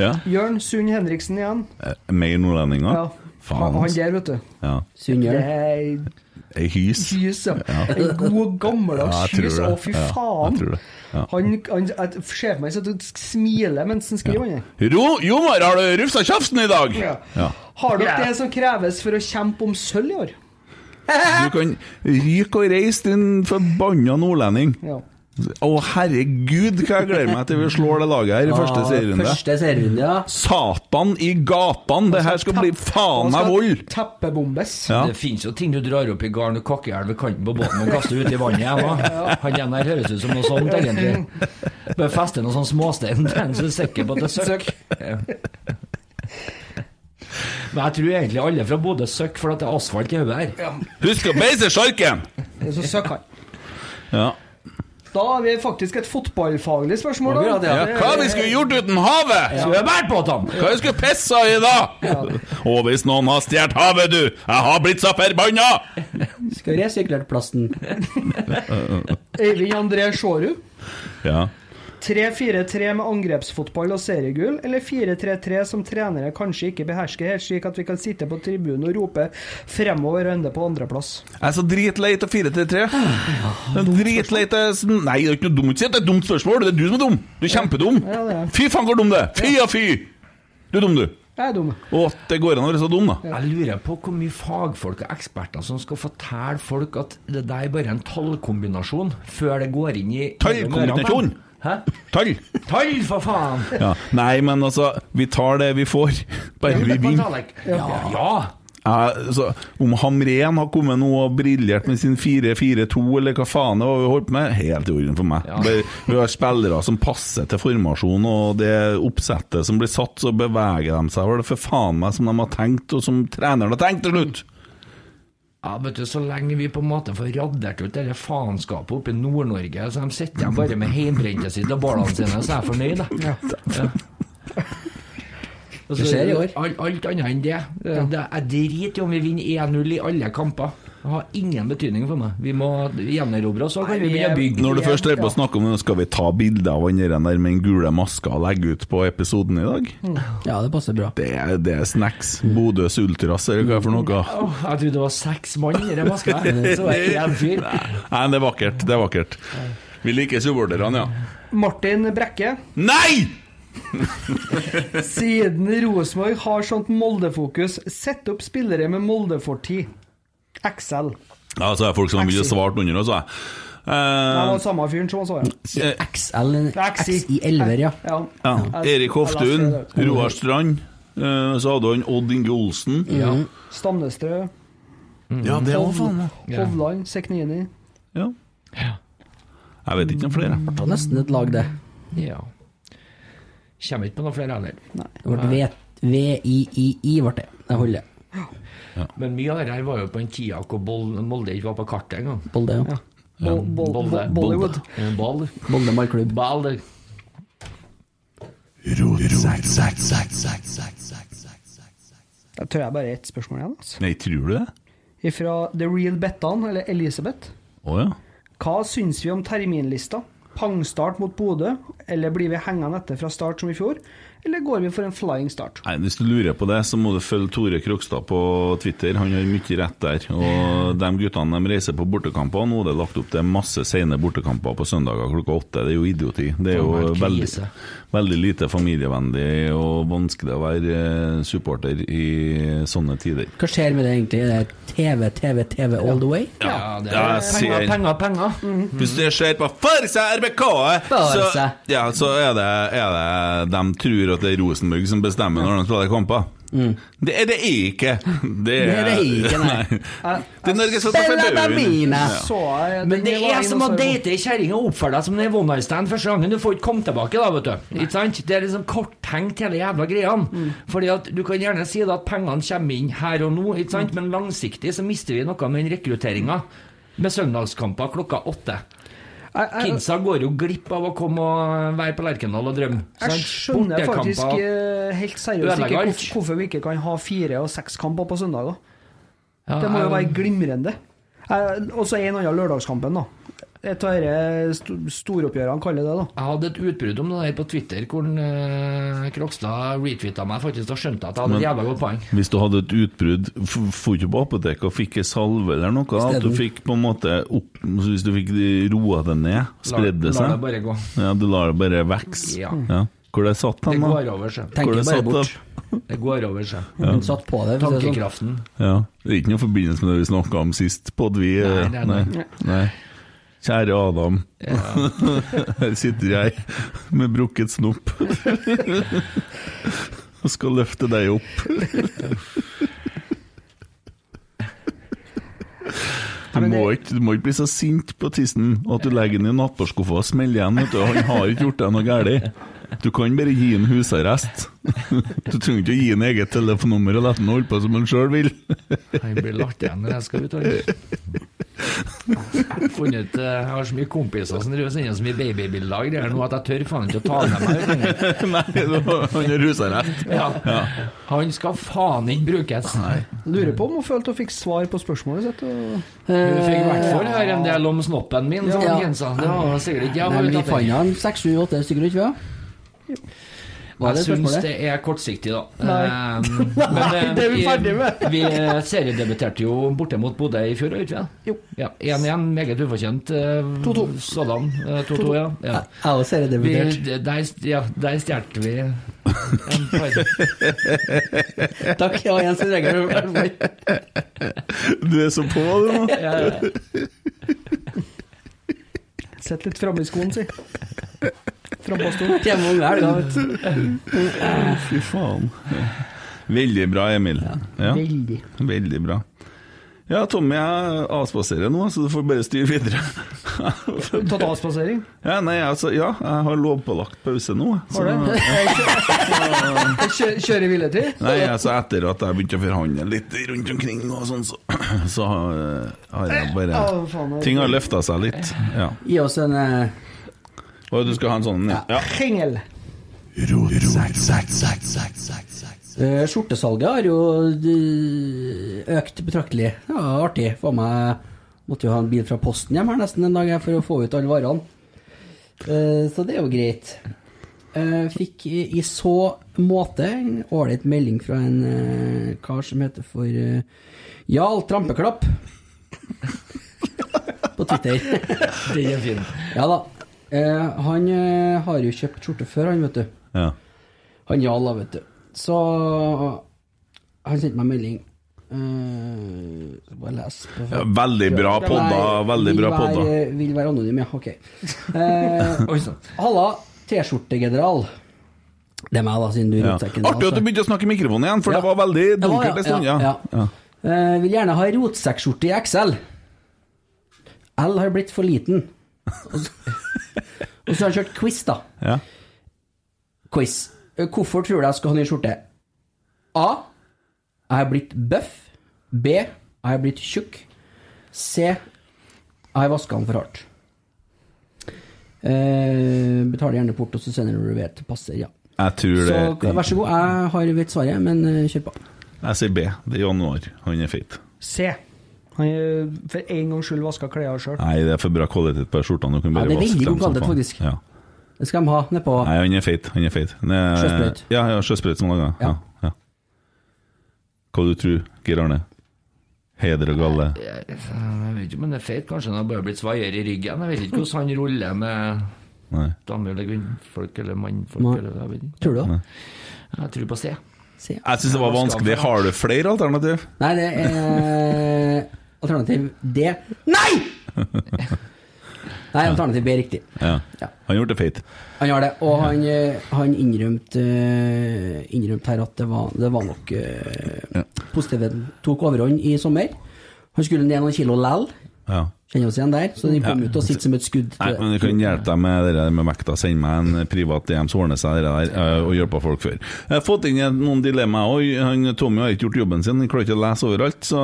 Speaker 2: Ja.
Speaker 6: Jørn Sund Henriksen igjen.
Speaker 2: Eh, Mer nordlendinger?
Speaker 6: Ja.
Speaker 2: Faen,
Speaker 6: Han
Speaker 2: altså.
Speaker 6: der, vet du.
Speaker 2: Ja.
Speaker 6: Det
Speaker 4: Sunnjøren.
Speaker 6: er
Speaker 2: Ei hys.
Speaker 6: hys, ja. En god,
Speaker 2: Ja, jeg
Speaker 6: gammeldags
Speaker 2: tror
Speaker 6: hys.
Speaker 2: det.
Speaker 6: Å, fy
Speaker 2: Ja, jeg
Speaker 6: faen.
Speaker 2: tror det. Ja.
Speaker 6: Han, han, jeg ser for meg at du smiler mens han skriver. han, jeg.
Speaker 2: Ro, Jomar, har du rufsa kjeften i dag? Ja.
Speaker 6: Har dere det som kreves for å kjempe om sølv i år?
Speaker 2: Du kan ryke og reise, din forbanna nordlending.
Speaker 6: Ja.
Speaker 2: Å, herregud, hva jeg gleder meg til vi slår det laget her i første serierunde.
Speaker 4: Første serierunde, ja.
Speaker 2: Satan i gatene! Det her skal bli faen meg vold!
Speaker 6: Teppebombes.
Speaker 2: Ja.
Speaker 5: Det fins jo ting du drar opp i garn og kakkeelv ved kanten på båten og kaster ut i vannet. Jeg, hva? Han igjen her høres ut som noe sånt, egentlig. Bare feste noe sånn småstein til en så er sikker på at det søkk. Ja. Men jeg tror egentlig alle fra Bodø søkker for at det er asfalt i hodet her.
Speaker 2: Husk å beise sjarken!
Speaker 6: Så søkk han.
Speaker 2: Ja.
Speaker 6: Da har vi faktisk et fotballfaglig spørsmål. da.
Speaker 4: Akkurat, ja.
Speaker 6: Det-
Speaker 2: Hva vi skulle gjort uten havet?
Speaker 5: Skulle jeg båret på dem?
Speaker 2: Hva vi skulle pissa i da? Og hvis noen har stjålet havet, du! Jeg har blitt så forbanna!
Speaker 4: Skal resirkulert plasten.
Speaker 6: Øyvind André Sjårud.
Speaker 2: Ja.
Speaker 6: 3-4-3 med angrepsfotball og seriegull, eller 4-3-3 som trenere kanskje ikke behersker helt, slik at vi kan sitte på tribunen og rope fremover og ende på andreplass?
Speaker 2: Jeg er så dritlei av 4-3-3. Dritlei av sånn- Nei, det er ikke noe dumt. Si at det er et dumt spørsmål. Det er du som er dum. Du er kjempedum.
Speaker 6: Ja, det er jeg.
Speaker 2: Fy faen, hvor dum du er. Fy og fy! Du er dum, du.
Speaker 6: Jeg er dum.
Speaker 2: Å, det går an å være så dum, da.
Speaker 5: Jeg lurer på hvor mye fagfolk og eksperter som skal fortelle folk at det der er bare en tallkombinasjon før det går inn i
Speaker 2: Tallkombinasjon?
Speaker 5: Hæ?
Speaker 2: Tall!
Speaker 5: Tall, for faen!
Speaker 2: Ja. Nei, men altså, vi tar det vi får. Bare vi vinner.
Speaker 5: Ja, ja.
Speaker 2: Ja, altså, om Hamren har kommet nå og briljert med sin 4-4-2, eller hva faen det var vi holdt på med, helt i orden for meg. Bare- Vi har spillere som passer til formasjonen, og det oppsettet som blir satt, så beveger de seg vel for faen meg som de har tenkt, og som treneren har tenkt til slutt.
Speaker 5: Ja, vet du, Så lenge vi på en måte får radert ut dette faenskapet oppe i Nord-Norge, så de sitter igjen bare med hjemmebrentet sitt og bålene sine, så er jeg fornøyd, da. Ja. Og så-
Speaker 4: Det skjer i år.
Speaker 5: Alt, alt annet enn det. det jeg driter i om vi vinner 1-0 i alle kamper. Det har ingen betydning for meg. Vi må gjenerobre oss, så kan vi begynne å bygge.
Speaker 2: Når du først er på å snakke om det, skal vi ta bilde av han der der med den gule maska og legge ut på episoden i dag?
Speaker 4: Ja, det passer bra.
Speaker 2: Det er, det er snacks. Bodøs Ultras, eller hva er det for noe?
Speaker 5: Åh, jeg trodde det var seks mann i den maska, her, så var det én fyr.
Speaker 2: Nei, det er vakkert. Det er vakkert. Vi liker supporterne, ja.
Speaker 6: Martin Brekke.
Speaker 2: Nei!
Speaker 6: Siden Rosenborg har sånt Molde-fokus, sett opp spillere med Molde-fortid. XL.
Speaker 2: Ja, så er det folk som ville svart under også, jeg.
Speaker 6: Det var
Speaker 2: Eh,
Speaker 6: samme fyren som også var
Speaker 2: eh,
Speaker 4: XL, X
Speaker 6: XI.
Speaker 4: i elver, ja.
Speaker 6: ja.
Speaker 2: ja. Erik Hoftun,
Speaker 6: Jeg leste det.
Speaker 2: Roar Strand. eh, Så hadde han Odd Inge Olsen.
Speaker 5: Ja.
Speaker 6: Stamnestrø,
Speaker 2: Ja, det òg, faen.
Speaker 6: Hovland, Seknini.
Speaker 2: Ja. Jeg vet ikke noen flere.
Speaker 4: Det var nesten et lag, det.
Speaker 5: ja. Kommer ikke på noen flere heller.
Speaker 4: Det ble V- VIII, ble det. Jeg holder
Speaker 5: Men mye av det her var jo på en tida hvor Bol- Molde ikke var på kartet engang.
Speaker 4: på det. Ja.
Speaker 6: Bo- bo- bo-
Speaker 5: Bolde.
Speaker 6: Bollywood.
Speaker 5: Eh, Ball.
Speaker 4: Molde ballklubb.
Speaker 5: Ball.
Speaker 6: Jeg tror jeg bare er ett spørsmål igjen. Altså.
Speaker 2: Nei, tror du det?
Speaker 6: Fra The Real Bettan, eller Elisabeth.
Speaker 2: Å ja.
Speaker 6: Hva syns vi om terminlista? Pangstart mot Bodø, eller blir vi hengende etter fra start som i fjor? Eller går vi for en flying start?
Speaker 2: Nei, Hvis du lurer på det, så må du følge Tore Krokstad på Twitter. Han har mye rett der. Og de guttene de reiser på bortekamper, og nå er det lagt opp til masse sene bortekamper på søndager klokka åtte. Det er jo idioti. Det er
Speaker 5: Det
Speaker 2: jo
Speaker 5: er
Speaker 2: veldig,
Speaker 5: krise.
Speaker 2: veldig lite familievennlig og vanskelig å være eh, supporter i sånne tider.
Speaker 4: Hva skjer med det egentlig? Er det TV, TV, TV all the way?
Speaker 5: Ja, det
Speaker 2: Ja,
Speaker 5: er Mm.
Speaker 2: jeg ser.
Speaker 5: penger, penger, penger.
Speaker 2: Hvis det skjer på Farsa RBK, så,
Speaker 4: Farsa.
Speaker 2: ja, så er, det, er det De tror at det er Rosenborg som bestemmer når de spiller kamper. Det er det ikke. Det
Speaker 4: er det ikke, nei.
Speaker 2: Det er Norges største
Speaker 4: Spiller med mine.
Speaker 6: Så jeg,
Speaker 5: Men det
Speaker 6: den var
Speaker 5: er
Speaker 6: inn
Speaker 5: som å
Speaker 6: og så-
Speaker 5: date ei kjerring og oppføre deg som en one-night-stand første gangen. Du får ikke komme tilbake, da, vet du. Ikke sant? Det er liksom korttenkt, hele jævla greia. Fordi at du kan gjerne si da at pengene kommer inn her og nå, ikke sant? men langsiktig så mister vi noe med den rekrutteringa. Med søndagskamper klokka åtte.
Speaker 6: Jeg- jeg-
Speaker 5: Kidsa går jo glipp av å komme og være på Lerkendal og drømme.
Speaker 6: Jeg
Speaker 5: sant?
Speaker 6: skjønner faktisk
Speaker 5: Bortekamper.
Speaker 6: eh, helt seriøst
Speaker 5: Ødelegger
Speaker 6: ikke
Speaker 5: alt.
Speaker 6: hvorf- hvorfor vi ikke kan ha fire og seks kamper på søndager.
Speaker 5: Ja,
Speaker 4: Ah,
Speaker 6: Det må jo være
Speaker 5: jeg-
Speaker 6: glimrende. Eh, Og så en annen lørdagskampen, da. Et av disse sto- storoppgjørene, kaller jeg det, da.
Speaker 5: Jeg hadde et utbrudd om det der på Twitter, hvor han, eh, Krokstad retweeta meg faktisk og skjønte at jeg hadde et jævla godt poeng.
Speaker 2: Hvis du hadde et utbrudd, dro ikke på apoteket og fikk ei salve eller noe? At du
Speaker 4: Isteden.
Speaker 2: fikk på en måte opp Hvis du fikk roa det ned,
Speaker 5: La-
Speaker 2: spredde
Speaker 5: La det
Speaker 2: seg?
Speaker 5: bare gå.
Speaker 2: Ja, du lar det bare vokse?
Speaker 5: Ja.
Speaker 2: Hvor det satt han,
Speaker 5: Det går
Speaker 2: da?
Speaker 5: over seg.
Speaker 2: Hvor
Speaker 4: Tenker
Speaker 2: det
Speaker 4: bare
Speaker 2: satt,
Speaker 4: bort.
Speaker 5: Det går over seg.
Speaker 4: Hun satt på det. for å si det sånn.
Speaker 5: Tankekraften.
Speaker 2: Ja. Det er ikke noe forbindelse med det vi snakka om sist, podd vi
Speaker 5: Nei,
Speaker 2: eh,
Speaker 5: nei, nei.
Speaker 2: nei. Kjære Adam, her sitter jeg med brukket snopp og skal løfte deg opp. Du
Speaker 6: men
Speaker 2: må,
Speaker 6: det-
Speaker 2: ikke, du må ikke bli så sint på tissen at du legger den i nattbordskuffa og smeller igjen. Vet du. Han har ikke gjort deg noe galt. Du kan bare gi ham husarrest. Du trenger ikke å gi ham eget telefonnummer og la ham holde på som han sjøl vil.
Speaker 5: Jeg blir lagt igjen når jeg skal ut. og- Funnet ut, eh, jeg har så mye kompiser som driver og sender så mye babybilder og greier nå at jeg tør faen ikke å ta dem med meg.
Speaker 2: Nei, det var- han er rusa rett.
Speaker 5: Ja. Han skal faen ikke brukes.
Speaker 6: Lurer på om hun følte hun fikk svar på spørsmålet sitt. Og...
Speaker 5: Hun fikk i hvert fall høre en del om snoppen min, sa
Speaker 4: Eh, Ja.
Speaker 5: han Jensa. Det var sikkert ikke
Speaker 4: Nei,
Speaker 5: jeg var
Speaker 4: men
Speaker 5: ute
Speaker 4: vi fant
Speaker 5: etter.
Speaker 4: han seks, sju, åtte stykker, ikke sant? Var det
Speaker 5: Jeg syns
Speaker 4: spørsmålet?
Speaker 5: det er kortsiktig, da.
Speaker 6: Nei.
Speaker 5: Eh, men, eh,
Speaker 6: det er vi ferdig med.
Speaker 5: Vi eh, seriedebuterte jo borte mot Bodø i fjor, gjorde vi
Speaker 6: Jo.
Speaker 5: ikke det? Ja, 1-1, meget ufortjent. eh,
Speaker 6: 2-2.
Speaker 5: Sådan. eh, 2-2, ja. ja.
Speaker 4: Jeg også ser det
Speaker 5: Vi,
Speaker 4: debutert.
Speaker 5: der ja, der stjal vi en par.
Speaker 4: Takk, ja, Jens Regel.
Speaker 2: Du er så på, du nå.
Speaker 6: Sett litt framme i skoen, si. Frampå stolen.
Speaker 4: Hjemme om helga, vet du.
Speaker 2: Fy faen. Veldig bra, Emil. Ja.
Speaker 6: Veldig.
Speaker 2: Veldig bra. Ja, Tommy, jeg avspaserer nå, så du får bare styre videre.
Speaker 6: Tatt avspasering?
Speaker 2: Ja, nei, altså, ja, jeg har lovpålagt pause nå. Så,
Speaker 6: Har du? Jeg kjø- Kjører i hviletid?
Speaker 2: nei, altså, etter at jeg begynte å forhandle litt rundt omkring, og sånn, så, så har- har jeg bare
Speaker 6: Å, faen, jeg-
Speaker 2: Ting har løfta seg litt. Ja.
Speaker 4: Gi oss en eh,
Speaker 2: Og du skal ha en sånn? Ja. ja.
Speaker 6: Hengel.
Speaker 4: eh, Skjortesalget har jo eh, økt betraktelig. Det var artig. For meg måtte jo ha en bil fra Posten hjem her nesten en dag her for å få ut alle varene. Eh, Så det er jo greit. Eh, Fikk i i så måte en ålreit melding fra en eh, kar som heter for eh, Jarl Trampeklapp. På Twitter.
Speaker 5: Den er fin.
Speaker 4: Ja da. Eh, han eh, har jo kjøpt skjorte før, han, vet du.
Speaker 2: ja.
Speaker 4: Han Jarl, da, vet du. Så han sendte meg en melding. Eh, skal bare lese på
Speaker 2: Ja, Veldig bra podda. Veldig bra
Speaker 4: Vil
Speaker 2: podda.
Speaker 4: være- Vil være anonym, ja. Ok. Eh,
Speaker 5: Oi sånn. sann.
Speaker 4: Halla, T-skjortegeneral. Det er meg, da, siden du er
Speaker 2: Ja.
Speaker 4: rotsekken.
Speaker 2: Artig at du begynte å snakke i mikrofonen igjen, for
Speaker 4: altså. Ja.
Speaker 2: det var veldig
Speaker 4: Det var,
Speaker 2: dunkelt en stund. Ja.
Speaker 4: ja,
Speaker 2: Ja.
Speaker 4: Eh, vil gjerne ha rotsekkskjorte i XL. L har blitt for liten. Og så, og så har han kjørt quiz, da.
Speaker 2: Ja.
Speaker 4: Quiz. Hvorfor tror du jeg skal ha ny skjorte? A. Jeg har blitt bøff. B. Jeg har blitt tjukk. C. Jeg har vaska den for hardt. Eh, betaler gjerne port, og så sender du når du vet det passer. Ja.
Speaker 2: Jeg tror det
Speaker 4: Så vær så god, jeg har vet svaret, men eh, kjør på.
Speaker 2: Jeg sier B. Det er januar. Han er feit.
Speaker 6: C. Han er for en gangs skyld vaska klærne sjøl.
Speaker 2: Nei, det er for bra kvalitet på skjortene. Du kan
Speaker 4: Ja,
Speaker 2: bare
Speaker 4: det er
Speaker 2: vaske
Speaker 4: veldig
Speaker 2: dem
Speaker 4: god
Speaker 2: som
Speaker 4: kvalitet,
Speaker 2: faen.
Speaker 4: faktisk.
Speaker 2: Ja.
Speaker 4: Det skal de ha nedpå.
Speaker 2: Nei, han er feit. Han er feit. Han er-
Speaker 4: Sjøsprøyt.
Speaker 2: Ja, ja sjøsprøyt som laga. Ja. Ja. Hva du tror Geir Arne? Heder og galle.
Speaker 5: Jeg vet ikke, men det er feit. Kanskje han har bare blitt svaiere i ryggen. Jeg vet ikke hvordan han ruller med
Speaker 2: Nei.
Speaker 5: damer eller kvinnfolk eller mannfolk.
Speaker 4: Nei.
Speaker 5: Eller, jeg, vet ikke.
Speaker 4: Tror du det?
Speaker 5: jeg tror på C.
Speaker 4: Se.
Speaker 2: Jeg syns det var vanskelig. Har du flere alternativ?
Speaker 4: Nei, det er alternativ D. Nei! Nei, alternativ B er riktig.
Speaker 2: Ja.
Speaker 4: Ja.
Speaker 2: Han gjorde det feit.
Speaker 4: Han gjør det, og han, eh, han innrømte eh, innrømte her at det var, det var nok eh, Positiviteten tok overhånd i sommer. Han skulle ned noen kilo lell,
Speaker 2: Ja.
Speaker 4: kjenner oss igjen der, så den kom
Speaker 2: Ja.
Speaker 4: ut og sitter som et skudd.
Speaker 2: Nei, men Du kan hjelpe deg med det der med vekta. Send meg en eh, privat DM, så ordner seg det der. eh, Og hjelper folk før. Jeg har fått inn en- noen dilemmaer òg. Han Tommy har ikke gjort jobben sin. Han klarer ikke å lese overalt, så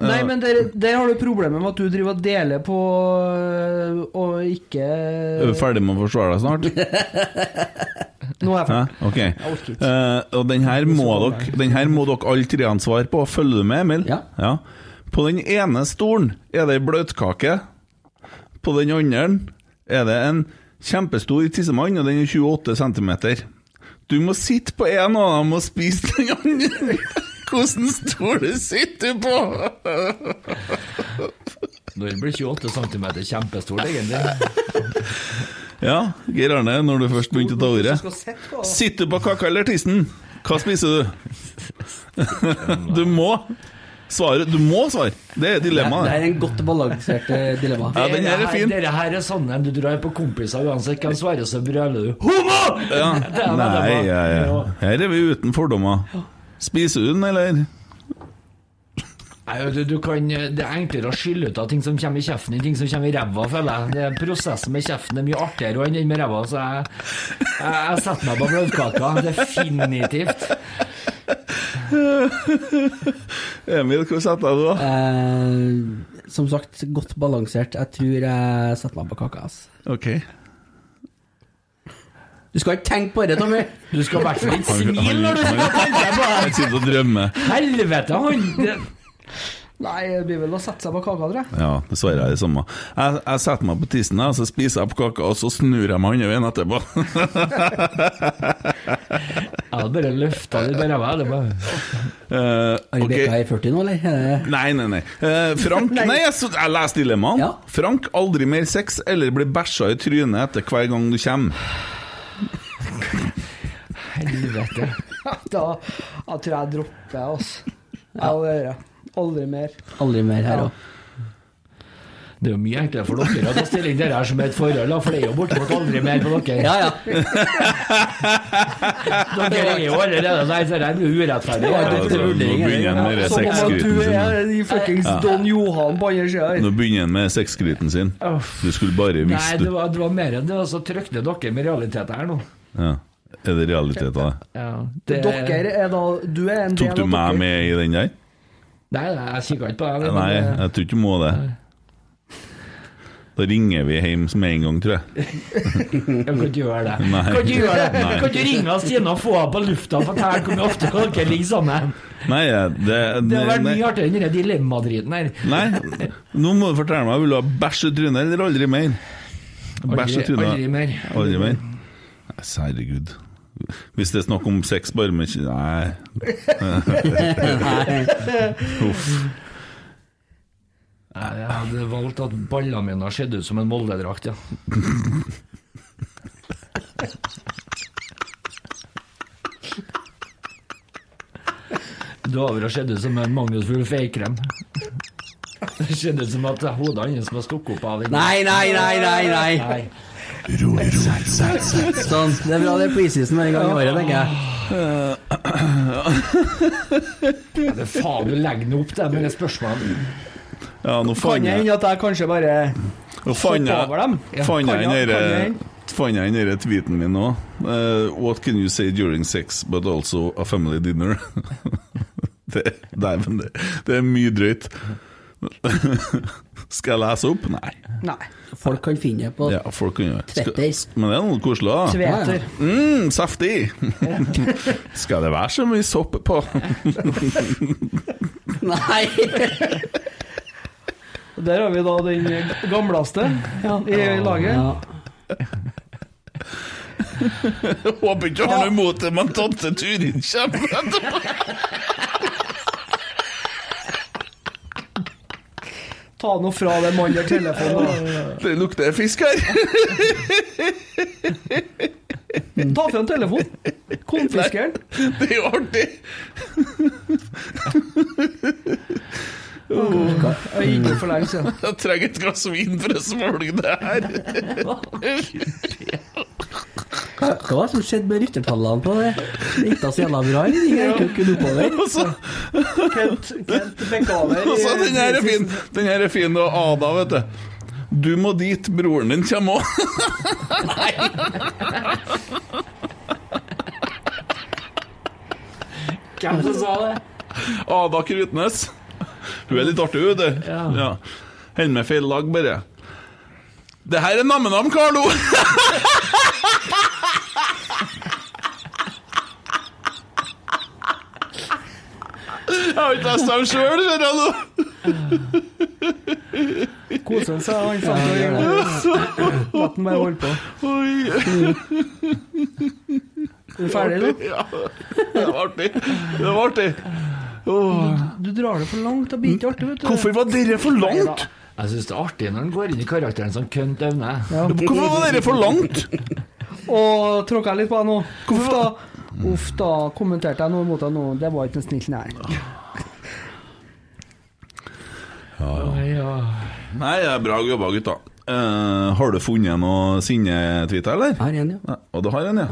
Speaker 2: eh,
Speaker 6: Nei, men der, der har du problemet med at du driver og deler på øh, og ikke
Speaker 2: Er du ferdig med å forsvare deg snart?
Speaker 6: Nå er jeg ferdig.
Speaker 2: Hæ? Ok.
Speaker 6: orker ikke.
Speaker 2: Eh, og den her, må dere, den her må dere alle tre ha svar på. Følger du med, Emil?
Speaker 4: Ja.
Speaker 2: På den ene stolen er det ei bløtkake. På den andre er det en kjempestor tissemann, og den er 28 cm. Du må sitte på en av dem og spise den andre. Hvordan stol sitter du på?
Speaker 5: Når blir 28 cm kjempestort, egentlig?
Speaker 2: Ja, Geir Arne, når du først begynte å ta ordet.
Speaker 6: Skal sette på.
Speaker 2: Sitter du på kaka eller tissen? Hva spiser du? Du må svare. Du må svare. Det er
Speaker 4: det, det
Speaker 2: dilemmaet.
Speaker 4: er en godt balansert eh, dilemma.
Speaker 2: Ja, den her er fin.
Speaker 5: Dere her er sånne du drar på kompiser uansett hvem svarer, så brøler du HOMO!
Speaker 2: Ja.
Speaker 5: er veldig
Speaker 2: Nei,
Speaker 5: bra.
Speaker 2: ja, ja.
Speaker 5: Ja.
Speaker 2: her er vi uten fordommer. Spiser du den, eller?
Speaker 5: Nei, vet du, du kan, eh, det er enklere å skylle ut av ting som kommer i kjeften, enn ting som kommer i ræva, føler jeg. Det Prosessen med kjeften er mye artigere enn den med ræva, så jeg, jeg, jeg setter meg på bløtkaka. Definitivt.
Speaker 2: Emil, hva setter jeg da?
Speaker 4: Eh, som sagt, godt balansert. Jeg tror jeg setter meg på kaka. ass.
Speaker 2: Ok.
Speaker 4: Du skal ikke tenke på det, Tommy!
Speaker 5: Du skal i hvert fall ikke
Speaker 2: Han-
Speaker 5: smile når du
Speaker 2: han-
Speaker 5: skal tenke på det!
Speaker 2: Han sitter og drømmer.
Speaker 5: Helvete, han! det-
Speaker 6: Nei, det blir vel å sette seg på kaka, tror jeg.
Speaker 2: Ja, dessverre er det samme. Jeg, jeg setter meg på tissen, jeg, så spiser jeg på kaka, og så snur jeg meg andre veien etterpå.
Speaker 5: Jeg hadde bare løfta litt der av meg. Det var
Speaker 2: Eh,
Speaker 4: Har
Speaker 2: ok.
Speaker 4: Rebekka i 40 nå, eller? Er det-
Speaker 2: Nei, nei, nei. Eh, Frank Nei, jeg, så- jeg leser dilemmaen.
Speaker 4: Ja.
Speaker 2: Frank, aldri mer sex eller bli bæsja i trynet etter hver gang du kommer.
Speaker 5: helvete.
Speaker 6: Da jeg tror jeg dropper, altså. Ja, det gjør jeg. Aldri mer.
Speaker 4: Aldri mer her
Speaker 6: Ja.
Speaker 4: òg.
Speaker 5: Det er jo mye enklere for dere å ta stilling til det her som et forhold, da, for det er jo bortimot aldri mer på dere.
Speaker 4: Ja, ja.
Speaker 5: Dere er jo allerede der, så det altså. er jo urettferdig.
Speaker 6: Ja, det-
Speaker 5: Ja,
Speaker 2: Altså, nå begynner han med det
Speaker 6: Som om at du
Speaker 2: sexskryten sin.
Speaker 6: er de fuckings Don Johan på andre sida her.
Speaker 2: Nå begynner han med sexskryten sin. Du skulle bare
Speaker 5: Nei,
Speaker 2: visst
Speaker 5: det
Speaker 2: du.
Speaker 5: var, det var mer enn det. Altså, trykner dere med realiteter her nå?
Speaker 2: Ja. Er det realiteten? da?
Speaker 5: det-
Speaker 6: Dere er da Du er en del
Speaker 2: Tok
Speaker 6: av
Speaker 2: du meg
Speaker 6: dere.
Speaker 2: med i den der?
Speaker 5: Nei, nei, jeg kikker ikke på deg. men,
Speaker 2: Nei,
Speaker 5: eh,
Speaker 2: jeg tror ikke du må det. Da ringer vi hjem med en gang, tror jeg.
Speaker 5: Jeg kan ikke gjøre det.
Speaker 2: Nei.
Speaker 5: Kan ikke gjøre det.
Speaker 2: Nei.
Speaker 5: Kan ikke ringe Stine og få henne på lufta og fortelle hvor mye ofte dere ligger sammen?
Speaker 2: Nei, jeg- det,
Speaker 5: Det har vært
Speaker 2: nei,
Speaker 5: mye artigere enn den dilemmadriten her.
Speaker 2: nei, nå må du fortelle meg, vil du ha bæsj i trynet eller aldri mer? Bæsj i
Speaker 5: Aldri,
Speaker 2: trynet.
Speaker 5: aldri mer.
Speaker 2: Aldri mer? Nei, Herregud. Hvis det er snakk om sex bare med kj- Nei. Uff.
Speaker 5: Nei, Jeg hadde valgt at ballene mine har sett ut som en Molde-drakt, ja. Du har sett ut som en mangelfull feikrem. Det ser ut som at hodet hans var stukket opp av den.
Speaker 4: Nei, nei, nei, nei! nei.
Speaker 5: Nei.
Speaker 4: Sånn. Det er bra det er preseason hver gang i året, tenker jeg.
Speaker 5: Det er faen, du legger nå opp det med det spørsmålet.
Speaker 2: Ja, nå
Speaker 6: Kan
Speaker 2: fant
Speaker 6: det
Speaker 2: jeg
Speaker 6: hende at jeg kanskje bare
Speaker 2: Nå fant
Speaker 6: hopper over dem?
Speaker 2: jeg fant jeg
Speaker 6: Kan
Speaker 2: den
Speaker 6: jeg-
Speaker 2: derre-
Speaker 6: kan jeg-
Speaker 2: fant jeg den derre tweeten min nå. Eh, what can you say during sex, but also a family dinner? det, nei, men det, det er mye drøyt. Skal jeg lese opp? Nei.
Speaker 6: Nei.
Speaker 4: Folk kan finne det på
Speaker 2: Ja, folk kan gjøre det.
Speaker 4: Twitter.
Speaker 2: Skal- Men det er noe koselig, da.
Speaker 6: Tveter.
Speaker 2: Mm, saftig! Skal det være så mye sopp på?
Speaker 4: Nei!
Speaker 6: Der har vi da den gamleste i laget.
Speaker 4: Ja.
Speaker 2: Jeg Håper ikke han har noe imot det, men tante Turin kommer etterpå!
Speaker 6: Ta nå fra den mannen der telefonen. da.
Speaker 2: Det lukter fisk her!
Speaker 6: Ta fra en telefon. Konfiskeren.
Speaker 2: Det er jo artig!
Speaker 6: Jeg gikk ut for lenge siden.
Speaker 2: Jeg trenger et glass vin for å smølge det her.
Speaker 4: Hva, hva var det som skjedde med ryttertallene på det? Det gikk da så jævla bra, eller? Det gikk jo ikke oppover.
Speaker 2: Og så
Speaker 6: Kent, Kent Bekkaver.
Speaker 2: og så, den her er fin! Den her er fin, og Ada, vet du. Du må dit, broren din kommer òg.
Speaker 5: Hvem som sa det?
Speaker 2: Ada Krutnes. Hun er litt artig, hun, du.
Speaker 5: Ja.
Speaker 2: Ja. Hender med feil lag, bare. Det her er Nammenam, Carlo! Jeg har ikke lest dem sjøl, ser jeg nå.
Speaker 6: Kosen seg, han satt og lot den bare holde på.
Speaker 2: Oi,
Speaker 6: Er du ferdig, da?
Speaker 2: ja. Det var artig. Det var artig. Åh.
Speaker 6: Du drar det for langt. Det blir ikke artig, vet du.
Speaker 2: Hvorfor var dere for langt?
Speaker 5: Jeg syns det er artig når han går inn i karakteren som kønt evne.
Speaker 2: Hvorfor var dere for langt?
Speaker 6: Og tråkka jeg litt på deg nå. Uff da. Uff da, kommenterte jeg noe mot deg nå. Det var ikke en snill nei.
Speaker 5: Ja.
Speaker 2: Nei, det er bra jobba, gutta. Eh, har du funnet noe sinnetweet, eller?
Speaker 4: Her igjen, ja.
Speaker 2: Nei, Og du har en, ja?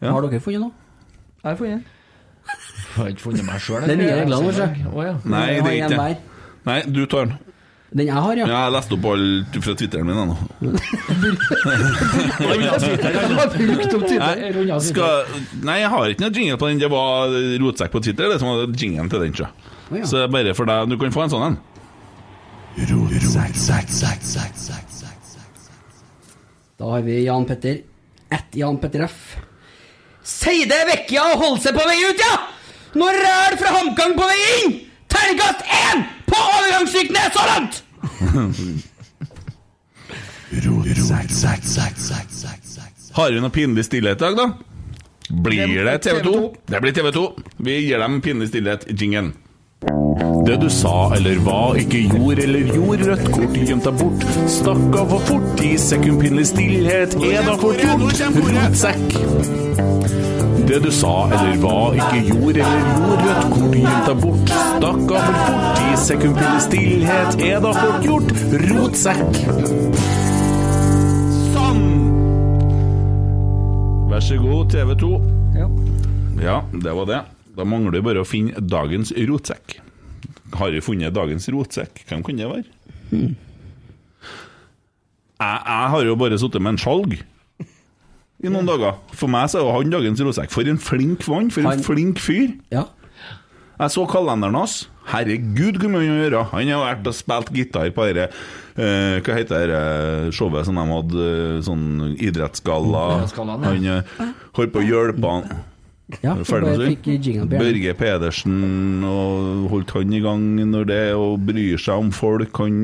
Speaker 2: Ja.
Speaker 4: Har dere funnet noe?
Speaker 6: Jeg får igjen.
Speaker 5: Jeg har ikke funnet meg sjøl.
Speaker 4: Det er nye regler, kanskje.
Speaker 2: Nei, det
Speaker 4: Jeg har
Speaker 2: er
Speaker 4: en
Speaker 2: ikke det.
Speaker 4: hver.
Speaker 2: Nei, du tar den.
Speaker 4: Den jeg har,
Speaker 2: Ja,
Speaker 4: ja.
Speaker 2: jeg har lest opp alt fra Twitteren min jeg, nå. Nei, skal, nei, jeg har ikke noe jingle på den. Det var rotsekk på Twitter, det som var jinglen til den. tror jeg.
Speaker 4: Å, ja.
Speaker 2: Så det er bare for deg. Du kan få en sånn en.
Speaker 4: Da har vi Jan Petter. Ett Jan Petter F. Seide Vecchia holdt seg på vei ut, ja! Når ræl fra HamKam på vei inn! Terningkast én på overgangsryktene så langt!
Speaker 2: Har vi noe pinlig stillhet i dag, da? Blir det TV 2? Det blir TV 2. Vi gir dem pinlig stillhet jingen. Det du sa eller hva, ikke gjorde eller gjorde, rødt kort gjemt deg bort. Stakk av for fort, ti sekund pinlig stillhet er da fort gjort. Rotsekk. Det du sa eller hva, ikke gjorde eller gjorde, rødt kort gjemt deg bort. Stakk av for fort, ti sekund pinlig stillhet er da fort gjort. Rotsekk. Vær så god, TV 2.
Speaker 6: Ja.
Speaker 2: Ja, det var det. Da mangler det bare å finne dagens rotsekk. Har vi funnet dagens rotsekk? Hvem kunne det være? Jeg, jeg har jo bare sittet med en skjalg i noen dager. For meg så er jo han dagens rotsekk. For en flink mann, for
Speaker 4: Han-
Speaker 2: en flink fyr.
Speaker 4: Ja.
Speaker 2: Jeg så kalenderen hans. Herregud, hvor mye han gjør! Han har vært og spilt gitar på dette eh, Hva heter det eh, showet som de hadde eh, sånn idrettsgalla?
Speaker 5: Idrettsgallaen, ja.
Speaker 2: Han eh, holdt på å hjelpe han.
Speaker 4: ja
Speaker 2: Er du
Speaker 4: jeg
Speaker 2: ferdig med
Speaker 4: bare
Speaker 2: det?
Speaker 4: fikk jingle på hjernen.
Speaker 2: Børge Pedersen og holdt han i gang når det, og bryr seg om folk. Han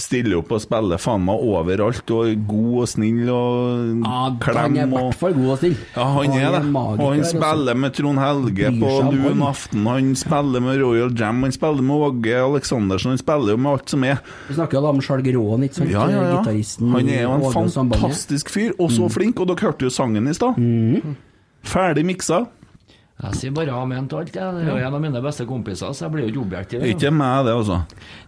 Speaker 2: stiller opp og spiller faen meg overalt, og er god og snill og
Speaker 4: Ja, han er i
Speaker 2: klem og
Speaker 4: hvert fall god og snill.
Speaker 2: ja, han er det. Og
Speaker 4: magiker,
Speaker 2: han
Speaker 4: altså.
Speaker 2: spiller med Trond Helge
Speaker 4: Bryr
Speaker 2: på
Speaker 4: seg om
Speaker 2: lun
Speaker 4: han.
Speaker 2: aften, han spiller med Royal Jam, han spiller med Åge Aleksandersen, han spiller jo med alt som er.
Speaker 4: Vi snakker jo da om Skjalg Råen, ikke sant?
Speaker 2: Ja, ja, ja.
Speaker 4: Gitaristen.
Speaker 2: Han er jo
Speaker 4: Åge
Speaker 2: en
Speaker 4: og sambandet.
Speaker 2: fantastisk fyr, og så flink, og dere hørte jo sangen i stad. Ferdig miksa.
Speaker 5: Jeg sier bare amen til alt, jeg. Det er jo en av mine beste kompiser, så jeg blir jo ikke objektiv. jeg.
Speaker 2: Ikke meg, det, altså.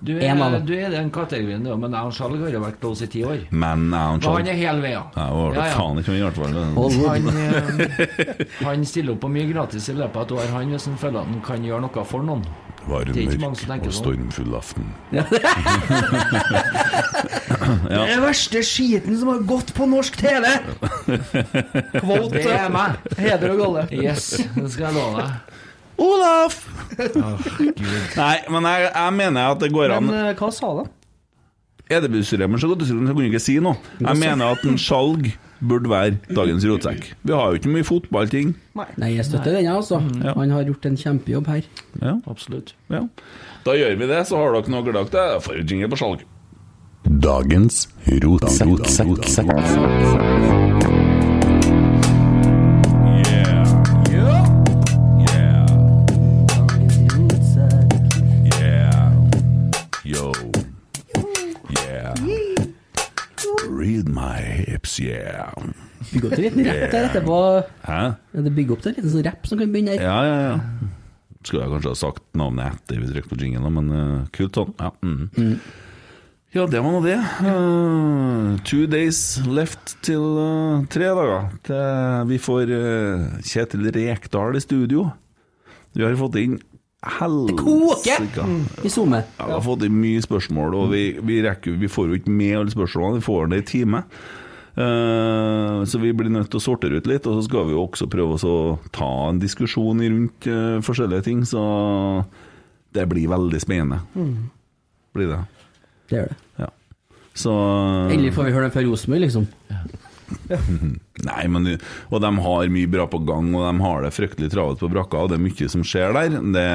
Speaker 5: Du
Speaker 4: En av
Speaker 5: er,
Speaker 4: dem.
Speaker 5: du er den kategorien, du, men jeg og Skjalg har jo vært close i ti år.
Speaker 2: Men jeg er en
Speaker 5: Og
Speaker 2: sjal.
Speaker 5: han er hel ved, ja.
Speaker 2: Jeg var det
Speaker 5: Ja, ja.
Speaker 2: faen ikke med hjertevarme.
Speaker 4: Hollywood.
Speaker 5: Han, eh, han stiller opp på mye gratis i løpet av et år, han, hvis han føler at han kan gjøre noe for noen.
Speaker 2: Det var
Speaker 5: Det er ikke mange som tenker sånn.
Speaker 2: stormfull aften.
Speaker 6: Det er den verste skiten som har gått på norsk TV!
Speaker 5: Det er meg!
Speaker 6: Heder og galle.
Speaker 5: Yes, det skal jeg love deg.
Speaker 2: Olaf! Nei, men jeg, jeg mener at det går an
Speaker 6: Men eh, hva sa de?
Speaker 2: Er det bussyremen så godt, så kunne jeg ikke si noe. Jeg mener at en skjalg burde være dagens rotsekk. Vi har jo ikke mye fotballting.
Speaker 4: Nei, jeg støtter den, jeg, altså.
Speaker 6: Mm.
Speaker 4: Han har gjort en kjempejobb her.
Speaker 2: Ja,
Speaker 5: Absolutt.
Speaker 2: ja. Da gjør vi det, så har dere noe glad til. Jeg får jingle på skjalg. Dagens rotsekk. Yeah. Yeah. Yeah. Yo. Yeah. Read my hips, yeah.
Speaker 4: Bygg opp til en liten rapp der etterpå.
Speaker 2: Hæ?
Speaker 4: Ja, det bygger opp til en liten sånn rapp som kan begynne her.
Speaker 2: Ja, ja, ja. Skulle jeg kanskje ha sagt navnet etter vi trykket på jinglen, men eh, kult sånn. Ja, mm. ja det var nå det. Eh, two days left til eh, tre dager. til vi får eh, Kjetil Rekdal i studio. Vi har fått inn helsika.
Speaker 4: I SoMe.
Speaker 2: Ja, vi har fått inn mye spørsmål, og vi, vi, rekker, vi får jo ikke med alle spørsmålene. Vi får det i time. Eh, så vi blir nødt til å sortere ut litt, og så skal vi jo også prøve å ta en diskusjon rundt eh, forskjellige ting. Så det blir veldig spennende. Blir det.
Speaker 4: Det gjør det.
Speaker 2: Ja. Så
Speaker 4: Endelig får vi høre det fra Rosenborg, liksom.
Speaker 2: Nei, men Og de har mye bra på gang, og de har det fryktelig travelt på brakka, og det er mye som skjer der. Det,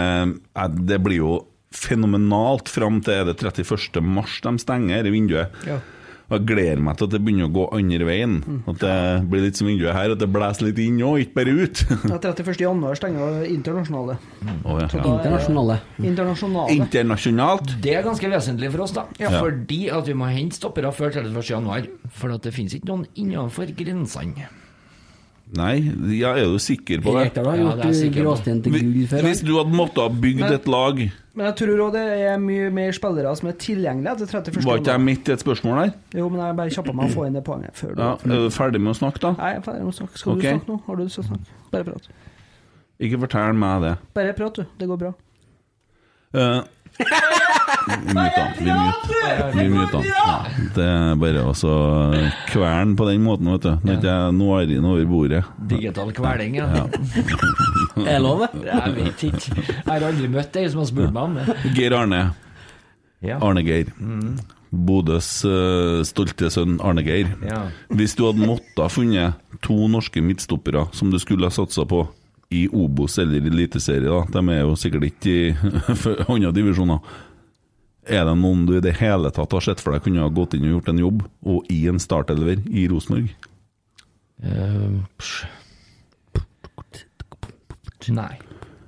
Speaker 2: eh, det blir jo fenomenalt fram til er det 31. mars de stenger dette vinduet.
Speaker 6: Ja.
Speaker 2: Og Jeg gleder meg til at det begynner å gå andre veien. At det blir litt som vinduet her, at det blåser litt inn òg, ikke bare ut.
Speaker 6: Ja, 31. januar stenger internasjonale.
Speaker 2: Å, ja. Ja.
Speaker 4: Internasjonale.
Speaker 6: Internasjonale.
Speaker 2: Internasjonalt.
Speaker 5: Det er ganske vesentlig for oss, da.
Speaker 2: Ja.
Speaker 5: Fordi at vi må hente stoppere før 31. januar. For at det finnes ikke noen innenfor grensene.
Speaker 2: Nei, jeg er jo sikker på det.
Speaker 4: Rekdal har
Speaker 5: Ja,
Speaker 4: gjort
Speaker 5: det er
Speaker 4: eh,
Speaker 5: sikkert.
Speaker 4: gråstein til gull
Speaker 2: Hvis
Speaker 4: før. altså.
Speaker 2: hvis du hadde måttet ha bygd et lag,
Speaker 6: Men jeg tror òg det er mye mer spillere som er tilgjengelige etter 31.
Speaker 2: var ikke jeg
Speaker 6: januar.
Speaker 2: midt i et spørsmål der?
Speaker 6: Jo, men jeg bare kjappa meg å få inn det poenget før du
Speaker 2: Ja, er du ferdig med å snakke, da?
Speaker 6: Nei, jeg er ferdig med å snakke. Skal
Speaker 2: Ok.
Speaker 6: du snakke nå? Har du lyst til å snakke? Bare prat.
Speaker 2: Ikke fortell meg det.
Speaker 6: Bare prat, du. Det går bra.
Speaker 2: Eh, Vi muter han. Vi muter- vi muter han. Ja, Det er bare å så kverne på den måten, vet du. Når ikke jeg når inn over bordet.
Speaker 5: Digital kveling, ja.
Speaker 4: Er det lov, det?
Speaker 5: Jeg vet ikke. Jeg har aldri møtt ei som har spurt meg om det.
Speaker 2: Geir Arne,
Speaker 5: Ja.
Speaker 2: Arne Geir. Bodøs eh, stolte sønn Arne Geir.
Speaker 5: Ja.
Speaker 2: Hvis du hadde måttet ha funnet to norske midtstoppere som du skulle ha satsa på i Obos eller i Eliteserie, da, de er jo sikkert ikke i andre divisjoner, er det noen du i det hele tatt har sett for deg kunne ha gått inn og gjort en jobb, og i en startelver i Rosenborg?
Speaker 5: Eh, psj. Nei.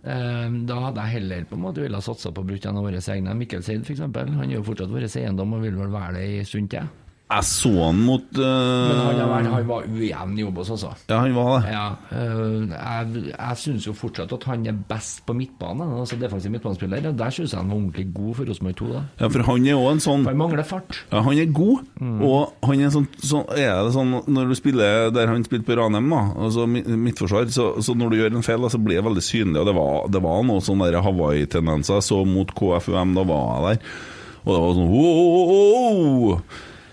Speaker 5: Eh, Da hadde jeg heller på en måte ville ha satsa på å bruke en av våre egne. Mikkelseid f.eks. Han er jo fortsatt vår eiendom og vil vel være det en stund til.
Speaker 2: Jeg så han mot eh,
Speaker 5: Men han, har vært- han var ujevn i jobb hos oss også.
Speaker 2: Ja, han var det.
Speaker 5: Ja, eh, jeg, jeg syns jo fortsatt at han er best på midtbane, altså defensiv midtbanespiller. og Der syns jeg han var ordentlig god for Rosenborg 2, da.
Speaker 2: Ja, for han er jo en sånn
Speaker 5: For han mangler fart.
Speaker 2: Ja, han er god, og han er sånn, sånn Er det sånn når du spiller der han spilte på Ranheim, da, altså mi- midtforsvar, så, så når du gjør en feil, da, så blir det veldig synlig. Og det var, det var noe sånn der Hawaii-tendenser. Så mot KFUM, da var jeg der. Og det var sånn «Wow, wow, wow, wow».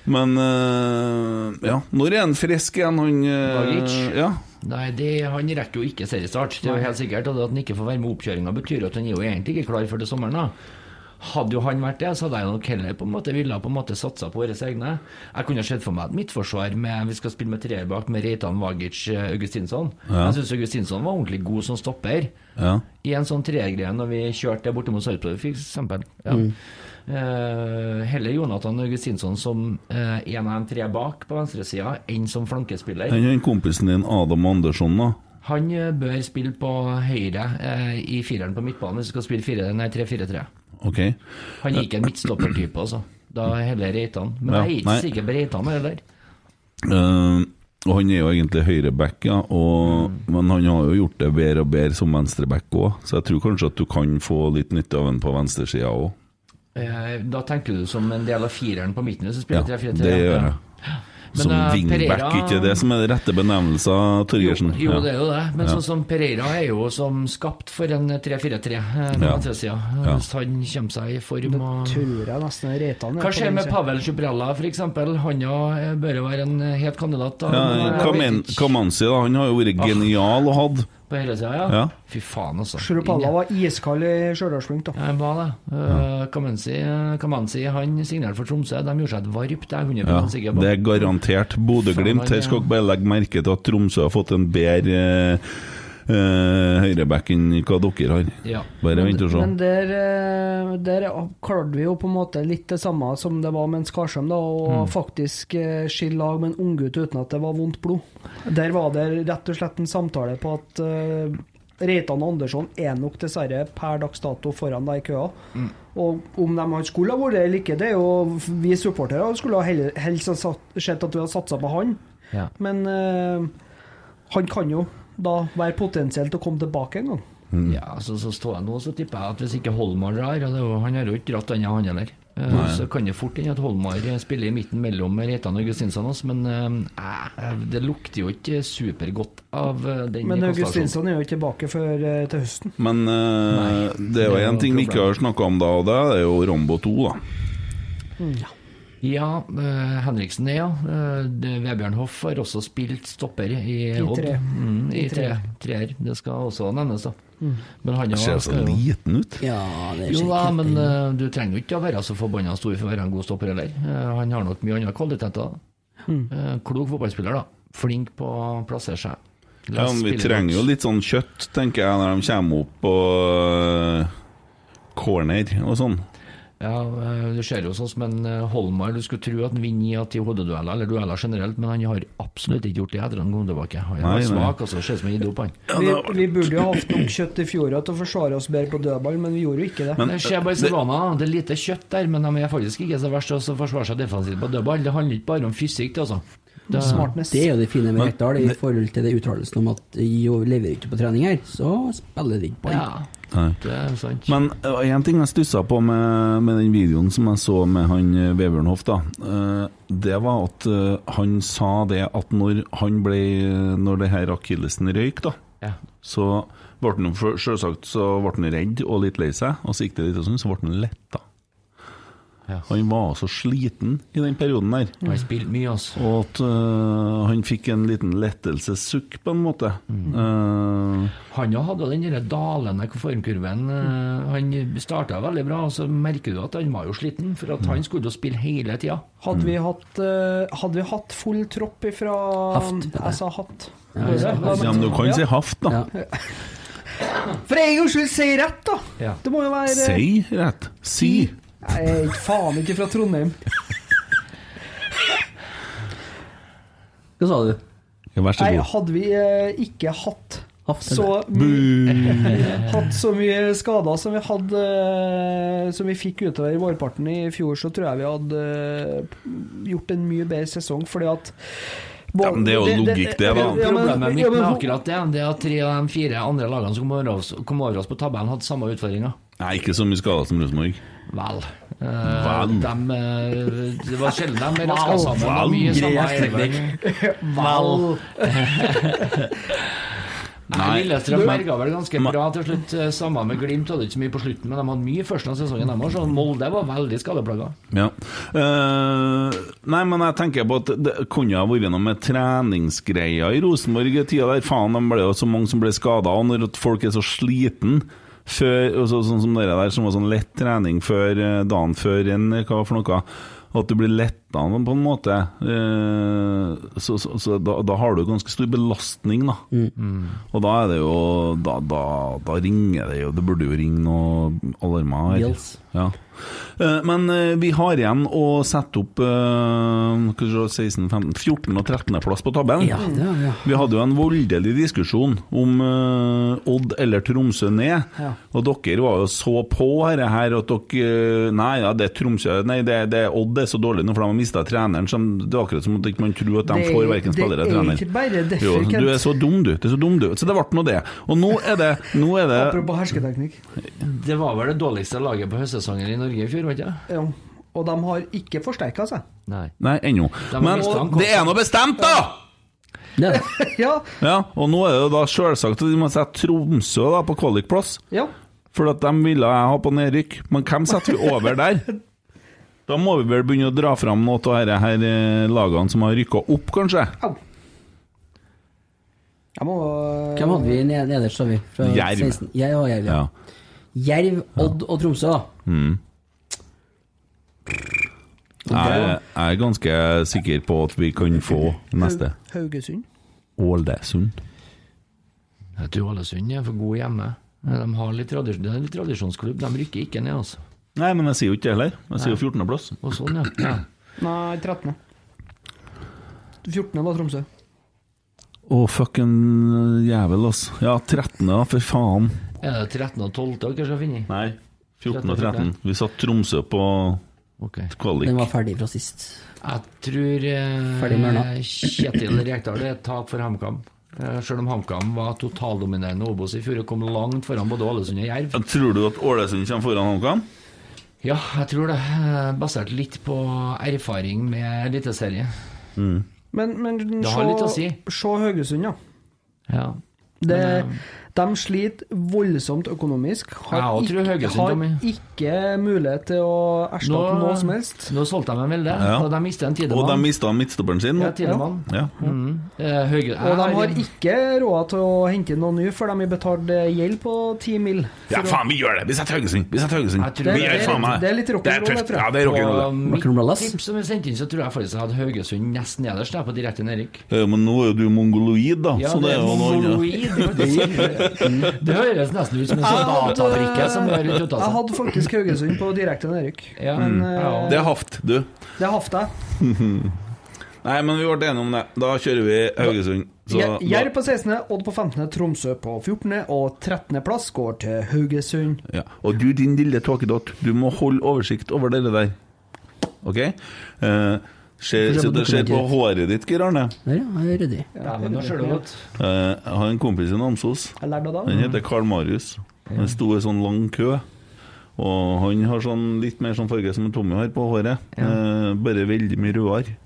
Speaker 2: Men eh, ja, når er han frisk igjen, han eh,
Speaker 5: Bagic?
Speaker 2: Ja.
Speaker 5: Nei, det, Han rekker jo ikke seriestart, det er jo helt sikkert. Og det at han ikke får være med oppkjøringa, betyr jo at han er jo egentlig ikke klar før til sommeren. da Hadde jo han vært det, så hadde jeg nok heller på en måte ville ha på en måte satsa på våre egne. Jeg kunne ha sett for meg et midtforsvar med vi skal spille med treer bak, med Reitan, Vagic, eh, Augustinsson. Jeg syns Augustinsson var ordentlig god som stopper.
Speaker 2: ja.
Speaker 5: I en sånn treergreie når vi kjørte borte mot Sarpsborg, for eksempel. Ja. Eh, heller Jonathan Augustinsson som eh, en av de tre bak på venstresida, enn som flankespiller.
Speaker 2: Han er den kompisen din, Adam Andersson, da.
Speaker 5: Han eh, bør spille på høyre eh, i fireren på midtbanen hvis du skal spille fire, nei, 3-4-3.
Speaker 2: Ok.
Speaker 5: Han er ikke en midtstoppertype, altså. Da heller Reitan. Men
Speaker 2: Ja,
Speaker 5: jeg er ikke
Speaker 2: nei.
Speaker 5: sikker på Reitan heller.
Speaker 2: Eh, og han er jo egentlig høyreback, ja,
Speaker 5: Mm.
Speaker 2: og, men han har jo gjort det bedre og bedre som venstreback òg, så jeg tror kanskje at du kan få litt nytte av ham på venstresida òg.
Speaker 5: Eh, da tenker du som en del av fireren på midten hvis du
Speaker 2: Ja,
Speaker 5: spiller
Speaker 2: det
Speaker 5: 3-4-3.
Speaker 2: gjør jeg.
Speaker 5: Ja. Men,
Speaker 2: Som
Speaker 5: eh,
Speaker 2: wingback,
Speaker 5: Pereira-
Speaker 2: ikke det som er den rette benevnelsen, Torgersen?
Speaker 5: Mm. Jo, jo, det er
Speaker 2: ja.
Speaker 5: jo det. Men sånn som Pereira er jo som skapt for en 3-4-3 eh, på
Speaker 2: Ja.
Speaker 5: venstresida.
Speaker 2: Ja.
Speaker 5: Hvis han kommer seg i form og
Speaker 6: Tror jeg nesten Reitan er
Speaker 5: Hva
Speaker 6: på
Speaker 5: skjer
Speaker 6: den
Speaker 5: med
Speaker 6: siden.
Speaker 5: Pavel Sjubrella f.eks.? Han ja, eh, bør jo være en het kandidat. da.
Speaker 2: Ja,
Speaker 5: Men jeg vet
Speaker 2: Kamen-
Speaker 5: ikke.
Speaker 2: Kamanzi, da, han har jo vært genial og hatt.
Speaker 5: På hele sida, ja.
Speaker 2: Ja.
Speaker 5: Fy faen, altså.
Speaker 6: Sjurupalla var iskald i Stjørdalsblink,
Speaker 5: Ja,
Speaker 6: da.
Speaker 5: han var det. Eh, Kamanzi, eh, Kamanzi han signerte for Tromsø. De gjorde seg et varp, det er jeg 100
Speaker 2: Ja,
Speaker 5: sikker på.
Speaker 2: det er garantert Bodø-Glimt.
Speaker 5: Faen,
Speaker 2: Her skal
Speaker 5: ja.
Speaker 2: dere bare legge merke til at Tromsø har fått en bedre eh, eh, høyreback enn hva dere har.
Speaker 5: Ja.
Speaker 2: Bare vent og se.
Speaker 6: Men der, eh, der klarte vi jo på en måte litt det samme som det var med en Skarsheim, da, og faktisk eh, skille lag med en unggutt uten at det var vondt blod. Der var det rett og slett en samtale på at eh, Reitan og Andersson er nok dessverre per dags dato foran deg i køa. Og om de han skulle ha vært eller ikke, det er jo vi supportere skulle ha heller- helst ha satt- sett at vi hadde satsa på han.
Speaker 5: Ja.
Speaker 6: Men eh, han kan jo da være potensielt å komme tilbake en gang.
Speaker 5: Ja, så, så står jeg nå så tipper jeg at hvis ikke Holmar drar og det, er jo- Han har jo ikke dratt denne, han heller. Eh, Så kan det fort hende at Holmar spiller i midten mellom Reitan og Augustinsson. også, Men eh, eh, det lukter jo ikke supergodt av eh, den
Speaker 6: Men
Speaker 5: konstellasjonen.
Speaker 6: Augustinsson er jo ikke tilbake før eh, til høsten.
Speaker 2: Men eh, det er jo
Speaker 5: det er
Speaker 2: én
Speaker 5: jo
Speaker 2: ting vi ikke
Speaker 5: problem.
Speaker 2: har snakka om da, og det er jo Rambo 2, da.
Speaker 5: Ja, eh, Henriksen er ja. Eh, det- Vebjørn Hoff har også spilt stopper i
Speaker 6: I
Speaker 5: Odd.
Speaker 6: tre.
Speaker 5: Mm, I
Speaker 6: I
Speaker 5: tre.
Speaker 6: tre.
Speaker 5: Treer. Det skal også nevnes, da. Men han
Speaker 2: Han ser
Speaker 5: jo,
Speaker 2: så
Speaker 5: skal jo
Speaker 2: liten ut.
Speaker 4: Ja, det er
Speaker 5: jo da,
Speaker 4: sikkert
Speaker 5: men
Speaker 4: en-
Speaker 5: eh, du trenger jo ikke å være så forbanna stor for å være en god stopper heller. Eh, Han har nok mye andre kvaliteter.
Speaker 2: Mm.
Speaker 5: Eh, Klok fotballspiller, da. Flink på å plassere seg. La
Speaker 2: Ja,
Speaker 5: oss
Speaker 2: men vi
Speaker 5: spille
Speaker 2: trenger jo
Speaker 5: godt.
Speaker 2: litt sånn kjøtt, tenker jeg, når de kommer opp på eh, corner og sånn.
Speaker 5: Ja, eh, Du ser jo sånn som en eh, Holmar, du skulle tro at han vinner 9 av 10 hodedueller, eller dueller generelt, men han har absolutt ikke gjort det etter at han kom tilbake. Han
Speaker 2: Nei,
Speaker 5: er
Speaker 2: nei.
Speaker 5: svak, altså. Ser ut som en idiot, han.
Speaker 6: Vi, vi burde jo hatt nok kjøtt i fjor til å forsvare oss bedre på dødball, men vi gjorde jo ikke det.
Speaker 2: Men- eh,
Speaker 5: Det skjer bare i Savana. Det er lite kjøtt der, men de er faktisk ikke så verst til å forsvare seg defensivt på dødball. Det handler ikke bare om fysikk, det, altså. Det,
Speaker 6: Smartness.
Speaker 4: Det er jo det fine med Rekdal i forhold til det uttalelsen om at Jo leverer ikke på trening her, så spiller det ikke på
Speaker 5: ja,
Speaker 4: han.
Speaker 2: Nei.
Speaker 5: det er sant.
Speaker 2: Men én ting jeg stussa på med, med den videoen som jeg så med han eh, Vebjørn Hoff, da. eh, Det var at eh, han sa det at når han ble Når det her akillesen røyk, da,
Speaker 5: Ja.
Speaker 2: så ble han jo sånn, for- selvsagt så ble han redd og litt lei seg, og så gikk det litt en stund, så ble han letta. Han var altså sliten i den perioden der.
Speaker 5: Han spilte mye, altså.
Speaker 2: Og at øh, han fikk en liten lettelsessukk, på en måte. Eh,
Speaker 5: Han jo hadde den der dalende formkurven. eh, Han starta veldig bra, og så merker du at han var jo sliten, for at han skulle jo spille hele tida.
Speaker 6: Hadde
Speaker 2: Mm.
Speaker 6: vi hatt, eh, hadde vi hatt full tropp ifra
Speaker 4: Haft, heter det.
Speaker 6: Jeg sa hatt.
Speaker 4: Ja, ja,
Speaker 6: Hva-
Speaker 2: ja, men du kan
Speaker 6: Ja.
Speaker 2: si haft, da.
Speaker 4: Ja.
Speaker 6: For en gangs skyld, si rett, da!
Speaker 5: Ja.
Speaker 6: Det må jo være
Speaker 2: Si rett. Si.
Speaker 6: Jeg er ikke faen ikke fra Trondheim.
Speaker 4: Hva sa du?
Speaker 2: Ja, vær så
Speaker 6: Nei,
Speaker 2: god.
Speaker 6: hadde vi eh, ikke hatt
Speaker 4: Haft,
Speaker 6: så,
Speaker 2: Bu.
Speaker 6: hatt så mye skader som vi hadde eh, Som vi fikk utover i vårparten i fjor, så tror jeg vi hadde eh, gjort en mye bedre sesong, fordi at
Speaker 2: Ja, men det er jo logikk, det, da.
Speaker 6: ja, men-
Speaker 5: Problemet mitt
Speaker 6: ja, men
Speaker 5: med
Speaker 6: ho-
Speaker 5: akkurat det, det er at tre av de fire andre lagene som kom over oss, kom over oss på tabellen, hadde samme utfordringer.
Speaker 2: Nei, ikke så mye skada som Rosenborg.
Speaker 5: Vel. Eh,
Speaker 2: Vel.
Speaker 5: dem, eh, det var sjelden de raska sammen. Det var mye samme elver.
Speaker 4: Vel.
Speaker 5: Nei, Lillestrøm
Speaker 2: men-
Speaker 5: berga vel ganske bra til slutt. eh, Samme med Glimt, hadde ikke så mye på slutten, men de hadde mye i første av sesongen. De var sånn, Molde var veldig skadeplaga.
Speaker 2: Ja. Eh, nei, men jeg tenker på at det kunne ha vært noe med treningsgreier i Rosenborg i tida der. Faen, de ble jo så mange som ble skada, og når at folk er så sliten før, og så, Sånn som dere der, som var sånn lett trening før eh, dagen før enn hva for noe. At du blir letta på en måte. Eh, så så, så da, da har du ganske stor belastning, da. Og da er det jo Da, da, da ringer det jo Det burde jo ringe noen alarmer. her.
Speaker 4: Bjells.
Speaker 2: Ja. Eh, Men eh, vi har igjen å sette opp eh, skal vi se, 16, 15, 14. og 13. plass på tabellen.
Speaker 4: Ja, det har vi, ja.
Speaker 2: Vi hadde jo en voldelig diskusjon om eh, Odd eller Tromsø ned.
Speaker 6: Ja.
Speaker 2: Og dere var jo så på dette her at dere eh, Nei, ja, det er Tromsø Nei, det, det, Odd er så dårlig nå, for de har mista treneren. Som, det er akkurat som at ikke man ikke tror at de
Speaker 6: Det-
Speaker 2: får verken
Speaker 6: det
Speaker 2: spillere
Speaker 6: er
Speaker 2: eller trener.
Speaker 6: ikke bare derfor,
Speaker 2: Jo,
Speaker 6: Kent.
Speaker 2: du er så dum, du. Det er så dum, du. Så det ble nå det. Og nå er det, nå er det
Speaker 6: Apropos hersketeknikk.
Speaker 5: Det var vel det dårligste laget på høstsesongen i Norge i fjor, var det ikke? det?
Speaker 6: Ja. Og de har ikke forsterka seg.
Speaker 5: Nei.
Speaker 2: Nei, ennå.
Speaker 5: Da må
Speaker 2: Men
Speaker 5: vi ta en
Speaker 2: det er nå bestemt, da!
Speaker 4: Det er det.
Speaker 6: Ja,
Speaker 2: Ja, og nå er det da selvsagt at de må sette Tromsø da på kvalikplass.
Speaker 6: ja.
Speaker 2: For at de ville jeg ha på nedrykk. Men hvem setter vi over der? Da må vi vel begynne å dra fram noe av disse her, eh, lagene som har rykka opp, kanskje.
Speaker 6: Au. Jeg må
Speaker 4: Hvem hadde vi ned- nederst? sa vi? Fra
Speaker 2: Jerv.
Speaker 4: 16. Jeg og Jerv, ja.
Speaker 2: Ja.
Speaker 4: Jerv, Odd og Tromsø, da.
Speaker 2: Jeg, jeg er ganske sikker på at vi kan få neste.
Speaker 6: Haugesund.
Speaker 2: Ålesund.
Speaker 5: Jeg tror Ålesund er for gode hjemme. De har litt, tradis det er en litt tradisjonsklubb. De rykker ikke ned, altså.
Speaker 2: Nei, men jeg sier jo ikke det heller. Jeg sier jo 14.-plass.
Speaker 5: Og sånn, ja. ja.
Speaker 6: Nei, 13. 14. var Tromsø.
Speaker 2: Å, fucken jævel, ass. Ja, 13., da, for faen.
Speaker 5: Er det 13. og 12. dere skal finne?
Speaker 2: Nei, 14. og 13. Vi satt Tromsø på
Speaker 5: Ok.
Speaker 2: kvalik.
Speaker 4: Den var ferdig fra sist.
Speaker 5: Jeg tror
Speaker 4: Ferdig med Ørna.
Speaker 5: eh, Kjetil Rekdal er et tap for HamKam. Eh, Selv om HamKam var totaldominerende Obos i fjor og kom langt foran både Ålesund og Jerv.
Speaker 2: Tror du at Ålesund kommer foran HamKam?
Speaker 5: Ja, jeg tror det. eh, Basert litt på erfaring med eliteserie.
Speaker 6: Men, men
Speaker 5: Det har litt å si.
Speaker 6: se Haugesund, ja.
Speaker 5: Ja.
Speaker 6: Det, de sliter voldsomt økonomisk. Har,
Speaker 5: eh, Jeg tror
Speaker 6: ikke,
Speaker 5: Haugesund,
Speaker 6: har
Speaker 5: Tommy.
Speaker 6: ikke mulighet til å erstatte
Speaker 5: Nå-
Speaker 6: noe som helst.
Speaker 5: Nå solgte de en veldig,
Speaker 2: Ja.
Speaker 5: og de mistet en
Speaker 2: Og de
Speaker 5: Tidemann.
Speaker 2: mista midtstopperen sin.
Speaker 5: Ja,
Speaker 2: nå.
Speaker 5: Tidemann.
Speaker 2: Ja.
Speaker 5: Mm. Eh, Hauge-
Speaker 6: Og de
Speaker 5: Jeg
Speaker 6: har ikke råd til å hente inn noen nye, for de har betalt eh, gjeld på 10 mill.
Speaker 2: ja, faen, vi gjør det! Vi setter Haugesund! Vi setter Haugesund!
Speaker 5: Jeg tror
Speaker 2: Vi
Speaker 5: det er
Speaker 2: gjør faen meg
Speaker 6: litt- det er litt rock'n'roll,
Speaker 2: tøft.
Speaker 6: jeg tror jeg.
Speaker 2: Ja, det er
Speaker 5: Og
Speaker 2: rock'n'roll.
Speaker 5: mitt
Speaker 4: Rock'n'roll, ass.
Speaker 5: tips som er sendt inn, så tror jeg faktisk jeg hadde Haugesund nest nederst der på direkte nedrykk.
Speaker 2: Ja, Eh, men nå er jo du mongoloid, da, så det Sånn er jo noe annet.
Speaker 5: mongoloid, faktisk. Mm. Det høres nesten ut som en sånn databrikke som har rundt
Speaker 6: eh, Jeg
Speaker 5: seg.
Speaker 6: hadde faktisk Haugesund på direkte nedrykk.
Speaker 5: Ja,
Speaker 6: Men
Speaker 5: mm. ja.
Speaker 6: eh,
Speaker 2: Det er haft, du.
Speaker 6: det haft jeg.
Speaker 2: Nei, men vi ble enige om det. Da kjører vi Haugesund. Så
Speaker 6: Jeg- Jerv
Speaker 2: da,
Speaker 6: på 16., Odd på 15., Tromsø på 14., og 13. plass går til Haugesund.
Speaker 2: ja. Og du, din lille tåkedott, du må holde oversikt over det der. OK? Eh, Ser
Speaker 4: Få se
Speaker 2: se-
Speaker 4: på
Speaker 2: det skjer på
Speaker 4: dokumentet.
Speaker 2: håret ditt, Geir Arne.
Speaker 4: Der, ja. Jeg er ryddig.
Speaker 5: ja, men nå ser du godt.
Speaker 2: Eh, Jeg har en kompis i Namsos.
Speaker 6: Jeg lærte det da.
Speaker 2: Han heter Carl Marius. Han sto i sånn lang kø. Og han har sånn litt mer sånn farge som en Tommy har på håret, eh, bare veldig mye rødere.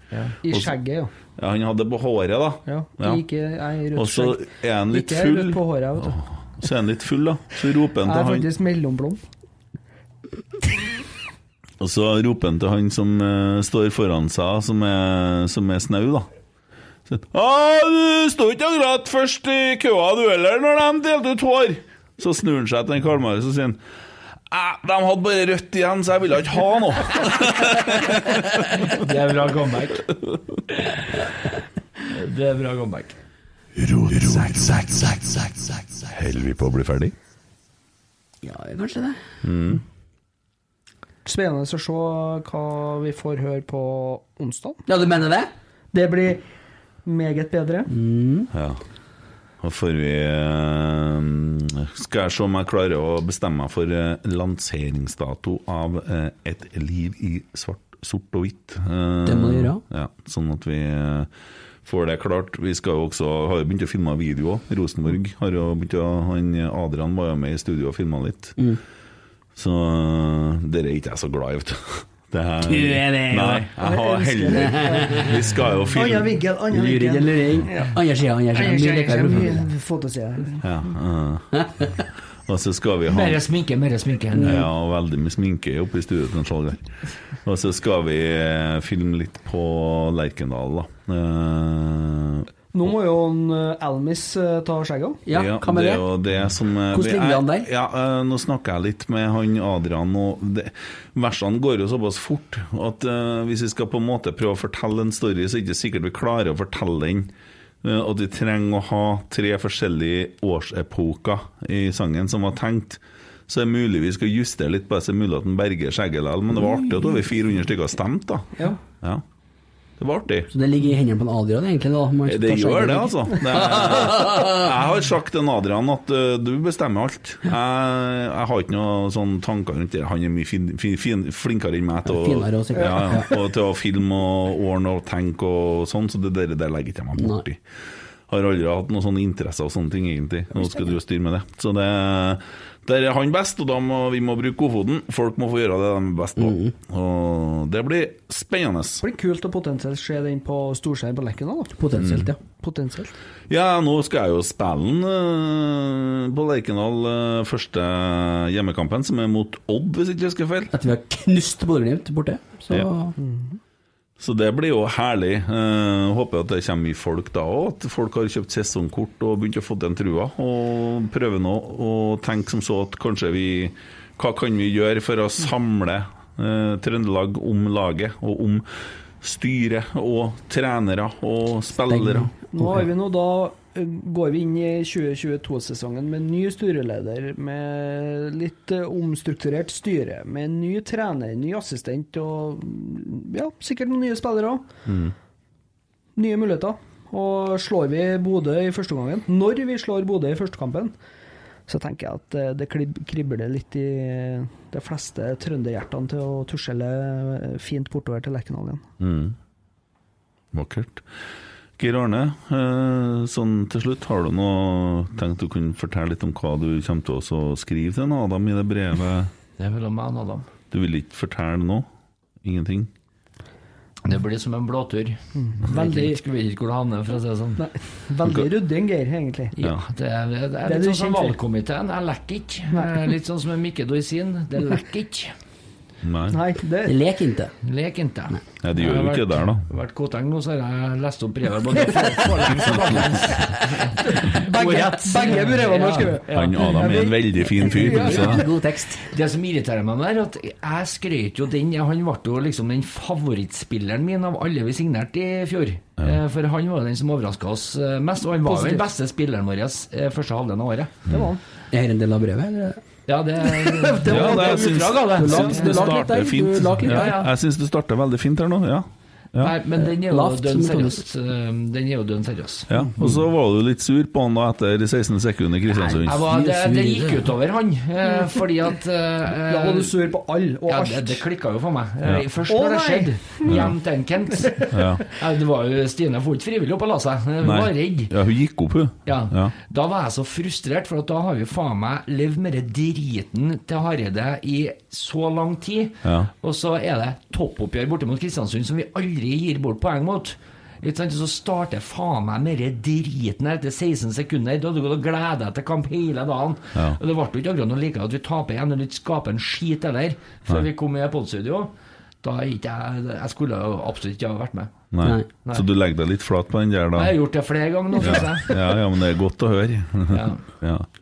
Speaker 6: I
Speaker 2: Og så-
Speaker 6: skjegget, ja.
Speaker 2: Ja, han hadde det på håret, da.
Speaker 6: Ja,
Speaker 2: Ja.
Speaker 6: Ikke, jeg er
Speaker 2: Og
Speaker 6: rødt
Speaker 2: så
Speaker 6: skjegg.
Speaker 2: er han litt
Speaker 6: Ikke jeg er rødt
Speaker 2: full,
Speaker 6: på håret, vet du.
Speaker 2: så er han litt full, da. Så roper han
Speaker 6: Jeg
Speaker 2: til
Speaker 6: er
Speaker 2: han
Speaker 6: faktisk mellomblond.
Speaker 2: Og så roper han til han som eh, står foran seg, som er, som er snau, da. Så, «Ah, du sto ikke akkurat først i køa, du heller, når de delte ut hår. Så snur han seg til den Karl-Marius og sier han, «Ah, De hadde bare rødt igjen, så jeg ville ikke ha noe.
Speaker 5: Det er bra comeback. Det er bra comeback.
Speaker 8: Holder vi på å bli ferdig?
Speaker 6: Ja, kanskje det. Spennende å se hva vi får høre på onsdag.
Speaker 4: Ja, du mener det?
Speaker 6: Det blir meget bedre.
Speaker 2: Ja. Da får vi eh, Skal jeg se om jeg klarer å bestemme meg for eh, lanseringsdato av eh, Et liv i svart, sort og hvitt. Eh,
Speaker 4: Det må du gjøre.
Speaker 2: Ja, sånn at vi eh, får det klart. Vi skal jo også, har jo begynt å filme video òg. Rosenborg har jo begynt å han Adrian var jo med i studio og filma litt.
Speaker 4: Mm.
Speaker 2: Så eh, dere er ikke jeg så glad i, vet du. Det er,
Speaker 4: Du er det, jo.
Speaker 2: Nei, jeg har heller Vi skal jo
Speaker 6: Annen
Speaker 2: filme
Speaker 6: vinkel, annen
Speaker 4: Luring
Speaker 6: vinkel.
Speaker 4: eller luring? Andre sida, andre sida. Mye likere profil.
Speaker 6: Fotoside.
Speaker 2: Ja, eh. og så skal vi ha
Speaker 5: Mer sminke, mer sminke.
Speaker 2: Ja, og veldig mye sminke oppe i studio til Skjalg her. Og så skal vi eh, filme litt på Lerkendal, da. Eh,
Speaker 6: Nå må jo en eh, Elmis eh, ta skjegget. av.
Speaker 4: Ja, hva med
Speaker 2: det
Speaker 4: det?
Speaker 2: er jo det som eh,
Speaker 4: Hvordan
Speaker 2: vi-
Speaker 4: ligger han der?
Speaker 2: Ja, eh, Nå snakker jeg litt med han Adrian, og det, versene går jo såpass fort at eh, hvis vi skal på en måte prøve å fortelle en story, så er det ikke sikkert vi klarer å fortelle den. Eh, at vi trenger å ha tre forskjellige årsepoker i sangen som var tenkt. Så er det mulig vi skal justere litt på det, så er det mulig at den berger skjegget likevel, men det var artig at over
Speaker 4: Mm.
Speaker 2: 400 stykker stemte, da.
Speaker 6: Ja.
Speaker 2: Ja. Det var artig.
Speaker 4: Så det ligger i hendene på en Adrian, egentlig? da man
Speaker 2: Det
Speaker 4: tar seg
Speaker 2: gjør
Speaker 4: i
Speaker 2: det,
Speaker 4: dag.
Speaker 2: altså. Det er, jeg har sagt til Adrian at ø, du bestemmer alt. Jeg, jeg har ikke noen sånne tanker rundt det. Han er mye fin, fin, fin, flinkere enn meg til å,
Speaker 4: Finere og sikkert.
Speaker 2: ja, ja, og til å filme og ordne og tenke og sånn, så det der, der legger ikke jeg meg borti. Har aldri hatt noen sånne interesser og sånne ting, egentlig. Nå skal du jo styre med det. Så det, der er han best, og da må vi må bruke godfoten. Folk må få gjøre det de er best på. Og det blir spennende.
Speaker 6: Det blir kult å potensielt se den på storskjerm på Lerkendal. da.
Speaker 2: Mm.
Speaker 4: Potensielt, ja.
Speaker 6: Potensielt.
Speaker 2: Ja, nå skal jeg jo spille den eh, på Lerkendal eh, første hjemmekampen, som er mot Odd, hvis ikke jeg husker feil.
Speaker 4: Etter vi har knust Bodø-Glimt borte, så
Speaker 2: Ja. Så det blir jo herlig. Eh, håper at det kommer mye folk da òg, at folk har kjøpt sesongkort og begynt å få den trua. Og prøver nå å tenke som så at kanskje vi Hva kan vi gjøre for å samle eh, Trøndelag om laget, og om styret, og trenere og spillere?
Speaker 6: Nå har vi nå da eh, går vi inn i 2022-sesongen med ny styreleder, med litt eh, omstrukturert styre, med ny trener, ny assistent og mm, ja, sikkert noen nye spillere òg. Nye muligheter. Og slår vi Bodø i første omgangen, når vi slår Bodø i første kampen, så tenker jeg at eh, det klib- kribler litt i eh, de fleste trønderhjertene til å tusjele eh, fint bortover til Lerkendal igjen.
Speaker 2: Vakkert. Geir Arne, eh, sånn til slutt, har du noe tenkt du kunne fortelle litt om hva du kommer til å også skrive til en Adam i det brevet?
Speaker 5: Det er mellom meg og Adam.
Speaker 2: Du vil ikke fortelle noe? Ingenting?
Speaker 5: Det blir som en blåtur.
Speaker 4: Mm.
Speaker 6: Veldig,
Speaker 5: Jeg vet ikke hvor det havner, for å si det sånn.
Speaker 6: nei, veldig ryddig, Geir, egentlig.
Speaker 5: Ja, det er, det er,
Speaker 6: er
Speaker 5: litt
Speaker 6: du
Speaker 5: sånn som
Speaker 6: kjent for.
Speaker 5: valgkomiteen. Jeg lekker ikke. Jeg er Litt sånn som en Mikke Dorsin. Det lekker ikke.
Speaker 2: Nei.
Speaker 6: Nei, det
Speaker 4: Det leker ikke.
Speaker 5: Lek ikke.
Speaker 2: Nei, det gjør jo ikke det der, da.
Speaker 5: Jeg har vært koteng nå, så har jeg lest opp brevet både for- forlengs og baklengs.
Speaker 6: Begge,
Speaker 5: Ordrett.
Speaker 6: begge brevene har
Speaker 5: Ja,
Speaker 6: skrevet.
Speaker 5: ja.
Speaker 2: Han Adam er en veldig fin fyr. Så.
Speaker 4: God tekst.
Speaker 5: Det som irriterer meg, der, er at jeg skrøt jo den Han ble jo liksom den favorittspilleren min av alle vi signerte i fjor. Eh, For han var jo den som overraska oss eh, mest, og han var jo den beste spilleren vår eh, første halvdelen av året.
Speaker 6: Det var han.
Speaker 4: Er dette en del av brevet, eller?
Speaker 5: Ja, det, det
Speaker 2: Ja, det, jeg syns,
Speaker 5: utdrag av det.
Speaker 2: syns
Speaker 4: du
Speaker 2: det
Speaker 4: lak litt der,
Speaker 2: starter
Speaker 4: du
Speaker 2: fint.
Speaker 4: lak litt
Speaker 2: Ja,
Speaker 4: der, ja.
Speaker 2: jeg syns det starter veldig fint her nå, ja. Ja.
Speaker 5: Nei, men den er jo
Speaker 4: Lavt
Speaker 5: dønn
Speaker 4: som en
Speaker 5: seriøs. Eh, Den er jo dønn seriøs.
Speaker 2: ja. Og så var du litt sur på han da etter 16 sekunder i Kristiansund.
Speaker 5: Jeg var, det, det gikk utover han, eh, fordi at eh,
Speaker 6: Da var du sur på alle og
Speaker 5: ja,
Speaker 6: alt.
Speaker 5: det, det klikka jo for meg. Eh, Først
Speaker 6: Å,
Speaker 5: når
Speaker 6: nei.
Speaker 5: det
Speaker 6: Mm.
Speaker 5: skjedde. Hjem til en Kent.
Speaker 2: Ja.
Speaker 5: Ja, Det var jo Stine for ikke frivillig opp og la seg. Hun
Speaker 2: Nei.
Speaker 5: var redd.
Speaker 2: Ja, hun gikk opp, hun.
Speaker 5: Ja.
Speaker 2: Ja.
Speaker 5: Da var jeg så frustrert, for at da har vi faen meg levd med det driten til Hareide i så lang tid.
Speaker 2: Ja.
Speaker 5: Og så er det toppoppgjør borte mot Kristiansund som vi aldri gir bort poeng mot. Ikke sant? Så starter faen meg med den driten her etter 16 sekunder. Da hadde du gått og gleda deg til kamp hele dagen.
Speaker 2: Ja.
Speaker 5: Og det ble jo ikke akkurat noe like at vi taper igjen eller ikke skaper en skit heller, før
Speaker 2: Nei.
Speaker 5: vi kom i podstudio. Da er ikke jeg Jeg skulle jo absolutt ikke ha vært med.
Speaker 2: Nei. Så du legger deg litt flat på den der, da?
Speaker 5: Jeg har gjort det flere ganger nå,
Speaker 2: ja.
Speaker 5: synes jeg.
Speaker 2: Ja, ja, men det er godt å høre. Ja.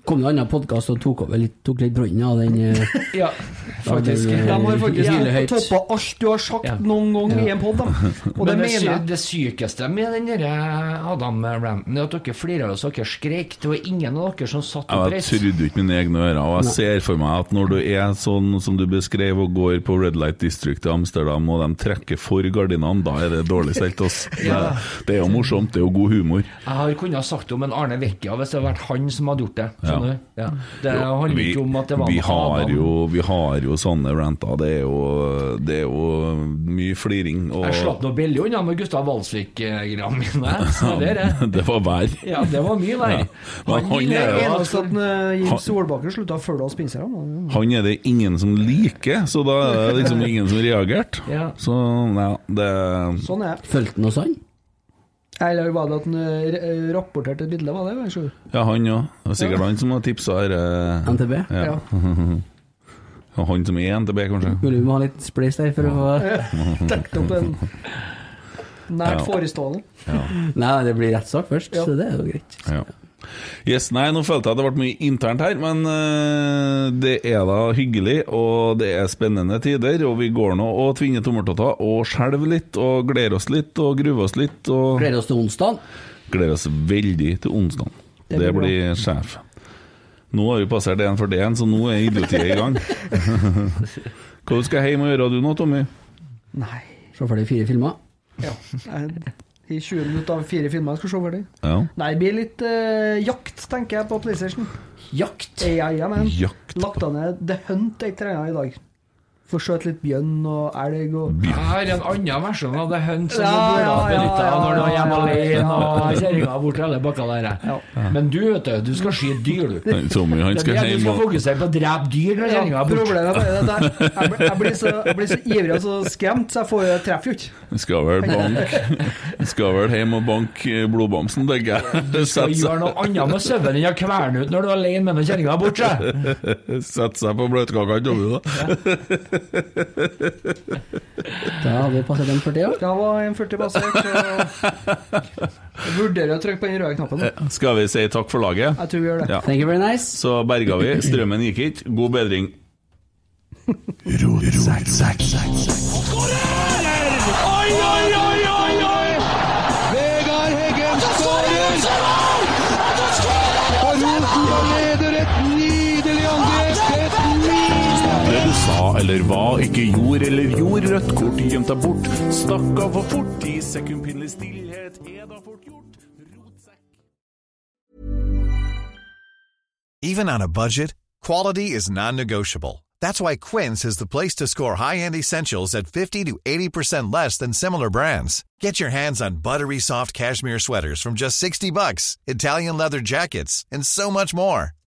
Speaker 4: Kom det en annen podkast og tok, over litt- tok litt brønnen av den eh,
Speaker 5: Ja, faktisk.
Speaker 4: av den, eh,
Speaker 5: De har faktisk
Speaker 4: Lille
Speaker 5: vært
Speaker 4: Høyt?
Speaker 5: på topp.
Speaker 6: På alt du har sagt noen gang i en pod, da. Og det
Speaker 5: Men det,
Speaker 6: mener
Speaker 5: sy
Speaker 6: jeg.
Speaker 5: det sykeste med den der eh, Adam-rampen er at dere flirer og dere skrek. Det var ingen av dere som satt
Speaker 2: Ja, Jeg
Speaker 5: oppreist.
Speaker 2: trodde ikke mine egne ører. Og jeg ser for meg at når du er sånn som du beskrev, og går på Red Light District i Amsterdam, og de trekker for gardinene, da er det dårlig stelt. ass.
Speaker 5: Ja.
Speaker 2: Det- Det er jo morsomt, det er jo god humor.
Speaker 5: Jeg har kunnet ha sagt om en Arne Vecchia hvis det hadde vært han som hadde gjort det. Skjønner
Speaker 2: Ja.
Speaker 5: du? Ja. Det handler
Speaker 2: Vi,
Speaker 5: ikke om at det var
Speaker 2: vi,
Speaker 5: en
Speaker 2: har
Speaker 5: Adam.
Speaker 2: jo, vi har jo sånne ranter. Det er jo, det er jo mye fliring. Og
Speaker 5: Jeg slapp noe billig unna med Gustav Walsvik-greia mine. Så det er det.
Speaker 2: det var vær.
Speaker 5: Ja, det var mye
Speaker 2: Ja.
Speaker 5: der.
Speaker 2: Men han
Speaker 5: ville
Speaker 2: er
Speaker 5: jo
Speaker 2: jo-
Speaker 5: at-
Speaker 6: Eneste at eh,
Speaker 2: Han-
Speaker 6: Jim Solbakken slutta å følge oss pinserne.
Speaker 2: Han er det ingen som liker, så da er det liksom ingen som reagerte.
Speaker 6: Ja.
Speaker 2: Så ja, det
Speaker 6: Sånn er det.
Speaker 4: Fulgte han også han?
Speaker 6: Eller var det at han eh, ra- eh, rapporterte et bilde, var det? jeg tror?
Speaker 2: Ja, han òg. Det var sikkert han som har tipsa her. eh,
Speaker 4: NTB?
Speaker 2: Ja. Og han som er NTB, kanskje.
Speaker 4: Mulig vi må ha litt spleis der for å få
Speaker 6: Dekket opp en
Speaker 2: Ja.
Speaker 6: nært forestående.
Speaker 4: Nei, det blir rettssak først, så det er jo greit.
Speaker 2: Ja. Yes, nei, nå følte jeg at det ble mye internt her, men eh, det er da hyggelig, og det er spennende tider, og vi går nå og tvinner tommeltotter og skjelver litt, og gleder oss litt, og gruer oss litt, og
Speaker 4: Gleder oss til onsdag.
Speaker 2: gleder oss veldig til onsdag. Det,
Speaker 6: Det blir bra.
Speaker 2: blir sjef. Nå har vi passert 1.41, så nå er idiotiet i gang. Hva skal jeg hjem og gjøre du nå, Tommy?
Speaker 6: Nei
Speaker 4: Se for deg fire filmer.
Speaker 6: ja. Jeg- I 20 minutter av fire filmer jeg skal se ferdig.
Speaker 2: Ja.
Speaker 6: Nei, det blir litt eh, jakt, tenker jeg, på PlayStation.
Speaker 5: Jakt.
Speaker 6: Ja, ja, men.
Speaker 2: Jakt.
Speaker 6: Lagt ned The Hunt jeg trener i dag. Får skjøt litt bjørn og elg og
Speaker 5: Jeg har en annen versjon av The Hunt som
Speaker 6: Ja,
Speaker 5: ja, burde ha
Speaker 6: ja, ja,
Speaker 5: benyttet
Speaker 6: ja,
Speaker 5: når du var
Speaker 6: ja,
Speaker 5: hjemme
Speaker 6: ja, ja,
Speaker 5: alene
Speaker 6: ja.
Speaker 5: og kjerringa har borte alle bakka der. jeg. Men du, vet du, du skal skyte dyr, du.
Speaker 2: Tommy, han
Speaker 5: Det
Speaker 2: skal
Speaker 5: er det du
Speaker 2: hjem
Speaker 5: skal
Speaker 2: og
Speaker 5: fokusere på å drepe dyr når
Speaker 6: ja,
Speaker 5: kjerringa er borte.
Speaker 6: Problemet er at jeg, jeg, blir- jeg, blir så, jeg blir så ivrig og så skremt, så jeg får jeg treffer jo ikke.
Speaker 2: Skal vel bank Skal vel hjem og banke blodbamsen, tenker jeg.
Speaker 5: Og
Speaker 2: Sette
Speaker 5: gjør
Speaker 2: seg,
Speaker 5: noe annet med søvnen enn å kverne ut når du er alene med når kjerringa er borte.
Speaker 2: sette seg på bløtkaka til Tommy, da.
Speaker 4: Da har vi passet den for det òg.
Speaker 6: Da var jeg en 40 basert, så jeg vurderer å trykke på den røde knappen.
Speaker 2: Skal vi si takk for laget?
Speaker 6: Jeg tror vi gjør det.
Speaker 2: Ja.
Speaker 4: Thank you very nice.
Speaker 2: Så berga vi. Strømmen gikk ikke. God bedring.
Speaker 3: Oi, oi, oi, oi, oi! Vegard Heggen skårer! Og Rosenborg leder et nydelig angrep! Et nydelig
Speaker 2: Det du sa eller var, ikke gjorde eller gjorde, rødt kort gjemt deg bort. Stakk av for fort i sekundpinnelig stillhet, er da fort gjort. Rotsekk
Speaker 9: Even on a budget, quality is non-negotiable. That's why Quince is the place to score high-end essentials at 50 to 80% less than similar brands. Get your hands on buttery soft cashmere sweaters from just 60 bucks, Italian leather jackets, and so much more.